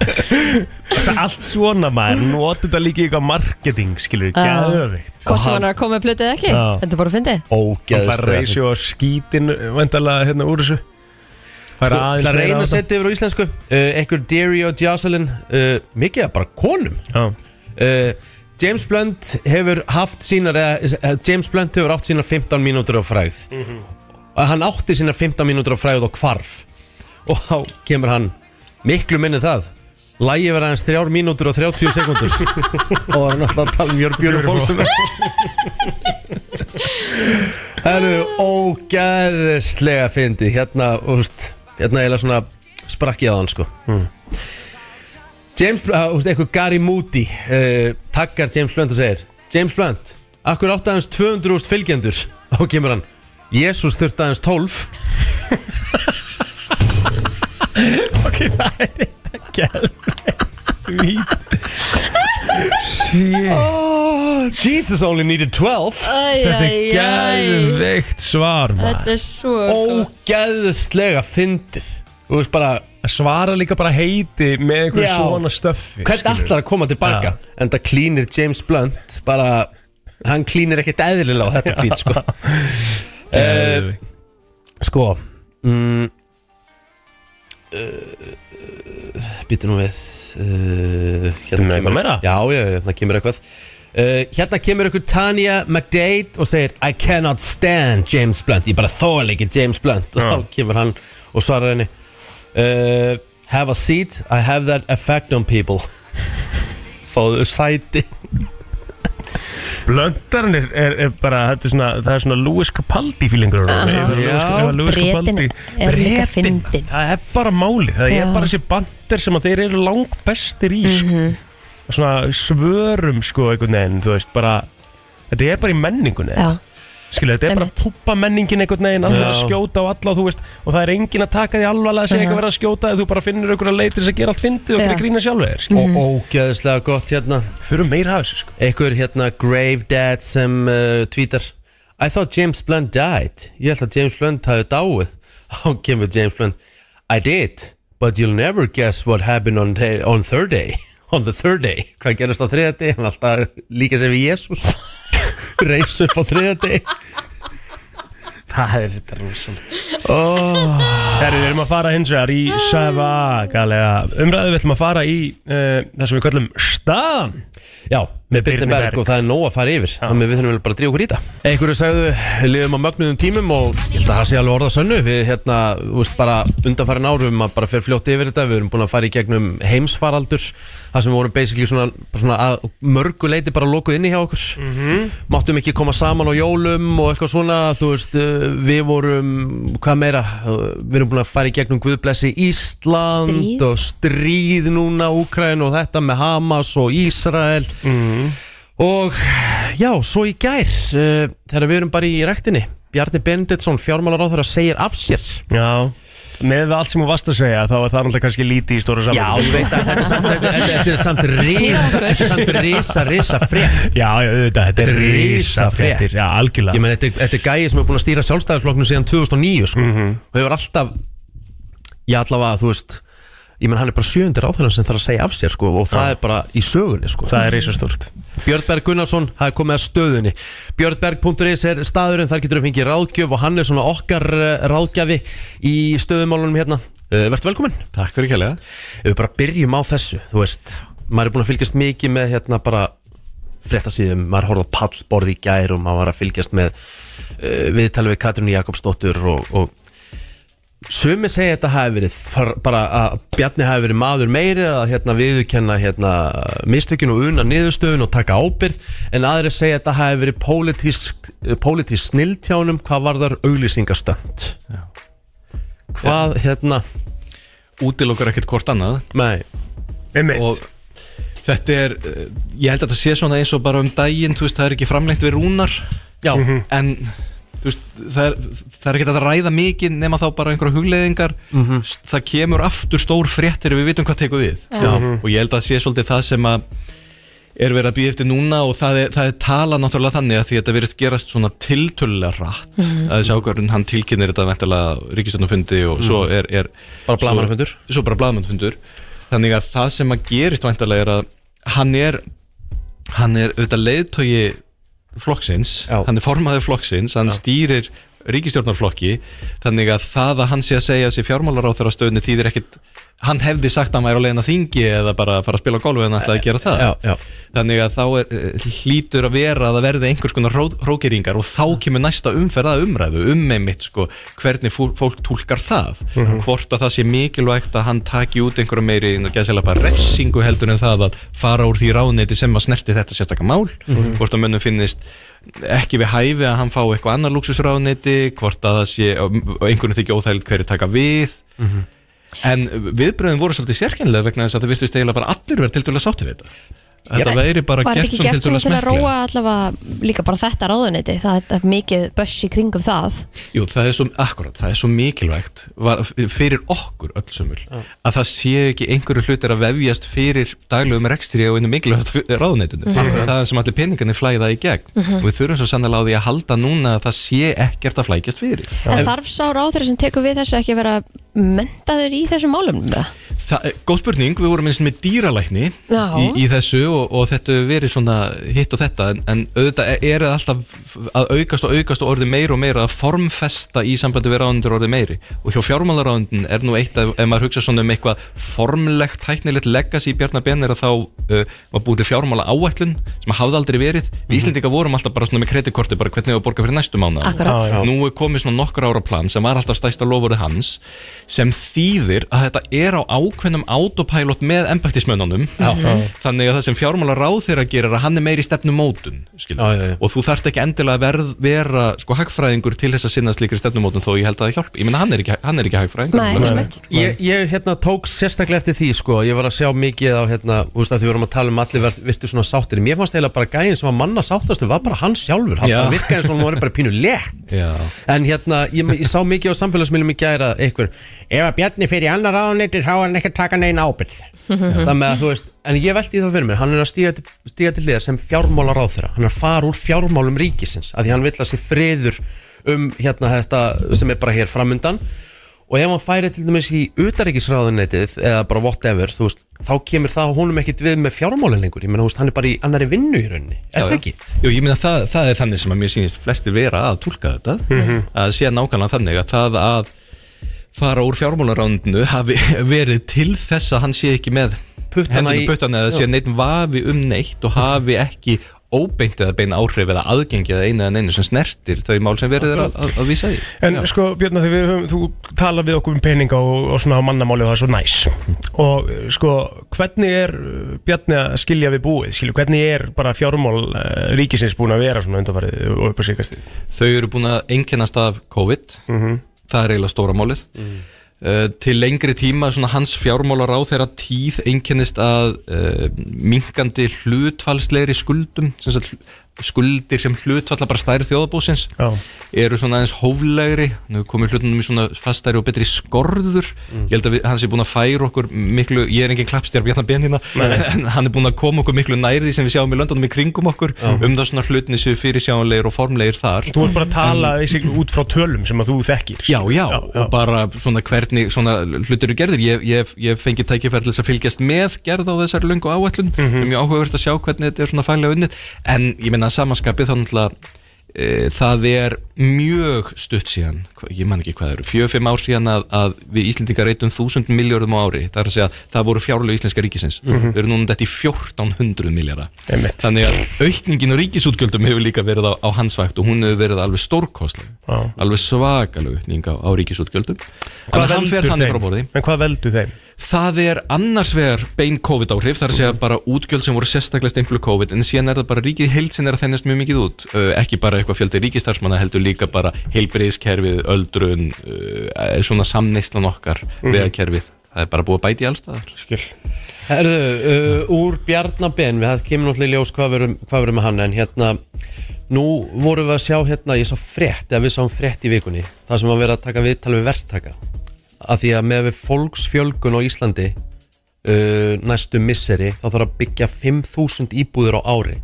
[SPEAKER 3] Það er allt svona maður, nota þetta líka í eitthvað marketing, skilur við,
[SPEAKER 2] Já.
[SPEAKER 3] gæðvikt
[SPEAKER 2] Hvort sem
[SPEAKER 1] hann-
[SPEAKER 2] hann er að koma með plötið eða ekki
[SPEAKER 3] Já.
[SPEAKER 2] Þetta er bara að fyndið
[SPEAKER 3] Það fær
[SPEAKER 1] Ógeðslega
[SPEAKER 3] reysjó og skítin vendalega hérna úr þessu Það er aðeins
[SPEAKER 1] Það
[SPEAKER 3] meira á
[SPEAKER 1] reyna Sko, að
[SPEAKER 3] þetta.
[SPEAKER 1] setja yfir á íslensku uh, Ekkur Deary og Jocelyn uh, Mikið að bara konum
[SPEAKER 3] Já,
[SPEAKER 1] uh, James Blunt hefur haft sínar eða, eh, James Blunt hefur átt sínar 15 mínútur á fræð og hann átti sínar 15 mínútur á fræð og hvarf og þá kemur hann miklu minni það Lægi verið hans 3 mínútur og 30 sekundur og það er náttúrulega að tala um Jörg Björnfól sem er Það eru ógæðislega fyndi hérna, úst, hérna eiginlega svona sprakki á hann sko James Blunt, uh, eitthvað Gary Moody uh, takkar James Blunt og segir James Blunt, akkur átti aðeins 200.000 fylgjendur og kemur hann Jésús þurfti aðeins 12
[SPEAKER 3] ok, það er þetta gæðvikt Shit,
[SPEAKER 1] oh, Jesus only needed 12
[SPEAKER 3] þetta er gæðvikt svar maður
[SPEAKER 4] Þetta er svo
[SPEAKER 1] Ógeðslega fyndið Þú veist bara,
[SPEAKER 3] Að svara líka bara heiti með einhverju
[SPEAKER 1] Já.
[SPEAKER 3] svona stöffi
[SPEAKER 1] hvernig
[SPEAKER 3] skilur við.
[SPEAKER 1] ætlar að koma tilbaka en það klínir James Blunt bara, hann klínir ekkert eðlilega á þetta tvít sko Eh,
[SPEAKER 3] Geðveikt.
[SPEAKER 1] Sko mm, uh, Býtu nú við uh,
[SPEAKER 3] Ertu með eitthvað meira?
[SPEAKER 1] Já, já, já, það kemur eitthvað uh, Hérna kemur eitthvað Tanya McDade og segir I cannot stand James Blunt Ég bara þóla ekki James Blunt
[SPEAKER 3] Já.
[SPEAKER 1] Og þá kemur hann og svarar henni uh, Have a seat, I have that effect on people Fáðu sæti
[SPEAKER 3] Blöndarinn er, er, er bara, þetta er svona, það er svona Lewis Capaldi fílingur
[SPEAKER 2] Aha.
[SPEAKER 1] Já,
[SPEAKER 2] Bretinn er líka fyndin.
[SPEAKER 3] Það er bara máli, það
[SPEAKER 2] Já.
[SPEAKER 3] er bara þessi bandir sem að þeir eru langbestir í sko.
[SPEAKER 2] Mhm.
[SPEAKER 3] Svona svörum sko einhvern veginn, þú veist, bara Þetta er bara í menningunni
[SPEAKER 2] Já,
[SPEAKER 3] Skilja, þetta er bara
[SPEAKER 2] Einmitt.
[SPEAKER 3] púpa menningin einhvern veginn Allir að
[SPEAKER 1] Já.
[SPEAKER 3] skjóta á alla, þú veist Og það er enginn að taka því alvarlega að segja
[SPEAKER 2] Mhm.
[SPEAKER 3] eitthvað verið að skjóta Þú bara finnir einhverja leitir sem gera allt fyndið og
[SPEAKER 2] Já.
[SPEAKER 3] gera grína sjálfur þér, skilur.
[SPEAKER 1] Og ógeðslega gott hérna
[SPEAKER 3] Þurfum meira af þessu sko
[SPEAKER 1] einhver hérna Grave Dad sem uh, tweetar I thought James Blunt died ég held að James Blunt hafi dáið þá kemur James Blunt I did, but you'll never guess what happened on, the- on third day on the third day, hvað gerist á þriða day hann alltaf líka sem við Jésús reys upp á þriða day
[SPEAKER 3] Það er þetta rosalega oh. Herri, við erum að fara hins vegar í eh, sævagalega umræðu Við ætlum að fara í uh, það sem við kallum staðan
[SPEAKER 1] já, með Birni Berg og það er nóg að fara yfir þannig við þurfum vel bara að drífa okkur í þetta einhverju sagðu, lifum á mögnuðum tímum og ég held að það sé alveg orða sönnu við hérna, þú veist, bara undanfærin árum að bara fer fljótt yfir þetta, við erum búin að fara í gegnum heimsfaraldur, það sem við vorum basically svona, svona að mörgu leiti bara lokuð inni hjá okkur máttum ekki koma saman á jólum og eitthvað svona þú veist, eh, við vorum hvað meira, eh, við erum búin að fara í gegnum Guðblessi Ísland
[SPEAKER 2] Stríð.
[SPEAKER 1] og stríð núna Úkræn og þetta með Hamas og Ísrael Mm. og já, svo í gær uh, þegar við erum bara í rektinni Bjarni Benditsson, fjármálaráþur segir af sér
[SPEAKER 3] Já, með við allt sem hún varst að segja þá er það náttúrulega kannski lítið í stóra
[SPEAKER 1] Já,
[SPEAKER 3] saman
[SPEAKER 1] ég veit að þetta er samt, þetta, þetta, þetta er samt risa, þetta er samt risa, risa frétt
[SPEAKER 3] Já, já, auðvitað, þetta
[SPEAKER 1] Þetta
[SPEAKER 3] er
[SPEAKER 1] er
[SPEAKER 3] rísa
[SPEAKER 1] risafrétt.
[SPEAKER 3] fréttir Já, algjörlega
[SPEAKER 1] Ég menn, þetta, er- þetta er gæi sem er búin að stýra sjálfstæðarflokknum síðan 2009, sko og hefur alltaf, já allavega, þú veist ég menn, hann er bara sjöundir áþjóðan sem þarf að segja af sér, sko og það er bara í sögunni, sko
[SPEAKER 3] Það er rísa stórt
[SPEAKER 1] Björn Berg Gunnarsson, það er komið að stöðunni björnberg.is er staðurinn, þar getur við fengið ráðgjöf og hann er svona okkar eh, ráðgjafi í stöðumálunum hérna uh, Vertu velkominn
[SPEAKER 9] Takk fyrir kjærlega
[SPEAKER 1] Ef við bara byrjum á þessu, þú veist maður er búin að fylgjast mikið með hérna bara fréttasíðum, maður horfði á pallborð í gær og maður var að fylgjast með uh, viðtalið við Katrínu Jakobsdóttur og, og sumi segja þetta hafi verið þar, bara að Bjarni hafi verið maður meiri að hérna viðurkenna hérna mistökin og unna niðurstöðun og taka ábyrð en aðri segja þetta hafi verið pólitísk, pólitísk snildtjánum hvað varðar auglýsingastönd hvað hérna
[SPEAKER 9] Útilokar ekkert hvort annað
[SPEAKER 1] nei,
[SPEAKER 9] og
[SPEAKER 3] Einmitt.
[SPEAKER 9] þetta er, eh, ég held að þetta sé svona eins og bara um daginn, þú veist, það er ekki framlengt við rúnar Mhm.
[SPEAKER 1] já,
[SPEAKER 9] en þú veist, það er, það er ekki að ræða mikið nema þá bara einhverja hugleiðingar S- það kemur aftur stór fréttir við vitum hvað tekur við
[SPEAKER 1] já.
[SPEAKER 9] og ég held að sé svolítið það sem að er verið að býja eftir núna og það er, það er tala náttúrulega þannig að því að þetta verið gerast svona tiltölulega rætt
[SPEAKER 1] Mhm.
[SPEAKER 9] að þessi ákvörðun, hann tilkynir þetta ventilega ríkistjónufundi og svo er, er
[SPEAKER 1] Mhm. Bara blaðamannafundur.
[SPEAKER 9] svo, svo bara blaðamannfundur þannig að það sem að gerist væntalega er að hann er hann er auðvitað leiðtogi flokksins,
[SPEAKER 1] Já.
[SPEAKER 9] hann er formaður flokksins hann stýrir ríkistjórnarflokki þannig að það að hann sé að segja þessi fjármálaráþur á stöðunni þýðir ekkit hann hefði sagt að hann væri á leiðin að þingi eða bara að fara að spila á golfi en ætlaði að gera það
[SPEAKER 1] Já, já.
[SPEAKER 9] þannig að þá er, eh, hlýtur að vera að það verði einhvers konar ró, rókeringar og þá kemur næsta umferðað umræðu um einmitt sko hvernig fólk, fólk tólkar það hvort að það sé mikilvægt að hann taki út einhverju meiri inn og gæðslega bara refsingu heldur en það að fara úr því ráðneyti sem að snerti þetta sérstakka mál hvort að mönnum finnist ekki við hæfi að hann fá eitthvað annar luxusráðneyti hvort að það sé og einhvern þykja óþægild hverju taka við En viðbröðin voru svolítið sérkennilega vegna þess að það virtist eiginlega bara allir verið tildulega sátti við þetta. Þetta væri bara
[SPEAKER 2] Var
[SPEAKER 9] gert
[SPEAKER 2] ekki
[SPEAKER 9] svona
[SPEAKER 2] gert svona
[SPEAKER 9] tildulega
[SPEAKER 2] til að
[SPEAKER 9] smekklega.
[SPEAKER 2] róa allavega líka bara þetta ráðuneyti það er mikið böss í kringum það
[SPEAKER 9] Jú, það er svo, akkurat, það er svo mikilvægt var, fyrir okkur öll sömul að það sé ekki einhverju hlutir að vefjast fyrir daglegum rekstri og einu mikilvægast ráðuneytinu.
[SPEAKER 2] Mhm.
[SPEAKER 9] Það er sem allir peningarnir flæða í gegn. Og við þurfum svo sannlega á því að halda núna að það sé ekkert að flækjast fyrir.
[SPEAKER 2] en þarf sá ráður sem tekur við þessu ekki að vera mentaður í þessum málum eða?
[SPEAKER 9] Það, eh, góð spurning, við vorum eins og með dýralækni
[SPEAKER 2] Já.
[SPEAKER 9] í, í þessu og, og þetta hefur verið svona hitt og þetta en, en auðvitað e- er það alltaf að aukast og aukast og orði meira og meira að formfesta í sambandi við ráðundur orði meiri og hjá fjármálaráðundin er nú eitt að ef maður hugsa svona um eitthvað formlegt hæknilegt legacy í Bjarnabenn er að þá uh, var búið til fjármála áætlun sem hafði aldrei verið, við Íslendinga vorum alltaf bara svona með kreditkorti bara hvernig við að borga fyrir næstu mánu
[SPEAKER 2] Akkurat.
[SPEAKER 3] Já, já.
[SPEAKER 9] nú er komið svona nokkur ára plan sem var alltaf stæsta lofurði hans sem þýðir að þetta er á ákveðnum autopilot með embættismönnunum Mhm. þannig að það sem fjármála ráð þeirra gerir er að hann er meiri stefnumótun já,
[SPEAKER 1] Já, já, já.
[SPEAKER 9] og þú þarft ekki endilega að verð, vera sko hagfræðingur til þess að sinna slikri stefnumótun þó ég held að það hjálp, ég meina hann er ekki, hann er ekki hagfræðingur
[SPEAKER 2] Nei,
[SPEAKER 9] Lögfræðingur.
[SPEAKER 2] einmitt.
[SPEAKER 1] Ég, ég hérna tók sérstaklega eftir því sko Ég var að sjá mikið á hérna Þú veist að því við vorum að tala um allir virt, virtu svona sáttir Mér fannst eiginlega bara gæðin sem var manna sáttastu Var bara hann sjálfur, hann
[SPEAKER 9] Já.
[SPEAKER 1] bara virkaði eins og hann var bara pínu létt
[SPEAKER 9] Já.
[SPEAKER 1] En hérna, ég, ég sá mikið á samfélagsmiðlum í gæra Einhver, ef að Bjarni fer í annar ráðuneyti Þá er hann ekki að taka neina ábyrð Það með að þú veist, en ég velti það fyrir mér Hann er að stíga til, stíga til liða sem fjármálar á Hann er að fara úr fjármálum ríkisins Af því hann vill að sé friður um hérna þetta sem er bara hér framundan og ef hann færi til dæmis í utaríkisráðunetið eða bara whatever, þú veist, þá kemur það honum ekkit við með fjármálin lengur, ég meina, þú veist, hann er bara í annari vinnu í rauninni, er
[SPEAKER 9] Já,
[SPEAKER 1] það
[SPEAKER 9] já.
[SPEAKER 1] ekki?
[SPEAKER 9] Jú, ég meina það, það er þannig sem að mér sýnist flestir vera að tólka þetta að sé nákvæmlega þannig að það að fara úr fjármálarándinu hafi verið til þess að hann sé ekki með puttana í puttana eða sé neitt vafi um neitt og hafi ekki óbeint eða bein áhrif eða aðgengi eða eina eða neina sem snertir þau mál sem verið er að, að, að vísa í
[SPEAKER 3] En sko Björn, af því við höfum, þú talar við okkur um peninga og, og svona á mannamáli og það er svo næs og eh, sko, hvernig er eh, Bjarni að skilja við búið, skilju, hvernig er bara fjármál uh, ríkisins búin að vera svona undanfarið og upp að síkast
[SPEAKER 9] þau eru búin að einkennast af COVID það er eiginlega stóra málið Uh, til lengri tíma svona hans fjármálar á þeirra tíð einkennist að uh, minkandi hlutfalslegri skuldum sem sagt, hl- skuldir sem hlutfalla bara stærð þjóðabúsins
[SPEAKER 3] Já.
[SPEAKER 9] eru svona aðeins hóflegri nú komið hlutunum í svona fastæri og betri skorður ég held að við, hann sé búin að færa okkur miklu, ég er engin klappstjár bjarnar benina hérna, en hann er búin að koma okkur miklu nær því sem við sjáum í löndunum í kringum okkur um það svona hlutinni sem við fyrir sjáumlegir og formlegir þar
[SPEAKER 3] Þú ert bara að tala sig, út frá tölum sem að þú þekkir
[SPEAKER 9] Já, já,
[SPEAKER 3] já, já.
[SPEAKER 9] og bara svona hvernig svona hlutir eru gerðir ég, ég, ég fengi tækifæri til þess að fylgjast með gerð á þessari löngu áætlun
[SPEAKER 3] Mhm.
[SPEAKER 9] mm -hmm. mjög áhugavert að sjá hvernig þetta er svona faglega unnið en ég meina að samanskapið þá náttúrulega e, það er mjög stutt síðan, hva- ég man ekki hvað það eru fjöfum ár síðan að, að við Íslendingar reytum þúsund miljörðum á ári, það er að segja það voru fjárlega íslenska ríkisins við erum núna þetta í 1400 miljara
[SPEAKER 3] Mhm. Einmitt.
[SPEAKER 9] þannig að aukningin og ríkisútgjöldum hefur líka verið á, á hans vakt og hún hefur verið alveg stórkostleg
[SPEAKER 3] Já.
[SPEAKER 9] alveg svakalega aukning á, á ríkisútgjöldum
[SPEAKER 3] Hvað
[SPEAKER 9] Þannig að hann fer
[SPEAKER 3] veldur
[SPEAKER 9] þannig
[SPEAKER 3] þeim?
[SPEAKER 9] frá borði
[SPEAKER 3] En hvað veldu þeim?
[SPEAKER 9] Það er annars vegar bein COVID áhrif þar að segja bara útgjöld sem voru sérstaklega steinflu COVID en síðan er það bara ríkið í heild sem er að þennast mjög mikið út uh, ekki bara eitthvað fjöldi ríkistarsmanna heldur líka bara heilbreyðiskerfið, öldrun uh, svona samneislan okkar
[SPEAKER 3] Mhm.
[SPEAKER 9] vegakerfið, það er bara búið að bæti allstaðar
[SPEAKER 3] Skil
[SPEAKER 1] Herðu, uh, úr Bjarnaben Við kemur náttúrulega í ljós hvað verum, hvað verum með hann En hérna, nú vorum við að sjá hérna Ég sá frétt, eða við sáum frétt í vikunni Það sem að vera að taka viðtal við verktaka Af því að með við fólksfjölgun á Íslandi uh, Næstu misseri Þá þarf að byggja 5.000 íbúður á ári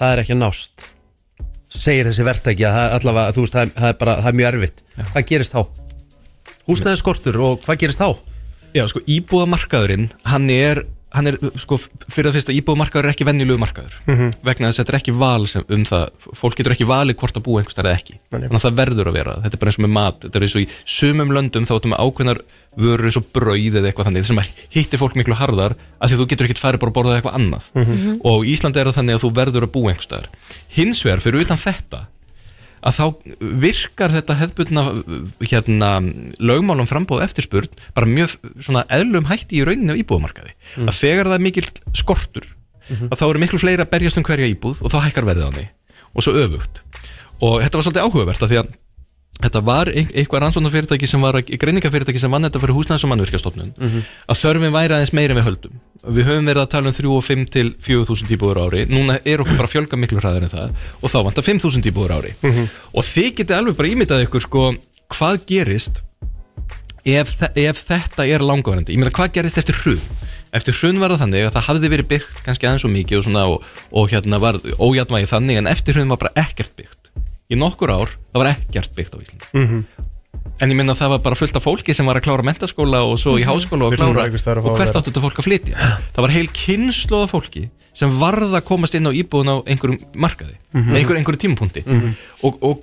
[SPEAKER 1] Það er ekki að nást Segir þessi verktaki að það er allavega Þú veist, það er, það er bara, það er mjög erfitt Hvað gerist þá? Húsnæðiskortur og hvað gerist þá?
[SPEAKER 9] Já, sko, íbúðamarkaðurinn, hann er, hann er sko, fyrir að fyrsta, íbúðamarkaður er ekki venjulegu markaður
[SPEAKER 3] Mhm.
[SPEAKER 9] vegna þess að þetta er ekki val sem, um það, fólk getur ekki valið hvort að búa einhvers staðar eða ekki,
[SPEAKER 3] nei.
[SPEAKER 9] þannig að það verður að vera þetta er bara eins og með mat, þetta er eins og í sumum löndum þá áttum við ákveðnar vörur eins og brauð eða eitthvað þannig, þessum að hitti fólk miklu harðar af því að þú getur ekkert farið bara að borða eitthvað annað
[SPEAKER 3] Mhm.
[SPEAKER 9] og í Íslandi er það þannig að þú verður að búa einhvers staðar. Hins vegar, fyrir utan þetta, að þá virkar þetta hefðbundna hérna, lögmálum frambóð og eftirspurn bara mjög svona eðlum hætti í rauninu á íbúðumarkaði að þegar það er mikill skortur að þá eru miklu fleiri að berjast um hverja íbúð og þá hækkar verðið á henni og svo öfugt og þetta var svolítið áhugavert af því að þetta var ein- eitthvað rannsóknarfyrirtæki sem var að- greiningafyrirtæki sem vann þetta fyrir húsnæðis og mannvirkjastofnun að þörfin væri aðeins meira en við höldum við höfum verið að tala um 3 og 5 til 4000 íbúður á ári, núna er okkur bara að fjölga miklu hraðar en það og þá vantar 5000 íbúður á ári og þið getið alveg bara ímyndað ykkur sko, hvað gerist ef, þe- ef þetta er langvarandi, ég meina hvað gerist eftir hrun eftir hrun var það þannig að það hafði verið byggt kannski aðeins og mikið og, svona, og, og hérna var ójatvægi þannig en eftir hrun var bara ekkert byggt í nokkur ár það var ekkert byggt á Íslandi
[SPEAKER 3] Mhm.
[SPEAKER 9] en ég meina það var bara fullt af fólki sem var að klára mentaskóla og svo í háskóla og
[SPEAKER 3] Fyrir
[SPEAKER 9] klára
[SPEAKER 3] Mhm. einhvers staðar að fá
[SPEAKER 9] og
[SPEAKER 3] að
[SPEAKER 9] hvert
[SPEAKER 3] vera.
[SPEAKER 9] áttu þetta fólk að flytja það var heil kynnslóð af fólki sem varð að komast inn á íbúðun á einhverjum markaði mm
[SPEAKER 3] Mhm.
[SPEAKER 9] einhver, einhverjum tímapunkti og, og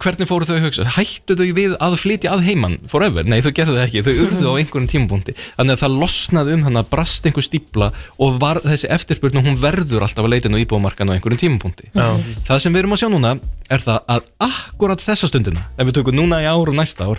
[SPEAKER 9] hvernig fóru þau að hugsa hættu þau við að flytja að heiman forever, nei þau gerðu það ekki, þau urðu á einhverjum tímapunkti þannig að það losnaði um hann að brast einhver stípla og var þessi eftirspurnu hún verður alltaf að leita inn á íbúðumarkan á einhverjum tímapunkti það sem við erum að sjá núna er það að akkurat þessa stundina ef við tökum núna í ár og næsta ár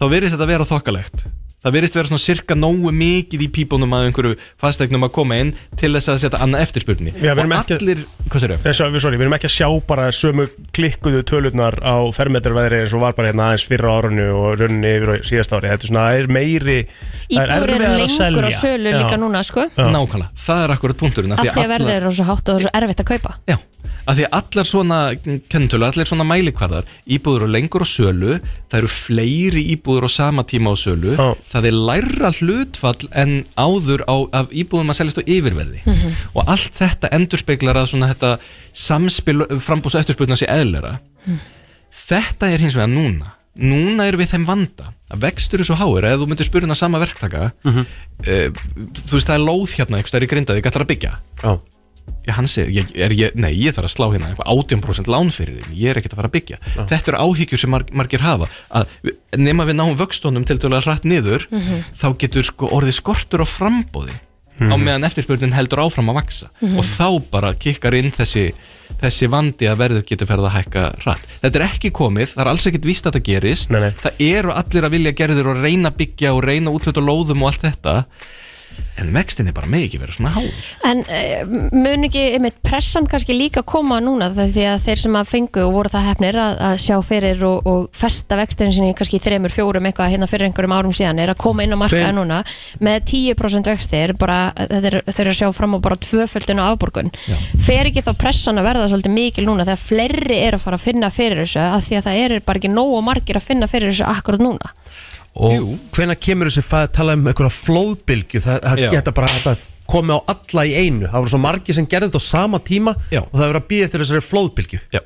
[SPEAKER 9] þá verðist þetta að vera þokkalegt það verðist vera svona cirka nógu mikið í pípunum að einhverju fastegnum að koma inn til þess að setja annað eftirspurni
[SPEAKER 3] Já, við
[SPEAKER 9] og
[SPEAKER 3] erum ekki-
[SPEAKER 9] allir, hvað sér
[SPEAKER 3] Nei, Eh, sorry, sorry, við erum ekki að sjá bara sömu klikkuðu tölurnar á fermetarveðri eins og var bara hérna aðeins fyrra árunni og rauninni yfir á síðasta ári. Þetta er svona, það er meiri, það
[SPEAKER 2] Íbúður eru
[SPEAKER 3] erfiðara að
[SPEAKER 2] lengur á
[SPEAKER 3] selja.
[SPEAKER 2] sölu
[SPEAKER 3] Já.
[SPEAKER 2] líka núna sko
[SPEAKER 3] Já.
[SPEAKER 9] nákvæmlega, það er akkurat punkturinn
[SPEAKER 2] Af því að verðið
[SPEAKER 9] allar-
[SPEAKER 2] eru svo hátt og það er svo erfitt að kaupa
[SPEAKER 9] Já, af því að allar svona kennutölu, allar svona mælikvarðar íbúður og lengur á sölu, það eru fleiri íbúður á sama tíma á sölu
[SPEAKER 3] Já.
[SPEAKER 9] það er læra hlutfall en áður á, af íbúðum að seljast á yfirverði og allt þetta endurspeglar að svona þetta samspil frambús og eftirspilna sé eðlera þetta er hins vegar núna núna erum við þeim vanda að vextur er svo háir að ef þú myndir spurina sama verktaka eh, þú veist það er lóð hérna einhvers það er í grindaði, ætlar að byggja
[SPEAKER 1] Já,
[SPEAKER 9] Já, hann segir, ég, er, ég, nei, ég þarf að slá hérna eitthvað 18% lán fyrir þig, ég er ekkert að fara að byggja Þetta eru áhyggjur sem marg, margir hafa að við- nema við náum vöxtunum til dæla hratt niður þá getur sko orðið skortur á frambóði á meðan eftirspurnin heldur áfram að vaksa
[SPEAKER 10] Mhm.
[SPEAKER 9] og þá bara kikkar inn þessi, þessi vandi að verður getur ferð að hækka rætt. Þetta er ekki komið, það er alls ekkit víst að þetta gerist nei, nei. það eru allir að vilja gerðir og reyna að byggja og reyna að útluta lóðum og allt þetta en vextin er bara megi ekki vera svona háður
[SPEAKER 2] En eh, mun ekki einmitt pressan kannski líka koma núna það- því að þeir sem að fengu og voru það hefnir að, að sjá fyrir og, og festa vextirinn sinni kannski í þremur, fjórum eitthvað hérna fyrir einhverjum árum síðan er að koma inn á markaði
[SPEAKER 11] Tveim.
[SPEAKER 2] núna með 10% vextir bara eh, þeir, þeir eru að sjá fram á bara tvöföldun og afborgun fer ekki þá pressan að verða svolítið mikil núna þegar fleiri eru að fara að finna fyrir þessu að því að það eru bara ekki nógu margir að finna fyrir þessu akkurat núna
[SPEAKER 1] Og hvenær kemur þessi að tala um einhverja flóðbylgju Það, það
[SPEAKER 9] Já.
[SPEAKER 1] geta bara þetta komið á alla í einu Það voru svo margir sem gerði þetta á sama tíma Já. Og það voru að býja eftir þessari flóðbylgju
[SPEAKER 9] Já.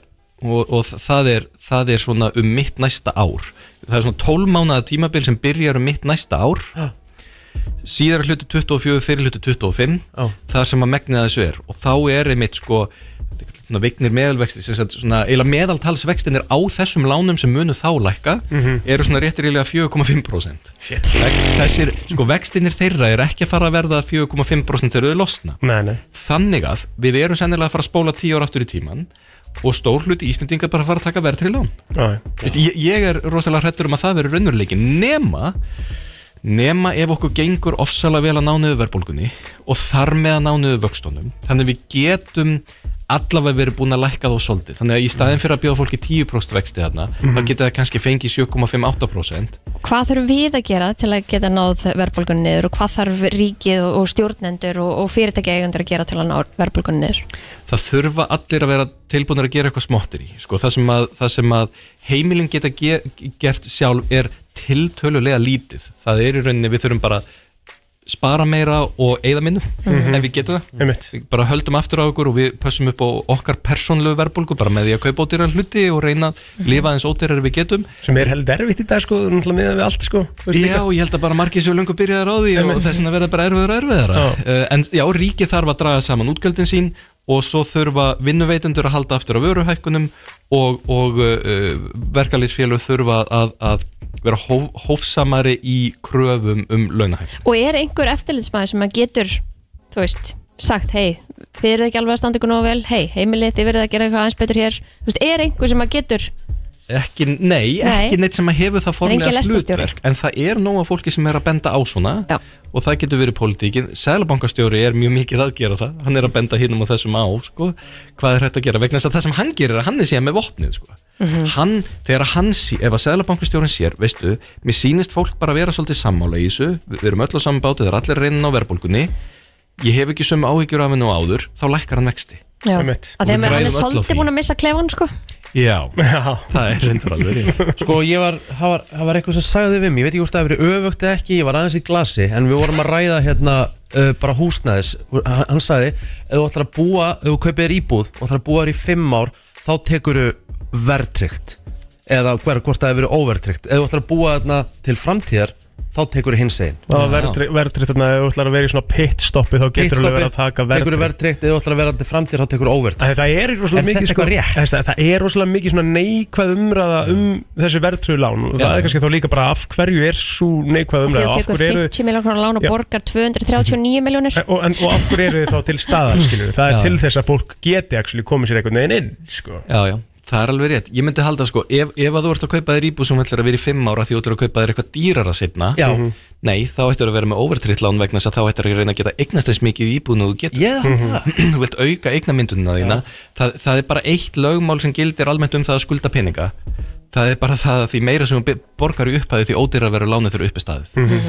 [SPEAKER 9] og, og það, er, það er svona um mitt næsta ár það er svona 12 mánaða tímabil sem byrjar um mitt næsta ár síðar hlutu 24 fyrir hlutu 25
[SPEAKER 1] Já.
[SPEAKER 9] það sem að megna þessu er og þá er einmitt sko svona vignir meðalvexti sem sagt svona eila meðaltalsvextinir á þessum lánum sem munu þá lækka
[SPEAKER 3] Mhm.
[SPEAKER 9] eru svona réttir eiginlega 4,5% Veg- þessir sko vextinir þeirra er ekki að fara að verða 4,5% þegar þau losna
[SPEAKER 3] Nei, nei.
[SPEAKER 9] þannig að við erum sennilega að fara að spóla 10 ára aftur í tíman og stór hluti Íslendinga bara að fara að taka verðtri lán
[SPEAKER 3] Já, já.
[SPEAKER 9] Vist, ég, ég er rosalega hrættur um að það verður raunveruleiki nema nema ef okkur gengur ofsalega vel að ná niður verðbólgunni og þar með að ná niður vöxtunum þannig við getum allavega verið búin að lækka þá svolítið þannig að í staðin fyrir að bjóða fólki 10% vexti þarna
[SPEAKER 3] Mhm.
[SPEAKER 9] þá geta það kannski fengið 7,58%
[SPEAKER 2] Hvað þurfum við að gera til að geta náð verðbólgunni niður og hvað þarf ríkið og stjórnendur og, og fyrirtækja eigundur að gera til að ná verðbólgunni niður?
[SPEAKER 9] það þurfa allir að vera tilbúinir að gera eitthvað smottir í sko, það, sem að, það sem að heimilin geta ge gert sjálf er tiltölulega lítið það er í rauninni við þurfum bara að spara meira og eigða minnum
[SPEAKER 3] Mhm.
[SPEAKER 9] en við getum það
[SPEAKER 3] Einmitt.
[SPEAKER 9] við bara höldum aftur á okkur og við pössum upp á okkar persónlegu verðbólgu bara með því að kaupa ódýrar hluti og reyna að lifa eins ódýrar við getum
[SPEAKER 3] sem er held erfitt í dag sko, náttúrulega miðað við allt sko þú veist
[SPEAKER 9] Já,
[SPEAKER 3] líka.
[SPEAKER 9] ég held að bara margir séu löngu byrjaðar á því og
[SPEAKER 3] Einmitt.
[SPEAKER 9] þess vegna verða bara erfiður og erfiðara uh, En já, ríkið þarf að draga saman útgjöldin sín og svo þurfa vinnuveitundur að halda aftur af vöruhækkunum og, og uh, uh, verkalýsfélög þurfa að, að vera hóf, hófsamari í kröfum um launahækk
[SPEAKER 2] Og er einhver eftirlitsmaður sem að getur, þú veist, sagt hei, þið eruð ekki alveg að standa ykkur nógu vel, hei, heimilið, þið verðið að gera eitthvað aðeins betur hér, þú veist, er einhver sem að getur,
[SPEAKER 9] Ekki, nei,
[SPEAKER 2] Nei.
[SPEAKER 9] ekki neitt sem að hefur það
[SPEAKER 2] Það er engin
[SPEAKER 9] formlega
[SPEAKER 2] lestarstjóri.
[SPEAKER 9] hlutverk en það er nóga fólki sem er að benda á svona
[SPEAKER 2] Já.
[SPEAKER 9] og það getur verið pólitíkin Sælabankastjóri er mjög mikið að gera það hann er að benda hinnum og þessum á sko. hvað er hægt að gera vegna þess að það sem hann gerir er að hann er síðan með vopnið sko.
[SPEAKER 2] Mhm.
[SPEAKER 9] hann, þegar hann, sí- ef að Sælabankastjórin sér veistu, mér sýnist fólk bara vera svolítið sammála í þessu, við, við erum öll á saman bátu þegar allir reynin á verbulgunni ég hef ekki sömu áhyggjur af hennu áður þá lækkar hann vexti
[SPEAKER 2] Já.
[SPEAKER 9] Einmitt.
[SPEAKER 2] að
[SPEAKER 9] Og
[SPEAKER 2] þeim
[SPEAKER 9] við
[SPEAKER 2] er hann
[SPEAKER 9] græðum
[SPEAKER 2] er
[SPEAKER 9] öll á því.
[SPEAKER 2] svolítið búin að missa klefan, sko?
[SPEAKER 9] Já, það er reyndur alveg rétt.
[SPEAKER 1] Sko ég var, það var, það var eitthvað sem sagði við mig Ég veit ekki hvort það hefur verið öfugt eða ekki Ég var aðeins í glasi En við vorum að ræða hérna uh, bara húsnæðis Hann, hann sagði, ef þú ætlar að búa Ef þú kaupir þér íbúð og ætlar að búa þér í fimm ár Þá tekur þú verðtrygt Eða hver, hvort það hefur verið óverðtrygt Ef þú ætlar að búa þarna til framtíðar Þá tekur þú hins einn
[SPEAKER 3] Það var verðtritt þarna, ef þú ætlar að vera í svona pitstoppi þá getur þú verið að taka
[SPEAKER 1] Tekur þú
[SPEAKER 3] verðtritt
[SPEAKER 1] verðtrygt, ef þú ætlar að vera til framtíðar Þá tekur þú óverðtrygt
[SPEAKER 3] Það er rosalega mikið
[SPEAKER 1] þetta
[SPEAKER 3] sko,
[SPEAKER 1] eitthvað rétt?
[SPEAKER 3] Það, það er rosalega mikið svona neikvæð umræða um þessi verðtröðlán og það
[SPEAKER 1] Já.
[SPEAKER 3] er kannski þá líka bara af hverju er svo neikvæð
[SPEAKER 2] Þegar
[SPEAKER 3] umræða
[SPEAKER 2] þú
[SPEAKER 3] af
[SPEAKER 2] tekur
[SPEAKER 3] hverju eru-
[SPEAKER 2] 50 miljónar krónar lán og
[SPEAKER 3] Já.
[SPEAKER 2] borgar 239 miljónir
[SPEAKER 3] En- Eh, og, en, og af hverju eru þið þá til staðar skilur það er
[SPEAKER 9] Já.
[SPEAKER 3] til þess að fólk geti actually komið sér einhvern veginn inn sko.
[SPEAKER 9] Já, já, það er alveg rétt Ég myndi halda sko, ef, ef að þú ert að kaupa þér íbúð sem ætlar að vera í 5 ára því þú ætlar að kaupa þér eitthvað dýrara setna
[SPEAKER 1] Já.
[SPEAKER 3] Mhm.
[SPEAKER 9] Nei, þá ættir að vera með overtritt lán vegna þess að þá ættir að reyna að geta eignast þess mikið í íbúðinu þú getur
[SPEAKER 1] Ég
[SPEAKER 3] Mhm.
[SPEAKER 1] held það.
[SPEAKER 9] Þú vilt auka eignamyndunina þína það, það er bara eitt lögmál sem gildir almennt um það að skulda peninga Það er bara það að því meira sem þú bi- borgar í upphæði því ódýra verður lánið þegar uppi staðið
[SPEAKER 3] Mhm.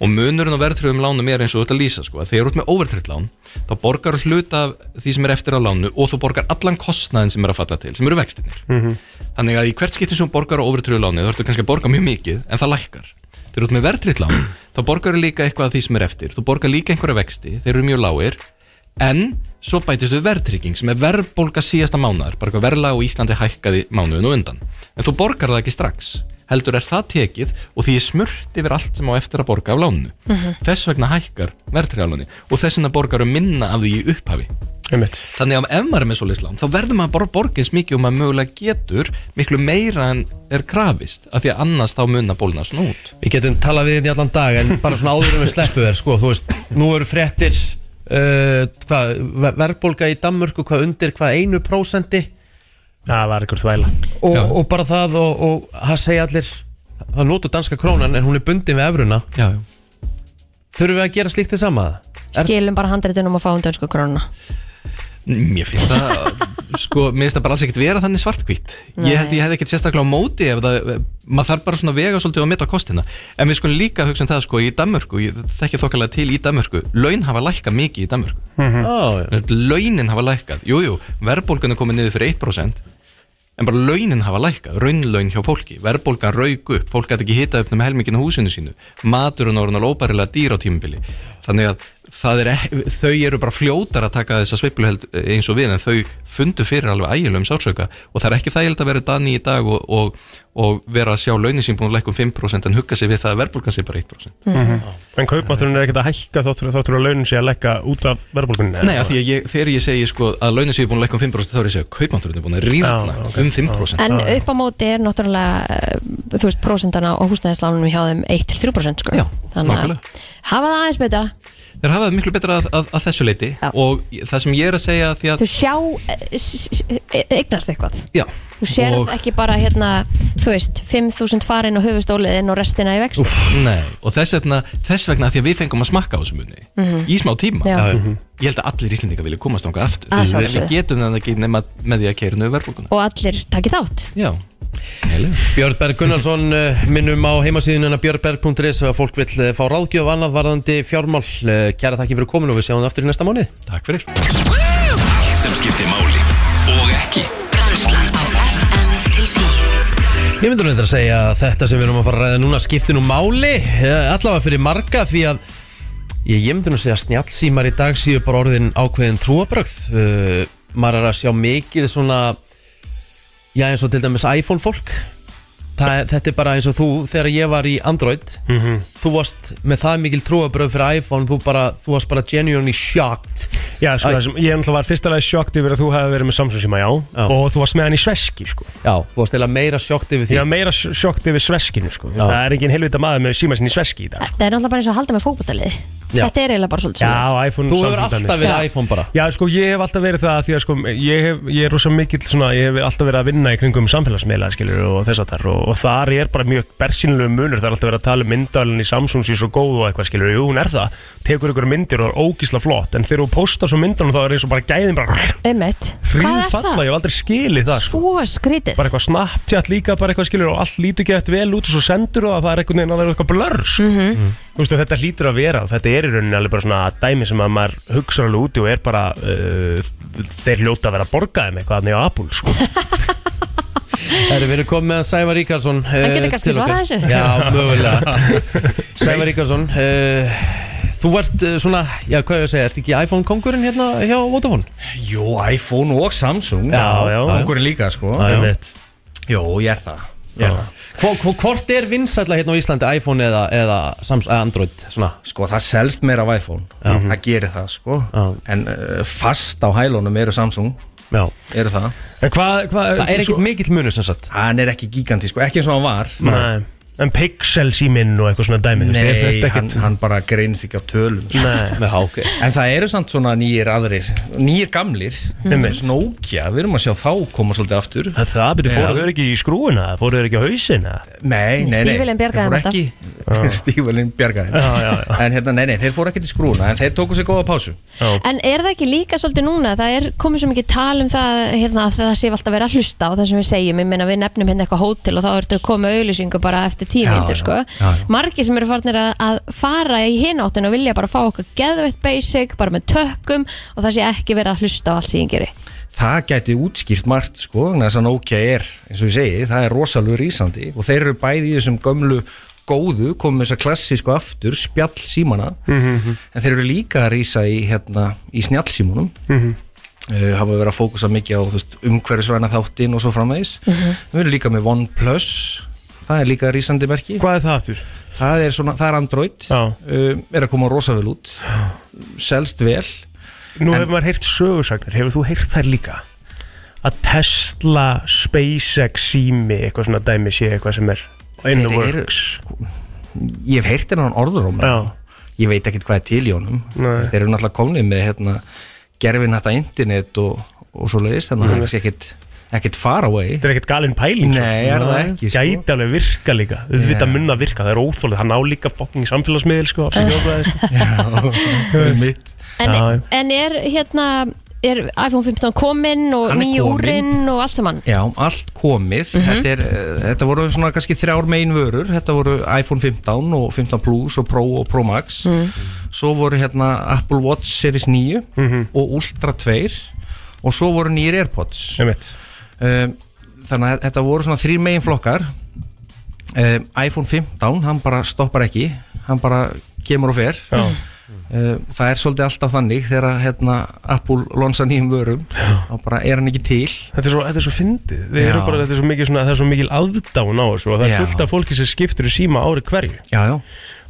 [SPEAKER 9] og munurinn á verðtröðum lánum er eins og þú ert að lýsa sko, að þegar þú ert með overtröð lán þá borgar þú hluta af því sem er eftir á lánu og þú borgar allan kostnaðin sem er að falla til sem eru vextinir
[SPEAKER 3] Mhm.
[SPEAKER 9] þannig að í hvert skipti sem þú borgar á overtröðu láni þú ertu kannski að borga mjög mikið en það lækkar þegar þú ert með verðtröð lán þá borgar þú líka eitthvað af því sem er eftir þú borgar líka einhverja vexti, þeir eru mjög lágir en svo bætist við verðtrygging sem er verðbólga síðasta mánuðar bara eitthvað verðlag og Íslandi hækkaði mánuðin og undan en þú borgar það ekki strax heldur er það tekið og því er smurt yfir allt sem á eftir að borga af lánu
[SPEAKER 3] Mhm.
[SPEAKER 9] þess vegna hækkar verðtryggalunni og þess vegna borgar um minna af því í upphafi
[SPEAKER 3] Einmitt.
[SPEAKER 9] þannig að ef maður er með svo lán þá verður maður bara að borga eins mikið og maður mögulega getur miklu meira en er krafist af því að annars þá munna bólna snút
[SPEAKER 1] Við getum talað við hérna í allan dag en bara svona áður en við sleppu þér sko, þú veist, nú eru fréttir uh, hvað, ver- verðbólga í Danmörku hvað undir hvað einu prósendi
[SPEAKER 3] Það var ykkur þvæla
[SPEAKER 1] og, og bara það og, og það segja allir það notur danska krónan en hún er bundin við evruna
[SPEAKER 9] já, já.
[SPEAKER 1] þurfum við að gera slíkt þess sama Er-
[SPEAKER 2] Skilum bara handritunum og fáum dönsku krónuna
[SPEAKER 9] Mér finnst það, sko, mér finnst það bara alls ekkert vera þannig svartkvít
[SPEAKER 2] Nei.
[SPEAKER 9] Ég held ég hefði ekkert sérstaklega á móti ef það, maður þarf bara svona að vega svolítið og meta kostina En við skulum líka hugsa um það, sko, í Danmörku, ég þekki þokkalega til í Danmörku Laun hafa lækkað mikið í Danmörku
[SPEAKER 1] Ó, já.
[SPEAKER 9] Launin hafa lækkað, jú, jú, verðbólgan er komið niður fyrir 1% En bara launin hafa lækkað, raunlaun hjá fólki, verðbólgan rauk upp, fólk gæti ekki hitað upp nema helmingin á húsinu sínu Maturinn orðin alveg óbærilega dýr á tímubili Þannig að það er, ek- þau eru bara fljótar að taka þessa sveifluheld eh, eins og við En þau fundu fyrir alveg ægilegum sársauka Og það er ekki þægild að vera danni í dag og, og, og vera að sjá launin sín búin að lækka um 5% En hugga sig við það að verðbólgan sé bara 1%
[SPEAKER 3] En kaupmátturinn er ekkert að hækka þóttur, þóttur að launin sé að leggja út af verðbólgunni
[SPEAKER 9] Nei, af því að ég, þegar ég segi sko, að launin séu búin að lækka um 5% þá er ég að segja að kaupmátturinn er búin að rýrna
[SPEAKER 3] Já, ok.
[SPEAKER 9] um 5%
[SPEAKER 2] En
[SPEAKER 3] Já, já.
[SPEAKER 2] upp á móti er náttúrulega eh, þú veist, prósendana og húsnæðislánunum hjá þeim 1-3% sko.
[SPEAKER 9] Já,
[SPEAKER 2] Þannig að
[SPEAKER 9] nákvæmlega.
[SPEAKER 2] hafa það aðeins betra
[SPEAKER 9] Þeir hafa það miklu betra að, að, að þessu leiti
[SPEAKER 2] Já.
[SPEAKER 9] og það sem ég er að segja því að
[SPEAKER 2] Þú sjá eh, s- s- eh, eignast eitthvað
[SPEAKER 9] já,
[SPEAKER 2] Þú sér
[SPEAKER 9] og,
[SPEAKER 2] ekki bara hérna þú veist, 5.000 farin og höfustólið og restina í vext
[SPEAKER 9] nei, og þess, vegna, þess vegna að því að við fengum að smakka á þessu munni í smá tíma
[SPEAKER 2] Mhm. Já. Já,
[SPEAKER 9] ég held að allir íslendingar vilja komast ánga aftur
[SPEAKER 2] Að
[SPEAKER 9] við,
[SPEAKER 2] sjálfsögðu.
[SPEAKER 9] við getum það ekki nema með því að keira nöðu verðbólkuna
[SPEAKER 2] og allir takki þátt
[SPEAKER 9] Já, heilega
[SPEAKER 1] Björn Berg Gunnarsson eh, minnum á heimasíðunina björnberg.is ef að fólk vill eh, fá ráðgjöf annað varðandi fjármál Eh, kæra þakki fyrir komin og við sjáum það aftur í næsta mánuði
[SPEAKER 9] Takk fyrir
[SPEAKER 10] Allt sem skiptir máli og ekki
[SPEAKER 11] Brennslan á FM til 10
[SPEAKER 1] Ég myndur að segja að þetta sem við erum að fara að ræða núna skiptir nú máli, eh, allavega fyrir marga því að ég, ég myndur að segja að snjallsímar í dag séu bara orðin ákveðin trúabrögð uh, maður er að sjá mikið svona já eins og til dæmis iPhone fólk Það, er- þetta er bara eins og þú, þegar ég var í Android þú varst með það mikil trúabröð fyrir iPhone, þú, bara, þú varst bara genuinely shocked
[SPEAKER 3] Já,
[SPEAKER 1] Æ.
[SPEAKER 3] sko, það sem, ég náttúrulega var fyrstalega sjokkt yfir að þú hefði verið með Samsung síma, já,
[SPEAKER 1] Já.
[SPEAKER 3] og þú varst með hann í sveski, sko.
[SPEAKER 1] Já, þú varst eða meira sjokkt yfir
[SPEAKER 3] Ég
[SPEAKER 1] því
[SPEAKER 3] var meira sj- sjokkt yfir sveskinu, sko.
[SPEAKER 1] Já.
[SPEAKER 3] Það er engin helvita maður með síma sinni í sveski í dag. sko.
[SPEAKER 2] Þetta er náttúrulega bara eins og að halda með fókbaltalið
[SPEAKER 1] Já.
[SPEAKER 2] Þetta er eiginlega bara svolítið svoleiðis.
[SPEAKER 3] Já, iPhone
[SPEAKER 1] Þú
[SPEAKER 3] Samsung
[SPEAKER 1] hefur alltaf
[SPEAKER 3] dæmið.
[SPEAKER 1] verið
[SPEAKER 2] Já.
[SPEAKER 1] iPhone bara
[SPEAKER 3] Já, sko, ég hef alltaf verið það að því að sko, ég, hef, ég er rosa mikill svona, ég hef alltaf verið að vinna í kringum samfélagsmiðla, skilur, og þess að þar, og, og þar er bara mjög bersinlegu munur, það er alltaf verið að tala um myndalinn í Samsung sér svo góð og eitthvað, skilur, jú, hún er það, tekur ykkur myndir og er ógísla flott, en þegar þú postar svo myndunum þá er eins og bara gæðin bara
[SPEAKER 2] Einmitt, hvað er það?
[SPEAKER 3] hrýfalla, ég hef aldrei skilið það, sko.
[SPEAKER 2] Svo skrítið
[SPEAKER 3] bara eitthvað Snapchat líka, bara eitthvað skilur og allt lítur gett vel út og svo sendur og það er einhvern veginn að vera eitthvað blörs mm veist, og þetta hlýtur að vera og þetta er í rauninni alveg bara svona dæmi sem að maður hugsa alveg úti og er bara uh, þeir hljóta að vera að borga þeim eitthvað þannig á Apul sko.
[SPEAKER 1] Það eru verið komið með Sævar Ríkarsson eh,
[SPEAKER 2] Hann getur kannski svarað þessu.
[SPEAKER 1] Já, mögulega Sævar Ríkarsson uh, Þú ert uh, svona, já hvað er ég að segja Ert ekki iPhone-kongurinn hérna hjá Vodafone?
[SPEAKER 12] Jú, iPhone og Samsung
[SPEAKER 3] Já, já.
[SPEAKER 12] Okkur líka, sko
[SPEAKER 3] Einmitt.
[SPEAKER 12] Jú, ég er það Ég er það
[SPEAKER 1] Hvo- hvo- Hvort er vinsætla hérna á Íslandi iPhone eða, eða Sams, eða Android svona?
[SPEAKER 12] Sko, það selst meira af iPhone Það gerir það, sko
[SPEAKER 1] Já.
[SPEAKER 12] En uh, fast á hælunum eru Samsung
[SPEAKER 1] Já
[SPEAKER 12] Eru það
[SPEAKER 3] en hvað, hvað
[SPEAKER 1] Það er
[SPEAKER 3] svo-
[SPEAKER 1] ekkert mikill munur sem sagt
[SPEAKER 12] Hann er ekki giganti, sko Ekki eins og hann var
[SPEAKER 3] Nei. en Pixel síminn og eitthvað svona dæmi þú veist, er
[SPEAKER 12] Nei,
[SPEAKER 3] þetta
[SPEAKER 12] hann,
[SPEAKER 3] ekkert
[SPEAKER 12] hann bara greinst ekki á tölum sko.
[SPEAKER 3] Nei.
[SPEAKER 1] Já, ok
[SPEAKER 12] En það eru samt svona nýjir aðrir Nýjir gamlir
[SPEAKER 3] Einmitt.
[SPEAKER 12] Svona Nokia, við erum að sjá þá koma svolítið aftur
[SPEAKER 3] Það- það byrju fóruð
[SPEAKER 12] Já.
[SPEAKER 3] þau ekki í skrúina fóruð þau ekki á hausina
[SPEAKER 12] Nei, nei, nei
[SPEAKER 2] Stígvélin bjargaði þeim
[SPEAKER 12] alltaf Stífælinn bjargaði
[SPEAKER 3] Já, já, já.
[SPEAKER 12] En hérna, nei, nei, þeir fóru ekkert í skrúna En þeir tóku sér góða pásu
[SPEAKER 2] En er það ekki líka svolítið núna? Það er komið svo mikið tal um það hérna, að það sé alltaf verið að hlusta á það sem við segjum ég meina við nefnum hérna eitthvað hótel og þá ertu að koma auðlýsingu bara eftir
[SPEAKER 12] Já,
[SPEAKER 2] tímindur
[SPEAKER 12] já,
[SPEAKER 2] sko.
[SPEAKER 12] já, já.
[SPEAKER 2] Margir sem eru farnir að, að fara í hináttin og vilja bara fá okkur geðveitt basic, bara með tökkum og það sé ekki verið að hlusta á allt sem ég geri
[SPEAKER 12] Það gæti útskýrt margt, sko vegna Þess að Nokia er, eins og ég segi, það er rosalegu rísandi Og þeir eru bæði í þessum gömlu góðu Komum þess að klassísku aftur, spjall símana En þeir eru líka að rísa í, hérna, í snjallsímunum uh, hafa verið að fókusa mikið á þú veist, umhverfisvæna þáttinn og svo framvegis við erum líka með OnePlus það er líka rísandi merki
[SPEAKER 3] hvað er það aftur?
[SPEAKER 12] það er, svona, það er Android
[SPEAKER 3] Já.
[SPEAKER 12] um, er að koma rosa vel út selst vel
[SPEAKER 3] Nú
[SPEAKER 12] En-
[SPEAKER 3] hefur maður heyrt sögursagnir, hefur þú heyrt þær líka? Að Tesla, SpaceX, sími, eitthvað svona dæmi sé eitthvað sem er in the
[SPEAKER 12] Þeir eru,
[SPEAKER 3] works
[SPEAKER 12] ég hef heyrt hennan orður á mig
[SPEAKER 3] Já,
[SPEAKER 9] ég veit ekkert hvað er til í honum
[SPEAKER 3] Nei.
[SPEAKER 9] þeir eru náttúrulega komnið með hérna, gerfin þetta internet og, og svo leiðist þannig að það
[SPEAKER 3] Mhm.
[SPEAKER 9] er kannski ekkert, ekkert far away
[SPEAKER 3] Þetta er ekkert galinn pæling svo
[SPEAKER 9] Nei,
[SPEAKER 3] sem.
[SPEAKER 9] er það ekki, sko.
[SPEAKER 3] Gæti alveg virka líka Við
[SPEAKER 9] Já.
[SPEAKER 3] vita munna virka, það er óþólið Það ná líka fokking samfélagsmiðil sko, afsakið orðbragðið, sko.
[SPEAKER 2] En,
[SPEAKER 3] Já, já.
[SPEAKER 2] en er hérna er iPhone 15 kominn og
[SPEAKER 9] Hann er
[SPEAKER 2] nýju
[SPEAKER 9] kominn.
[SPEAKER 2] úrin og allt saman
[SPEAKER 9] Já, allt komið þetta, er, eh, þetta voru svona kannski þrjár megin vörur Þetta voru iPhone 15 og 15 Plus og Pro og Pro Max Svo voru hérna Apple Watch Series 9
[SPEAKER 3] Mhm.
[SPEAKER 9] og Ultra 2 Og svo voru nýjir Airpods um, Þannig að þetta voru svona þrjir megin flokkar um, iPhone 15, hann bara stoppar ekki Hann bara kemur og fer
[SPEAKER 3] Já
[SPEAKER 9] Uh, það er svolítið alltaf þannig þegar að, hérna, Apple lonsa nýjum vörum þá bara er hann ekki til
[SPEAKER 3] Þetta er svo, þetta er svo fyndið Við
[SPEAKER 9] Já.
[SPEAKER 3] erum bara, þetta er svo mikil, svona, það er svo mikil aðdán á þessu og það
[SPEAKER 9] Já.
[SPEAKER 3] er fullt af fólki sem skiptur í síma ári hverju
[SPEAKER 9] já, já.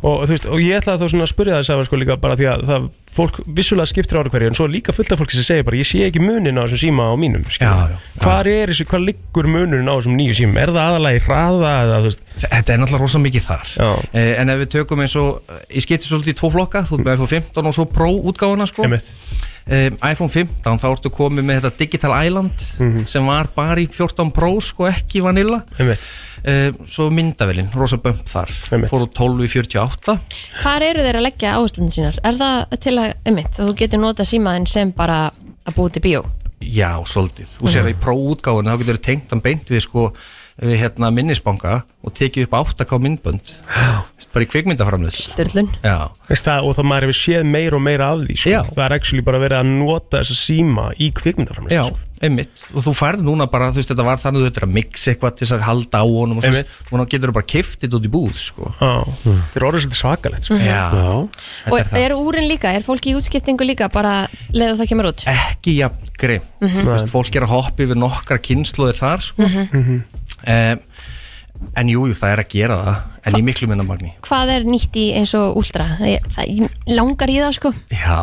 [SPEAKER 3] Og, þú veist, og ég ætlaði þá svona að spyrja þess að sko líka bara því að það, fólk vissulega skiptir ári hverju en svo er líka fullt af fólki sem segir bara ég sé ekki munin á þessum síma á mínum já, já, Hvar er þessi, hvar liggur munin á þessum nýju síma? Er það aðalagi hraða eða þú veist
[SPEAKER 9] Þetta er náttúrulega rosa mikið þar
[SPEAKER 3] Já
[SPEAKER 9] Eh, En ef við tökum eins og Ég skipti svolítið í tvo flokka Þú ert með iPhone 15 og svo Pro útgáfuna sko. um, iPhone 15 þá ertu komið með þetta Digital Island Sem var bara í 14 Pro sko ekki vanilla
[SPEAKER 3] Einmitt.
[SPEAKER 9] um, Svo myndavelin, rosa bump þar Einmitt. Fór úr 12 í 48
[SPEAKER 2] Hvar eru þeir að leggja áherslunum sínar? Er það til að, einmitt, að þú getur nota símaðin sem bara að búið til bíó?
[SPEAKER 9] Já, svolítið Þú sér það í Pro útgáfuna þá getur þú tengt hann beint við sko við, hérna, minnisbanka og tekið upp 8K myndbönd bara í kvikmyndaframlið
[SPEAKER 2] Sturlun
[SPEAKER 9] Já
[SPEAKER 3] Veist það, og það maður hefur séð meira og meira af því sko. það er actually bara verið að nota þessa síma í sko. kvikmyndaframlega
[SPEAKER 9] Já, einmitt og þú færð núna bara, þú veist, þetta var þannig að þú ert að mixa eitthvað til þess að halda á honum og svo
[SPEAKER 3] Einmitt.
[SPEAKER 9] núna getur þú bara kiftið út í búð sko.
[SPEAKER 3] Já, þetta er orðið svolítið svakalegt
[SPEAKER 2] sko. Mhm.
[SPEAKER 9] Já,
[SPEAKER 2] Og
[SPEAKER 9] þetta er það
[SPEAKER 2] er úrin líka? Er fólki í útskiptingu líka bara leiðu það kemur út?
[SPEAKER 9] ekki jafn grim
[SPEAKER 2] Mhm.
[SPEAKER 9] Þú veist, fólk er að hoppa yfir nokkra kynnslóðir þar sko. mm en jújú, jú, það er að gera það en í miklu minna magni
[SPEAKER 2] Hvað er nýtt í eins og úldra? Það, ég- það ég langar í það sko.
[SPEAKER 9] Já,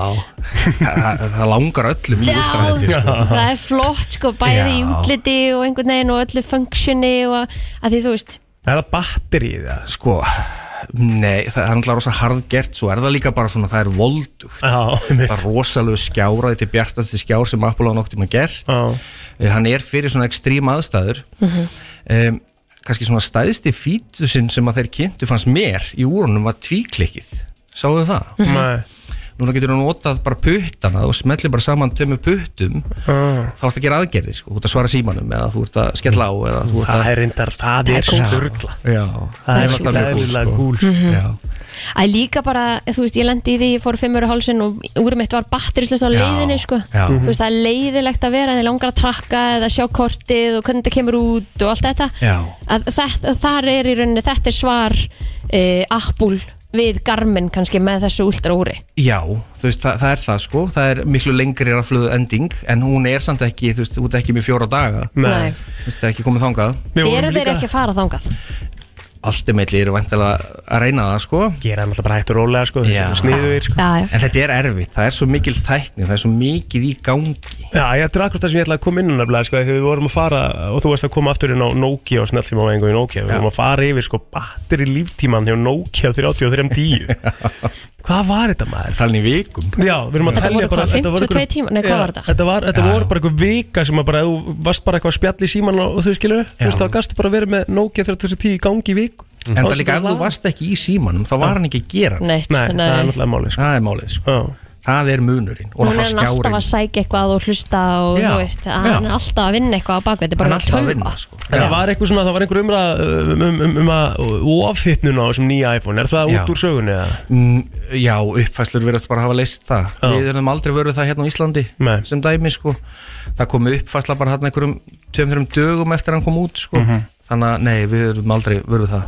[SPEAKER 9] það, það langar öllum í últraðið sko.
[SPEAKER 2] Það er flott sko, bæði í
[SPEAKER 9] Já.
[SPEAKER 2] útliti og einhvern veginn og öllu funksjoni og að því þú veist,
[SPEAKER 3] Er það batterið það?
[SPEAKER 9] Sko, nei, það er náttúrulega rosa harðgert Svo er það líka bara svona, það er voldugt Það er rosalega skjára Þetta er bjartasti skjár sem Apple á noktum að gert
[SPEAKER 3] Já.
[SPEAKER 9] Eh, Hann er fyrir svona ekstrím aðstæður
[SPEAKER 3] Mhm.
[SPEAKER 9] um, Kannski svona stæðsti fítusinn sem að þeir kynntu fannst mér í úrunum var tvíklikkið Sáuðu það?
[SPEAKER 3] Mhm. Nei.
[SPEAKER 9] Núna getur hann notað bara puttana og smellir bara saman tömmu puttum
[SPEAKER 3] Ah.
[SPEAKER 9] þá ertu að gera aðgerði sko, þú ert að svara símanum eða þú ert að skella á eða þú ert
[SPEAKER 3] Það
[SPEAKER 9] að
[SPEAKER 3] er reyndar, það
[SPEAKER 9] Það
[SPEAKER 3] er
[SPEAKER 9] er kúl.
[SPEAKER 3] sturla
[SPEAKER 9] Já,
[SPEAKER 3] það
[SPEAKER 9] Það
[SPEAKER 3] er
[SPEAKER 9] er
[SPEAKER 3] alltaf
[SPEAKER 9] svolítið
[SPEAKER 3] mjög
[SPEAKER 9] kúl,
[SPEAKER 3] kúl
[SPEAKER 9] sko. Mhm. Já.
[SPEAKER 2] að líka bara, þú veist, ég lendi í því, ég fór fimmur á hálsin og úr mitt var batterislust á
[SPEAKER 3] Já,
[SPEAKER 2] leiðinni sko.
[SPEAKER 3] já.
[SPEAKER 2] Þú veist, það er leiðilegt að vera, þeir langar að trakka eða sjá kortið og hvernig það kemur út og allt þetta.
[SPEAKER 9] Já
[SPEAKER 2] að þetta, þar er í rauninni þetta er svar e, Apple við Garmin kannski með þessu úldra úri
[SPEAKER 9] Já, þú veist, það, það er það sko það er miklu lengri rafluðu ending en hún er samt ekki, þú veist, út ekki með fjóra daga
[SPEAKER 2] Nei.
[SPEAKER 9] Þú veist, það er ekki komið þangað
[SPEAKER 2] eru þeir ekki að fara þangað
[SPEAKER 9] Alltimeitli eru vantilega að reyna það sko
[SPEAKER 3] Gera hann alltaf bara hægt og rólega sko, sniðugir, sko.
[SPEAKER 2] Já, já.
[SPEAKER 9] En þetta er erfitt, það er svo mikil tækni það er svo mikið í gangi
[SPEAKER 3] Já, ég ætla akkurat það sem ég ætlaði að koma inn á nefnilega sko, þegar við vorum að fara og þú varst að koma aftur inn á Nokia og snjalltíma á engu í Nokia við vorum að fara yfir sko batteri líftíman hjá Nokia 3310 um Hvað var þetta maður?
[SPEAKER 9] Talin í vikum
[SPEAKER 3] Já, við erum að
[SPEAKER 2] Þetta
[SPEAKER 3] telja
[SPEAKER 2] voru
[SPEAKER 3] bara
[SPEAKER 2] hvað,
[SPEAKER 3] þetta voru
[SPEAKER 2] 52
[SPEAKER 3] einhver-
[SPEAKER 2] tímar? Nei, hvað
[SPEAKER 3] Já,
[SPEAKER 2] var þetta?
[SPEAKER 3] Þetta, var, þetta voru bara eitthvað vika sem að bara, þú varst bara eitthvað að spjalla í síman og, og þú skilur, þú veist, þá gastu bara verið með Nokia 3310 í gangi í viku
[SPEAKER 9] En það líka ef þú varst ekki í símanum þá var hann ekki að gera
[SPEAKER 2] Neitt, Nei, það er nei. náttúrulega
[SPEAKER 3] málið
[SPEAKER 9] sko. Það er málið sko. Það er munurinn og
[SPEAKER 2] Hún er
[SPEAKER 9] náttúrulega
[SPEAKER 2] hann alltaf
[SPEAKER 9] skjárinn.
[SPEAKER 2] að sækja eitthvað og hlusta og
[SPEAKER 9] Já,
[SPEAKER 2] þú veist, að
[SPEAKER 9] já.
[SPEAKER 2] hann er alltaf að vinna eitthvað á bakveit, þetta er bara
[SPEAKER 9] Hann er alltaf að vinna,
[SPEAKER 2] sko.
[SPEAKER 3] En það var eitthvað svona, það var einhver umræð um, um, um, um að ofhittnuna á þessum nýja iPhone, er það
[SPEAKER 9] Já.
[SPEAKER 3] út úr sögunni eða?
[SPEAKER 9] Mm, já, uppfæslur verðast bara að hafa leist það Við erum aldrei verið það hérna á Íslandi Nei. sem dæmi sko Það kom uppfæsla bara hérna einhverjum tveim-þrjum dögum eftir að hann kom út sko
[SPEAKER 3] Mhm.
[SPEAKER 9] Þannig að nei, við erum aldrei verið það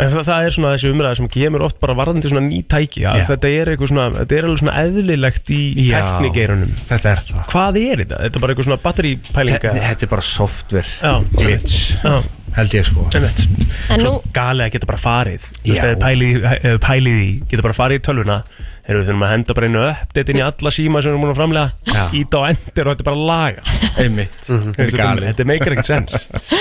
[SPEAKER 3] En það, það er svona þessi umræða sem kemur oft bara varðandi svona ný tæki að
[SPEAKER 9] Já.
[SPEAKER 3] þetta er eitthvað svona, þetta er alveg svona eðlilegt í
[SPEAKER 9] Já,
[SPEAKER 3] teknigeirunum
[SPEAKER 9] Þetta er það
[SPEAKER 3] Hvað er þetta? Þetta er bara eitthvað svona batteripælinga
[SPEAKER 9] Þe- Þetta er bara software
[SPEAKER 3] Já.
[SPEAKER 9] glitch
[SPEAKER 3] Já.
[SPEAKER 9] held ég sko
[SPEAKER 3] Einmitt.
[SPEAKER 2] En
[SPEAKER 3] Svo
[SPEAKER 2] nú-
[SPEAKER 3] galið að geta bara farið Þú
[SPEAKER 9] Já.
[SPEAKER 3] veist, eða pælið, í- eh, pælið í, geta bara farið í tölvuna Þegar við þurfum að henda bara einu uppdatinn í alla síma sem við erum múin að framlega Íta á endur og þetta er bara laga
[SPEAKER 9] Einmitt,
[SPEAKER 3] þetta er galið Þetta meikir ekkert sens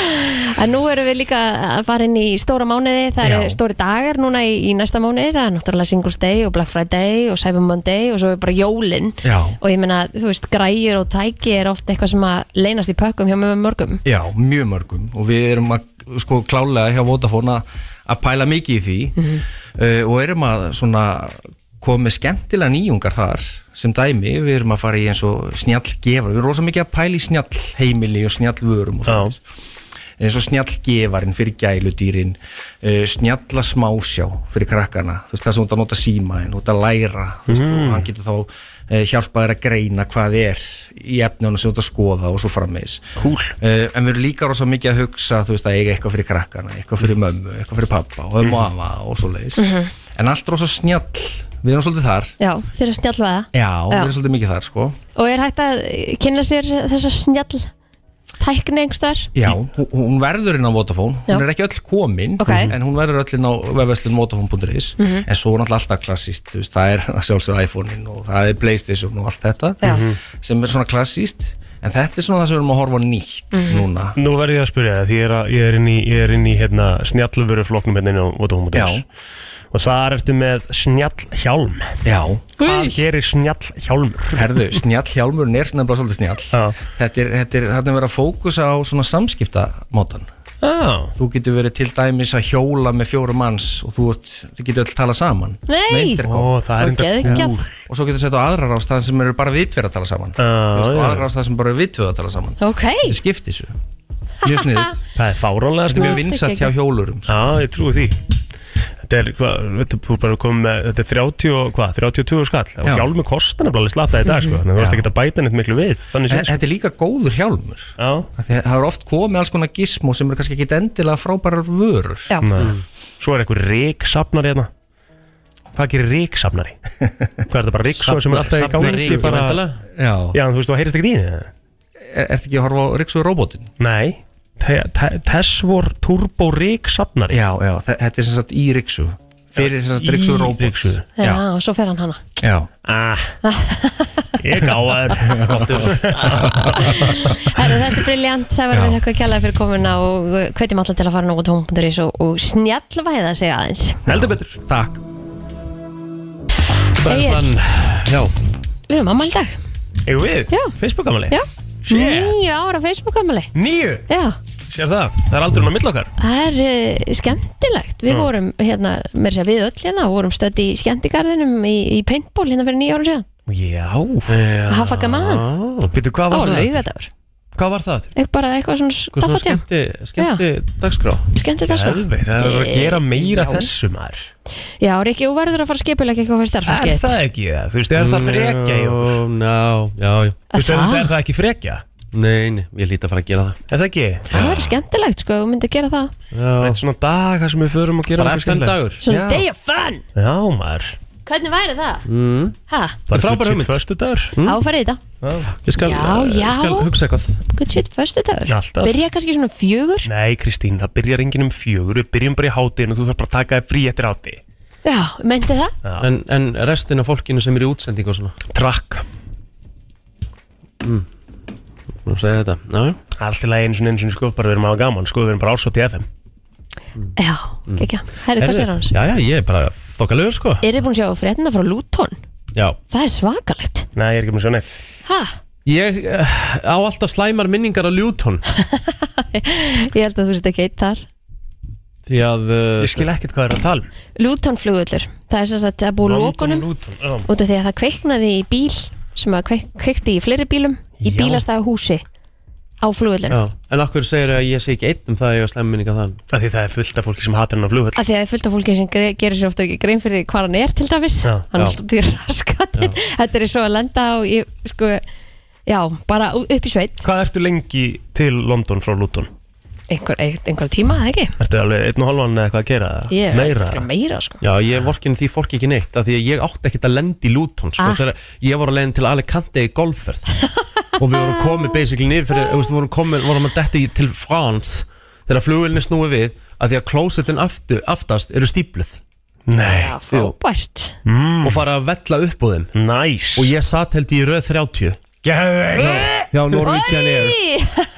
[SPEAKER 2] En nú erum við líka að fara inn í stóra mánuði, það eru
[SPEAKER 3] Já.
[SPEAKER 2] stóri dagar núna í, í næsta mánuði, það er náttúrulega Singles Day og Black Friday og Cyber Monday og svo er bara jólin
[SPEAKER 9] Já.
[SPEAKER 2] og ég meina, þú veist, græjur og tæki er ofta eitthvað sem að leynast í pökkum hjá með mörgum
[SPEAKER 9] Já, mjög mörgum og við erum að sko klálega hjá Vodafone að- að pæla mikið í því uh, og erum að svona koma með skemmtilega nýjungar þar sem dæmi, við erum að fara í eins og snjallgefar, við erum rosa mikið að pæla í snjallheimili og snjallvörum og svona eins og snjallgefarinn fyrir gæludýrin uh, snjalla smásjá fyrir krakkana, þú veist það sem þú ert að nota síma en þú ert að læra, þú veist,
[SPEAKER 13] Mm.
[SPEAKER 9] og hann getur þá uh, hjálpað þér að greina hvað er í efnunum sem þú ert að skoða og svo frammeðis
[SPEAKER 3] cool.
[SPEAKER 9] en við erum líka rosa mikið að hugsa þú veist að eiga eitthvað fyrir krakkana, eitthvað fyrir mömmu eitthvað fyrir pappa og ömmu og afa og svo leiðis
[SPEAKER 2] Mhm.
[SPEAKER 9] en allt rosa snjall, við erum svolítið þar
[SPEAKER 2] Já, þeir eru snjallvæða
[SPEAKER 9] já, við erum svolítið mikið þar sko
[SPEAKER 2] Og er hægt að kynna sér þessa snjall tækni einhverstaðar?
[SPEAKER 9] Já, hún- hún verður inn á Vodafone,
[SPEAKER 2] Já.
[SPEAKER 9] hún er ekki öll komin
[SPEAKER 2] Ok.
[SPEAKER 9] en hún verður öll inn á webveslun vodafone.is
[SPEAKER 2] Mhm.
[SPEAKER 9] en svo er náttúrulega alltaf klassíst þú veist, það er sjálfsögðu iPhone-in og það er Playstation og allt þetta Mhm.
[SPEAKER 2] Já.
[SPEAKER 9] sem er svona klassíst en þetta er svona það sem við erum að horfa á nýtt
[SPEAKER 2] Mhm.
[SPEAKER 9] núna
[SPEAKER 3] Nú verð ég að spyrja það, því ég er, að, ég er inn í, ég er inn í hérna, snjallvörufloknum hérna inn á Vodafone.is Og þar ertu með snjallhjálm
[SPEAKER 9] Já
[SPEAKER 3] Hvað gerir snjallhjálmur?
[SPEAKER 9] Herðu, snjallhjálmurinn er nefnilega svolítið snjall þetta er, þetta er, þetta er verið að fókusa á svona samskiptamótan
[SPEAKER 3] Já.
[SPEAKER 9] Þú getur verið til dæmis að hjóla með fjórum manns og þú ert- þið getur öll tala saman
[SPEAKER 2] Nei.
[SPEAKER 9] Svona intercom.
[SPEAKER 2] Ó, það er Og enda geggjað. kúl.
[SPEAKER 9] Já. Og svo getur þú sett á aðra rástaðan sem eru bara við tveir að tala saman Þú veist, og
[SPEAKER 3] já.
[SPEAKER 9] aðra rástaðan sem bara eru við tveir að tala saman
[SPEAKER 2] Ok,
[SPEAKER 9] Þetta skiptir þessu Mjög sniðið
[SPEAKER 3] Það er fáránlega
[SPEAKER 9] Þetta er mjög vinsælt hjá sko. hjólurum
[SPEAKER 3] Já, ég trúi því Þetta er, hva, þetta, er bara komið með, þetta er 30, og- hvað, 32 skall og
[SPEAKER 9] Já.
[SPEAKER 3] hjálmi kostar nefnilega alveg slatta í dag sko. þannig að þú ert
[SPEAKER 9] Já.
[SPEAKER 3] ekki að bæta neitt miklu við þannig
[SPEAKER 9] En
[SPEAKER 3] séð sko.
[SPEAKER 9] Þetta er líka góður hjálmur Af því að Það er oft komið alls konar gismo sem eru kannski ekki endilega frábærar vörur
[SPEAKER 2] Já.
[SPEAKER 1] Mm.
[SPEAKER 3] Nei. Svo er einhver ríksafnari hérna Hvað gerir ríksafnari? Hvað er þetta bara ríksó sem er alltaf í
[SPEAKER 1] Safnar-
[SPEAKER 3] gangi
[SPEAKER 1] safnar ryki,
[SPEAKER 3] bara...
[SPEAKER 1] væntanlega?
[SPEAKER 9] Já.
[SPEAKER 3] Já, en þú veist, þú heyrist ekki dýni Er
[SPEAKER 9] þetta ekki að horfa á ríksu robotin?
[SPEAKER 3] Nei, Te- te- Tesvor Turbo ríksafnari
[SPEAKER 9] Já, já, þe- þetta er sem sagt í ríksu Fyrir sem sagt ríksu robot
[SPEAKER 2] já, og svo fer hann hana
[SPEAKER 9] Já
[SPEAKER 3] ah, Ég gáðar
[SPEAKER 2] Herru, þetta er briljant, Sævar,
[SPEAKER 3] Já.
[SPEAKER 2] við þakka kjallaði fyrir komuna og uh, hvetjum alla til að fara nú á tónum.is og, og snjallvæða sig aðeins
[SPEAKER 3] Heldur betur
[SPEAKER 9] Takk
[SPEAKER 2] Það er þann-
[SPEAKER 3] Já
[SPEAKER 2] Við erum ammali dag
[SPEAKER 3] Eigum við?
[SPEAKER 2] Já.
[SPEAKER 3] Facebook ammali?
[SPEAKER 2] Já,
[SPEAKER 3] Shit.
[SPEAKER 2] nýja ára Facebook ammali
[SPEAKER 3] Níu?
[SPEAKER 2] Já,
[SPEAKER 3] Sér það, það er aldrei á milli okkar
[SPEAKER 2] það er uh, skemmtilegt Við
[SPEAKER 3] Já.
[SPEAKER 2] vorum, hérna, mér segja við öll hérna vorum stödd í skemmtigarðinum í, í paintball hérna fyrir nýja ára síðan
[SPEAKER 3] Já Já
[SPEAKER 2] Hafa gaman.
[SPEAKER 3] Býtu, hvað var
[SPEAKER 2] Á
[SPEAKER 3] það?
[SPEAKER 2] laugardagur.
[SPEAKER 3] Hvað var það?
[SPEAKER 2] Eitthvað bara eitthvað svona
[SPEAKER 1] Hvað svona
[SPEAKER 2] daffatjam.
[SPEAKER 1] skemmti, skemmti dagskrá
[SPEAKER 2] Skemmti dagskrá.
[SPEAKER 3] Geðveikt, það er að gera meira
[SPEAKER 2] Já.
[SPEAKER 3] þessu maður
[SPEAKER 2] Já, Rikki, þú verður að fara að skipulega eitthvað fyrir starfsfólki
[SPEAKER 3] Er það ekki það? Þú veist, er það frekja í okkur?
[SPEAKER 1] Ná, já, já
[SPEAKER 3] Þú veist, er- er það ekki frekja?
[SPEAKER 1] Nei, nei, ég líti að fara að gera það
[SPEAKER 3] Er það ekki?
[SPEAKER 2] Það væri skemmtilegt, sko, þú myndir gera það
[SPEAKER 1] Það
[SPEAKER 3] er svona dagar sem við förum að gera
[SPEAKER 1] Bara
[SPEAKER 3] nokkuð
[SPEAKER 1] FN
[SPEAKER 3] skemmtilegt.
[SPEAKER 1] dagur
[SPEAKER 2] Svona day of fun
[SPEAKER 3] Já, maður
[SPEAKER 2] Hvernig væri það?
[SPEAKER 1] mm.
[SPEAKER 2] Ha?
[SPEAKER 1] Það er frábæra hugmynd
[SPEAKER 3] Föstu dagur
[SPEAKER 2] Áfarið þetta
[SPEAKER 1] Ég skal,
[SPEAKER 2] Já, já.
[SPEAKER 1] Ég skal hugsa eitthvað
[SPEAKER 2] Good shit, föstu dagur
[SPEAKER 3] Alltaf.
[SPEAKER 2] Byrja kannski svona fjögur
[SPEAKER 3] Nei, Kristín, það byrjar enginn um fjögur Við byrjum bara í hátíðin og þú þarf bara að taka þér frí eftir hátíð
[SPEAKER 2] Já, meinti það?
[SPEAKER 1] en, en restin af fólkinu sem er í útsending og svona
[SPEAKER 3] Trakk
[SPEAKER 1] mm. Nú segja þetta Já, já
[SPEAKER 3] Allt í lagi eins og eins og sko, bara við erum að hafa gaman Sko, við erum bara ársótt í FM
[SPEAKER 2] Já, ekki Herri, hvað
[SPEAKER 1] Heyrðu,
[SPEAKER 2] sér hans?
[SPEAKER 1] Já, já, ég er bara þokkalögur sko
[SPEAKER 2] Er þið búin að sjá fréttina frá Luton?
[SPEAKER 1] Já
[SPEAKER 2] Það er svakalegt
[SPEAKER 3] Nei, ég er ekki með svo neitt
[SPEAKER 2] Ha?
[SPEAKER 1] Ég uh, á alltaf slæmar minningar á Ljúton
[SPEAKER 2] Ég held að þú sett ekki eitt þar
[SPEAKER 1] Því að uh,
[SPEAKER 3] Ég skil ekkert hvað er að tala um
[SPEAKER 2] Luton flugullur Það er sem sagt að búið
[SPEAKER 3] London,
[SPEAKER 2] lókunum
[SPEAKER 3] Luton, já.
[SPEAKER 2] Út af því að það kveiknaði í bíl sem að kveik, kveikti í fleiri bílum í
[SPEAKER 1] Já.
[SPEAKER 2] bílastæða húsi á
[SPEAKER 1] Já,
[SPEAKER 2] flugullunum
[SPEAKER 1] en okkur segir að ég sé ekki einn um það að ég var slem minninga þann
[SPEAKER 3] Því það er fullt af fólki sem hatar hennar flugvöld
[SPEAKER 2] að því að það er fullt af fólki sem gre- gerir sér ofta ekki grein fyrir því hvað hann er til dæmis
[SPEAKER 3] Já.
[SPEAKER 2] hann er
[SPEAKER 3] Já.
[SPEAKER 2] alltaf til raskatinn þetta er svo að lenda á ég, sko, já, bara ú- upp í sveit
[SPEAKER 3] Hvað ertu lengi til London frá Luton?
[SPEAKER 2] einhver, einhver tíma, eða ekki
[SPEAKER 3] Ertu alveg einn og halvan eða eitthvað að gera? eða?
[SPEAKER 2] Ég er
[SPEAKER 3] meira?
[SPEAKER 2] örugglega meira sko
[SPEAKER 1] Já, ég vorkin því fólk ekki neitt af Því að ég átti ekkert að lenda í Ljúton sko,
[SPEAKER 2] Ah.
[SPEAKER 1] Þegar ég var að lenda til Alicante í golfferð Og við vorum komið basically niður fyrir Þú veist, við vorum komið, vorum að detti til France Þegar flugilni snúi við að Því að klósetin aftur, aftast eru stípluð
[SPEAKER 3] Nei
[SPEAKER 2] Frábært
[SPEAKER 1] mm. Og fara að vella upp á þeim
[SPEAKER 3] nice.
[SPEAKER 1] Og ég satt held í röð 30
[SPEAKER 3] Geðveikt.
[SPEAKER 1] Já, Norwegian Air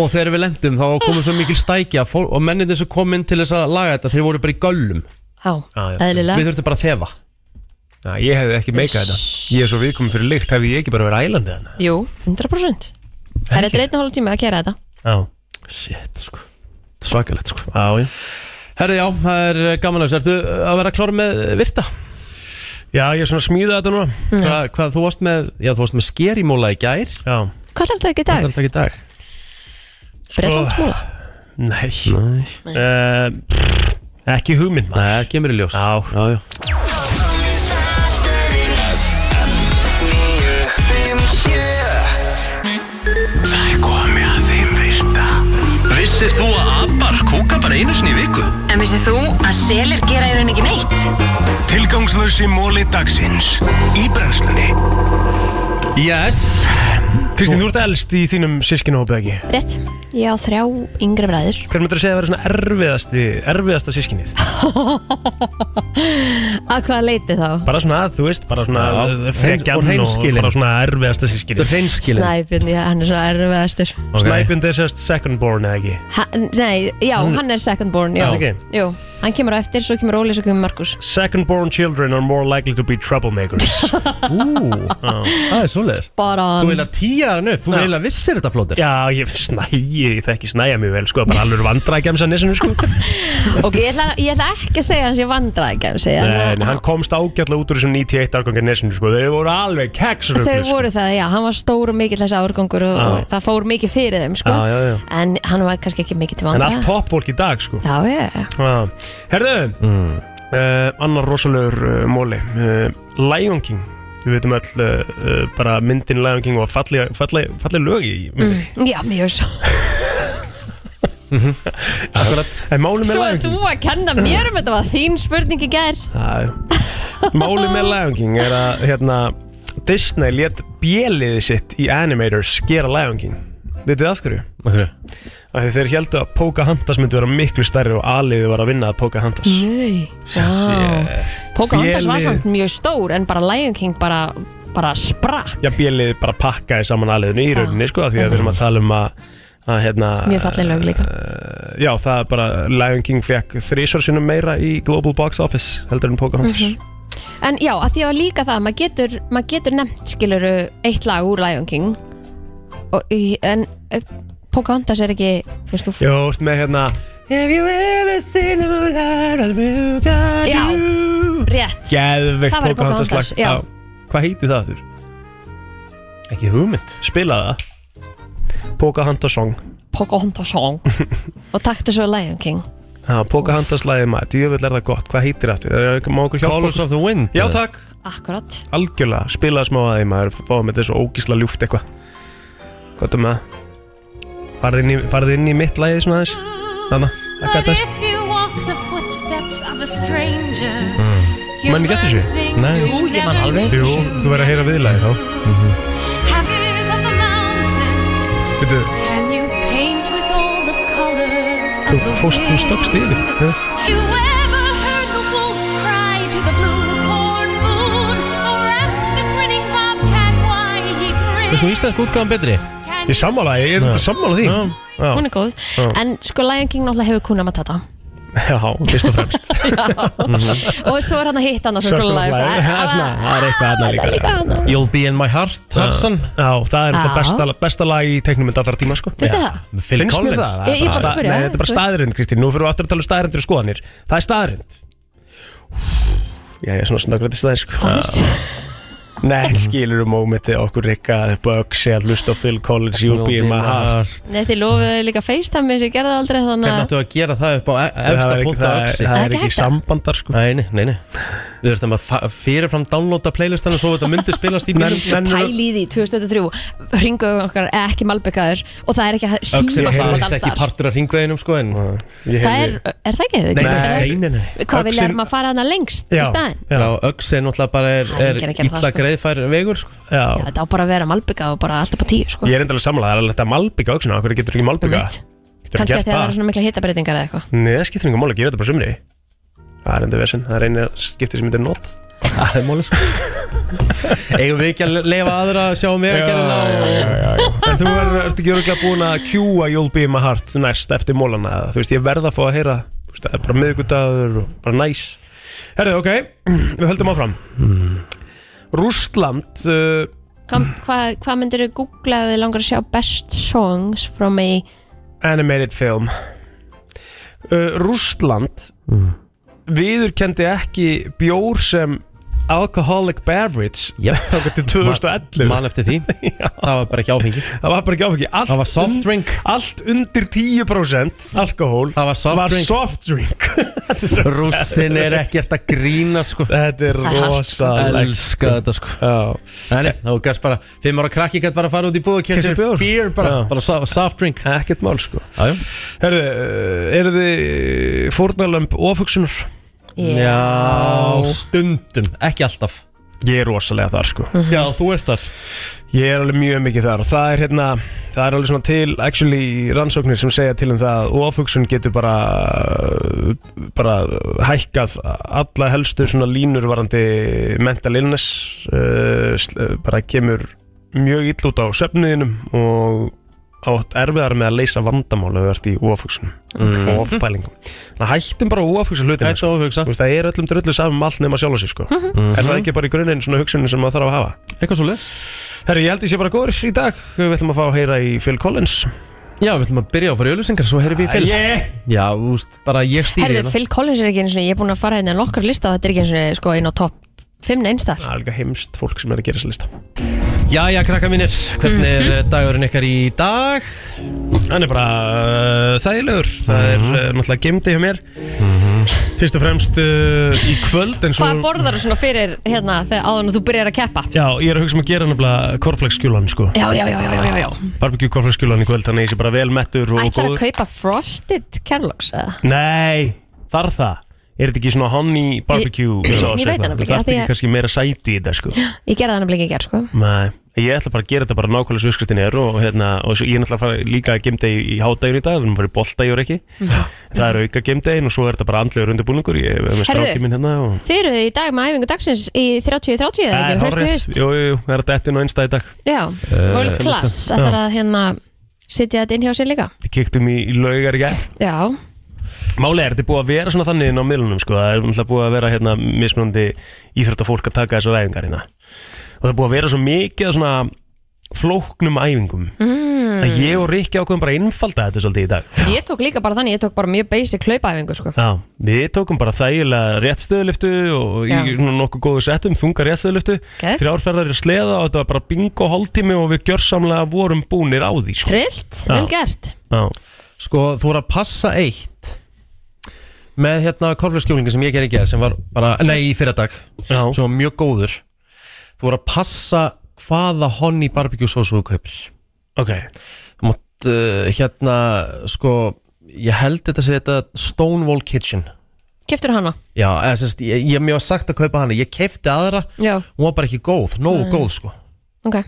[SPEAKER 1] Og þegar við lendum þá komum svo mikil stækja fólk, Og mennindir sem kom inn til þess að laga þetta Þeir voru bara í göllum
[SPEAKER 2] Já, eðlilega
[SPEAKER 1] Við þurftum bara að þefa
[SPEAKER 3] Já, ég hefði ekki meikað þetta Ég er svo viðkominn fyrir lykt, hefði ég ekki bara verið ælandi þannig
[SPEAKER 2] Jú, 100% Það er eitthvað einn og hálf tími að gera þetta
[SPEAKER 3] Já
[SPEAKER 1] Shit, sko Svakalegt, sko
[SPEAKER 3] Já, já
[SPEAKER 1] Herri, já, það er eh, gaman að þessu Ertu að vera klár með virta?
[SPEAKER 3] Já, ég er svona að smíða þetta núna
[SPEAKER 1] Hva, Hvað, þú varst með, já, þú varst með skerimóla í gær
[SPEAKER 3] Já
[SPEAKER 2] Hvað er þetta ekki í dag?
[SPEAKER 1] Það er ekki í dag
[SPEAKER 2] Bretlandsmúla
[SPEAKER 3] Sko- Nei, Nei. Ekki hugmynd maður
[SPEAKER 1] Nei, kemur í ljós
[SPEAKER 3] Já,
[SPEAKER 1] já, já.
[SPEAKER 10] Það er komið að þeim virta Vissir þú að abar kúka bara einu sinni í viku?
[SPEAKER 11] En vissið þú að selir gera í rauninni ekki neitt?
[SPEAKER 10] Tilgangslösi móli dagsins Í brennslunni
[SPEAKER 1] Yes
[SPEAKER 3] Kristín, þú ert elst í þínum sískinahópið ekki
[SPEAKER 2] Rétt, ég á þrjá yngri bræður
[SPEAKER 3] Hver myndir að segja að vera svona erfiðasti, erfiðasta sískinið?
[SPEAKER 2] Að hvaða leiti þá?
[SPEAKER 3] Bara svona, þú veist, bara svona
[SPEAKER 1] Já.
[SPEAKER 3] uh, frekjan
[SPEAKER 1] Og hreinskilin.
[SPEAKER 3] bara svona erfiðasta sískinið
[SPEAKER 1] Þú hreinskilin
[SPEAKER 2] Snæbjörn, já, hann er svo erfiðastur
[SPEAKER 3] okay. Snæbjörn er sérst second born eða ekki
[SPEAKER 2] ha, Nei, já,
[SPEAKER 3] Hann-
[SPEAKER 2] hann er second born, já
[SPEAKER 3] Já, ok.
[SPEAKER 2] Jú, hann kemur á eftir, svo kemur Óli, svo kemur Markus
[SPEAKER 3] Second born children are more likely to be troublemakers Ú,
[SPEAKER 1] það er svoleiðis
[SPEAKER 2] Spot on
[SPEAKER 1] Þú vil að tíja hann upp, þú
[SPEAKER 3] Já.
[SPEAKER 1] vil að vissir þetta plótir
[SPEAKER 3] Já, ég snæ, ég þekki snæja mjög vel, sko, bara alveg vandrækjamsa nesinu, sko
[SPEAKER 2] Ok, ég ætla, ég ætla ekki að segja hans ég vandra ekki að segja
[SPEAKER 3] Nei, nei, hann komst ágætlega út úr þessum 91 árgangar nesinu, sko, þeir voru alveg sko. keksruglu,
[SPEAKER 2] Þau voru það, já, hann var stór og mikill þessi árgangur og,
[SPEAKER 3] Já.
[SPEAKER 2] og það fór mikið fyrir þeim, sko
[SPEAKER 3] Já, já, já.
[SPEAKER 2] En hann var kannski ekki mikið til
[SPEAKER 3] En
[SPEAKER 2] vandra
[SPEAKER 3] allt toppfólk í dag, sko
[SPEAKER 2] Já, já,
[SPEAKER 3] Já. Herðu uh, Annar rosalegur uh, móli uh, Lion King Við veitum öll uh, uh, bara myndin Lion King og fallega, fallega, fallega lög í myndin
[SPEAKER 2] mm, já, mjög svo
[SPEAKER 1] Akkurat
[SPEAKER 3] En málið með
[SPEAKER 2] Svo
[SPEAKER 3] Lion
[SPEAKER 2] að þú
[SPEAKER 3] King
[SPEAKER 2] að kenna mér um þetta var þín spurning í gær
[SPEAKER 3] Já. Málið með Lion King er að hérna, Disney létt bjeliði sitt í Animators gera Lion King Vitið þið af hverju?
[SPEAKER 1] Okay.
[SPEAKER 3] Af því þeir heldu að Pocahontas myndi vera miklu stærri og aliði var að vinna að Pocahontas
[SPEAKER 2] Nei Já Pocahontas var samt mjög stór en bara Lion King bara, bara sprakk
[SPEAKER 3] Já, bjelið bara pakkaði saman aðliðinu í rauninni, sko, af því að við erum að tala um að, að hérna,
[SPEAKER 2] Mjög falleg lög líka
[SPEAKER 3] eh, já, það er bara Lion King fekk þrísvar sinnum meira í Global Box Office, heldur en Pocahontas
[SPEAKER 2] Mhm. En já, að því að líka það maður getur, mað getur nefnt skiluru eitt lag úr Lion King og, í- en eh, Pocahontas er ekki þú veist þú
[SPEAKER 3] Jó, ert með hérna Have you ever seen the moonlight on the
[SPEAKER 2] Já, rétt
[SPEAKER 3] Geðvegt
[SPEAKER 2] Það var í
[SPEAKER 3] Pocahontas
[SPEAKER 2] Pocahontas,
[SPEAKER 3] lag
[SPEAKER 2] já.
[SPEAKER 3] Hvað heiti það þurr?
[SPEAKER 1] Ekki hugmynd
[SPEAKER 3] Spilaði það Pocahontas song
[SPEAKER 2] Pocahontas song og taktu svo Lion King
[SPEAKER 3] Já, Pocahontas lagið maður, djöfull er það gott, hvað heitir aftur? það aftur? Má okkur hjálpa
[SPEAKER 1] Colors of the Wind
[SPEAKER 3] Já, takk
[SPEAKER 2] Akkurat
[SPEAKER 3] algjörlega spilaði smá að því maður fáið með þessu ógísla ljúft eitthvað gott um það farði inn, í- farið inn í mitt lagið svona aðeins þannig, ekki að
[SPEAKER 14] But
[SPEAKER 3] þess
[SPEAKER 14] if you walk the footsteps of a stranger you
[SPEAKER 3] Menn ekki eftir
[SPEAKER 14] learn
[SPEAKER 3] Mm. þessu?
[SPEAKER 14] things you never knew.
[SPEAKER 3] Jú, þú verður að heyra viðlagið þá Mhm.
[SPEAKER 14] Habits of the mountain
[SPEAKER 3] Veitu,
[SPEAKER 14] Can you paint with all the colors of
[SPEAKER 3] þú
[SPEAKER 14] the
[SPEAKER 3] fórst, þú
[SPEAKER 14] wind?
[SPEAKER 3] stökkst yfir Já.
[SPEAKER 14] You ever heard the wolf cry to the blue corn moon or ask the grinning bobcat why he grins?
[SPEAKER 1] Veist nú íslensk útgáðan betri?
[SPEAKER 3] Ég sammála, ég er þetta sammála því Já,
[SPEAKER 2] hún er góð
[SPEAKER 3] Já.
[SPEAKER 2] en sko Lion King náttúrulega hefur kuna matata
[SPEAKER 3] já fyrst og fremst
[SPEAKER 2] og svo er hann að hitta hann að Circle of Life
[SPEAKER 3] Life.
[SPEAKER 2] Æ,
[SPEAKER 3] Það er svona- það er eitthvað
[SPEAKER 2] það
[SPEAKER 3] annað
[SPEAKER 2] er líka
[SPEAKER 3] líka
[SPEAKER 2] annað.
[SPEAKER 1] You'll be in my heart, uh, Tarzan
[SPEAKER 3] Já, það er það
[SPEAKER 2] Já.
[SPEAKER 3] besta, besta lag í teiknumynd allra tíma sko.
[SPEAKER 2] Finnst þér það?
[SPEAKER 1] Phil
[SPEAKER 3] Finnst mér
[SPEAKER 1] Collins.
[SPEAKER 3] það?
[SPEAKER 2] Ég- ég bara
[SPEAKER 3] sta-
[SPEAKER 2] spurði,
[SPEAKER 3] Nei, þetta er bara
[SPEAKER 2] þú veist.
[SPEAKER 3] staðrind Kristín, nú fyrir við aftur að tala um staðrindir og skoðanir Það er staðrind Já, ég er svona svona grætið staðir sko Já. Nei, skilur um ómyndi okkur rikka Böksi að hlusta á Phil Collins You'll be in my heart
[SPEAKER 2] Nei, þið lofuðu líka FaceTime sem ég gerði það aldrei þannig
[SPEAKER 1] Hvernig
[SPEAKER 2] að
[SPEAKER 1] ættu að gera það upp á e- efsta
[SPEAKER 3] er ekki-
[SPEAKER 1] punta
[SPEAKER 3] það er-
[SPEAKER 1] öksi?
[SPEAKER 3] það er ekki Ekki hægt að- sambandar sko
[SPEAKER 1] Nei, nei, nei, nei. Við þurfum að fa- fyrirfram downloada playlistana svo þetta myndi spilast í bílum
[SPEAKER 2] pæli í því 2023 ringu okkar eða ekki malbyggaður og það er ekki að
[SPEAKER 1] Öksi
[SPEAKER 2] síma
[SPEAKER 1] er
[SPEAKER 2] saman
[SPEAKER 1] helst ekki
[SPEAKER 2] allstar
[SPEAKER 1] partur af ringveginum sko en
[SPEAKER 2] Það er, er það ekki? Eh,
[SPEAKER 1] Nei, nei, nei, nei, nei.
[SPEAKER 2] Hvað vilja
[SPEAKER 1] Öxin-
[SPEAKER 2] erum að fara hana lengst í staðin?
[SPEAKER 1] Já, öksi er náttúrulega bara er,
[SPEAKER 2] Það er
[SPEAKER 1] er
[SPEAKER 2] enginn að gera það,
[SPEAKER 1] illa
[SPEAKER 2] sko.
[SPEAKER 1] greiðfær vegur sko
[SPEAKER 3] Já,
[SPEAKER 2] Þetta á bara að vera malbyggað og bara alltaf på tíu sko.
[SPEAKER 3] ég er endalega samlega Það er alveg hægt að malbygga öksuna Hvernig getur ekki malbygga?
[SPEAKER 2] Einmitt. Kannski að því að það eru svona mikla hitabreitingar eða eitthvað
[SPEAKER 3] Nei, það skiptir engum máli, ég veit það bara sumri Það er enda vesinn, það er eini skipti sem ég myndi að nota Það er mólið
[SPEAKER 1] sko. Eigum við ekki að leifa aðra að sjá um vegagerðina og-
[SPEAKER 3] En þú er, ert ekki örgulega búin að kjúa You'll Be My Heart næst eftir mólana eða Þú veist, ég verð að fá að heyra þú veist, Það er bara miðgudagur og bara næs Herðu, ok, við höldum áfram
[SPEAKER 1] Hmm.
[SPEAKER 3] Rússland uh,
[SPEAKER 2] Hvað hva, hva myndir þú googla ef þið langar að sjá best songs from a
[SPEAKER 3] Animated film uh, Rússland
[SPEAKER 1] Hmm.
[SPEAKER 3] viðurkendi ekki bjór sem alcoholic beverage
[SPEAKER 1] yep.
[SPEAKER 3] þá til 2011
[SPEAKER 1] Man eftir því Það var bara ekki áfengi
[SPEAKER 3] Það var bara ekki áfengi allt
[SPEAKER 1] Það var soft drink
[SPEAKER 3] Allt undir 10% alkohól
[SPEAKER 1] Það var soft
[SPEAKER 3] var
[SPEAKER 1] drink
[SPEAKER 3] soft drink Þetta er svo-
[SPEAKER 1] Rússin er ekkert að grína sko
[SPEAKER 3] Þetta er
[SPEAKER 1] Það er hart, sko.
[SPEAKER 3] rosalegt,
[SPEAKER 1] Elska þetta sko Þannig, þá gæst bara Fimm ára krakki gæst bara að fara út í búð og kemst
[SPEAKER 3] Keypti sér
[SPEAKER 1] sér
[SPEAKER 3] bjór.
[SPEAKER 1] Beer bara,
[SPEAKER 3] Já.
[SPEAKER 1] bara so- soft drink
[SPEAKER 3] Ekkert mál sko
[SPEAKER 1] Jájá
[SPEAKER 3] Herðu, uh, eru þið uh, fórnarlömb ofugsunar?
[SPEAKER 1] Já. Já, stundum, ekki alltaf
[SPEAKER 3] Ég er rosalega þar sko
[SPEAKER 1] Já, þú ert þar
[SPEAKER 3] Ég er alveg mjög mikið þar og það er hérna það er alveg svona til actually rannsóknir sem segja til um það að ofugsun getur bara bara hækkað alla helstu svona línur varandi mental illness uh, sl- bara kemur mjög ill út á söfniðinum og átt erfiðar með að leysa vandamál ef þú ert í ofugsunum
[SPEAKER 1] Ok.
[SPEAKER 3] og ofpælingum Þannig að hættum bara að ofugsa hlutina
[SPEAKER 1] Hættu að ofhugsa
[SPEAKER 3] Það er öllum drullu saman um allt nema sjálf sig sko.
[SPEAKER 1] Mhm.
[SPEAKER 3] Er það ekki bara í grunninn svona hugsunin sem maður þarf að hafa?
[SPEAKER 1] Eitthvað svo les
[SPEAKER 3] Herri, ég held ég sé bara góður í dag Við ætlum að fá að heyra í Phil Collins
[SPEAKER 1] Já, við ætlum að byrja á að fara í auðlýsingar Svo heyrðum við í fylg
[SPEAKER 3] Yeah.
[SPEAKER 1] Já, þú veist, bara ég stýri
[SPEAKER 2] Herðu,
[SPEAKER 1] hérna.
[SPEAKER 2] Phil Collins er ekki eins og ég er búin að fara hérna nokkar lista og þetta er ekki eins og sko inn á topp 5 neinstar
[SPEAKER 3] Það er líka heimst fólk sem er að gera þessa lista
[SPEAKER 1] Jæja, krakka mínir, hvernig er eh, dagurinn ykkar í dag?
[SPEAKER 3] Hann er bara uh, þægilegur Það er uh, náttúrulega gemdi hjá mér Fyrst og fremst uh, í kvöld en svo,
[SPEAKER 2] Hvað borðar þú svona fyrir hérna þegar áður en þú byrjar að keppa?
[SPEAKER 3] Já, ég er að hugsa um að gera nefnilega korflæksskjúlan sko.
[SPEAKER 2] Já, já, já, já, já, já.
[SPEAKER 3] Barbecue korflæksskjúlan í kvöld Þannig að ég sé bara vel mettur og
[SPEAKER 2] Ætlar
[SPEAKER 3] góður
[SPEAKER 2] að kaupa Frosted Kellogg's eða?
[SPEAKER 3] Nei, þarf það Er þetta ekki svona honey barbecue
[SPEAKER 2] Ég-
[SPEAKER 3] sauce
[SPEAKER 2] ég veit
[SPEAKER 3] eitthvað?
[SPEAKER 2] það nefnilega ekki,
[SPEAKER 3] Það
[SPEAKER 2] af því
[SPEAKER 3] er
[SPEAKER 2] að-
[SPEAKER 3] ekki kannski meira sæti í þetta sko
[SPEAKER 2] Ég gerði þannig blikið í gerð sko
[SPEAKER 3] Nei, ég ætla bara að gera þetta bara nákvæmlega svo skristin er og, hérna, og svo, ég er náttúrulega að fara líka að gemda í, í hádægur í dag, við erum bara í boltægur ekki
[SPEAKER 2] Mhm.
[SPEAKER 3] það er auka gemdægin og svo er þetta bara andlegur undirbúningur, ég er með
[SPEAKER 2] Herðu.
[SPEAKER 3] strákiminn hérna og
[SPEAKER 2] Þið eru í dag með æfingu dagsins í 30-30 eða
[SPEAKER 3] Nei,
[SPEAKER 2] ekki, hraust í
[SPEAKER 3] hárrétt.
[SPEAKER 2] haust
[SPEAKER 3] Jú, jú, jú, það er þetta inn á einstæði dag
[SPEAKER 2] Já,
[SPEAKER 3] Eh,
[SPEAKER 2] world class
[SPEAKER 3] Já.
[SPEAKER 2] ætlar að hérna sitja þetta inn hjá sér líka
[SPEAKER 3] Við kiktum í, í laugar í gær
[SPEAKER 2] Já,
[SPEAKER 3] Máli er, þetta er búið að vera svona þannig inn á miðlunum sko. það er náttúrulega búið að vera hérna, mismunandi íþróttafólk að taka þessar æfingar hérna. og það er búið að vera svo mikið af svona flóknum æfingum
[SPEAKER 2] Mm.
[SPEAKER 3] að ég og Rikki ákveðum bara að einfalda þetta svolítið í dag
[SPEAKER 2] ég tók líka bara þannig, ég tók bara mjög basic hlaupæfingu sko
[SPEAKER 3] Já, við tókum bara þægilega réttstöðuliftu og í
[SPEAKER 2] Já.
[SPEAKER 3] svona nokkuð góðu settum, þunga réttstöðuliftu
[SPEAKER 2] Gett.
[SPEAKER 3] þrjárferðar í sleða og þetta var bara bingo hálftími og við gjörsamlega vorum búnir á því sko.
[SPEAKER 2] Trillt, vel gert
[SPEAKER 3] Já.
[SPEAKER 1] Sko, þú voru að passa eitt með hérna korflöskjólingin sem ég gerði í gerð sem var bara, nei, í fyrradag
[SPEAKER 3] Já.
[SPEAKER 1] sem var mjög góður Þú voru að passa hvaða honni barbecue sósu þú kaupir
[SPEAKER 3] Ok
[SPEAKER 1] Þú mátt, uh, hérna, sko ég held þetta sér þetta Stonewall Kitchen
[SPEAKER 2] Keftur hana?
[SPEAKER 1] Já, eða sérst, ég, ég, mér var sagt að kaupa hana ég keipti aðra,
[SPEAKER 2] Já,
[SPEAKER 1] hún var bara ekki góð nógu
[SPEAKER 2] Nei.
[SPEAKER 1] góð, sko
[SPEAKER 2] ok,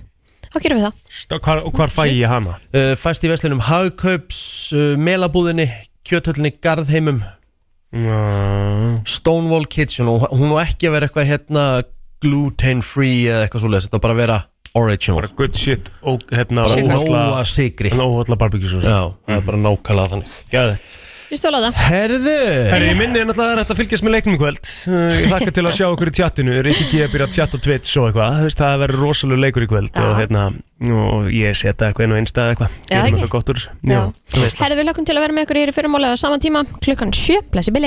[SPEAKER 2] þá gerum við það
[SPEAKER 3] Og hvar, og hvar fæ ég hana?
[SPEAKER 1] uh, Fæst í veslinum Hagkaups, uh, Melabúðinni, Kjöthöllinni, Garðheimum
[SPEAKER 3] mm.
[SPEAKER 1] Stonewall Kitchen og hún á ekki að vera eitthvað hérna gluten free eða eitthvað svoleiðis, þetta á bara að vera original Bara
[SPEAKER 3] good shit og hérna
[SPEAKER 1] Bara
[SPEAKER 3] Sugar.
[SPEAKER 1] nóa sigri
[SPEAKER 3] Nóa barbecue sósu
[SPEAKER 1] Já, það er bara nákvæmlega þannig
[SPEAKER 3] Gæðið
[SPEAKER 2] Ég stóla það
[SPEAKER 1] Herðu
[SPEAKER 3] Herri, ég minni náttúrulega að það er hægt að fylgjast með leiknum í kvöld Uh, Ég þakka til að sjá okkur í tjattinu Rikki G. byrja að tjatta Twitch og eitthvað Þú veist, Það verður rosalega leikur í kvöld og, hérna, og ég setja eitthvað inn á einstað eitthvað
[SPEAKER 2] Já,
[SPEAKER 3] Ég er
[SPEAKER 2] ekki?
[SPEAKER 3] með það gott úr þessu.
[SPEAKER 2] Já.
[SPEAKER 3] Jú, þú veist það.
[SPEAKER 2] Herðu við lökum til að vera með ykkur hér í fyrirmálega á sama tíma klukkan 7, blessi Billy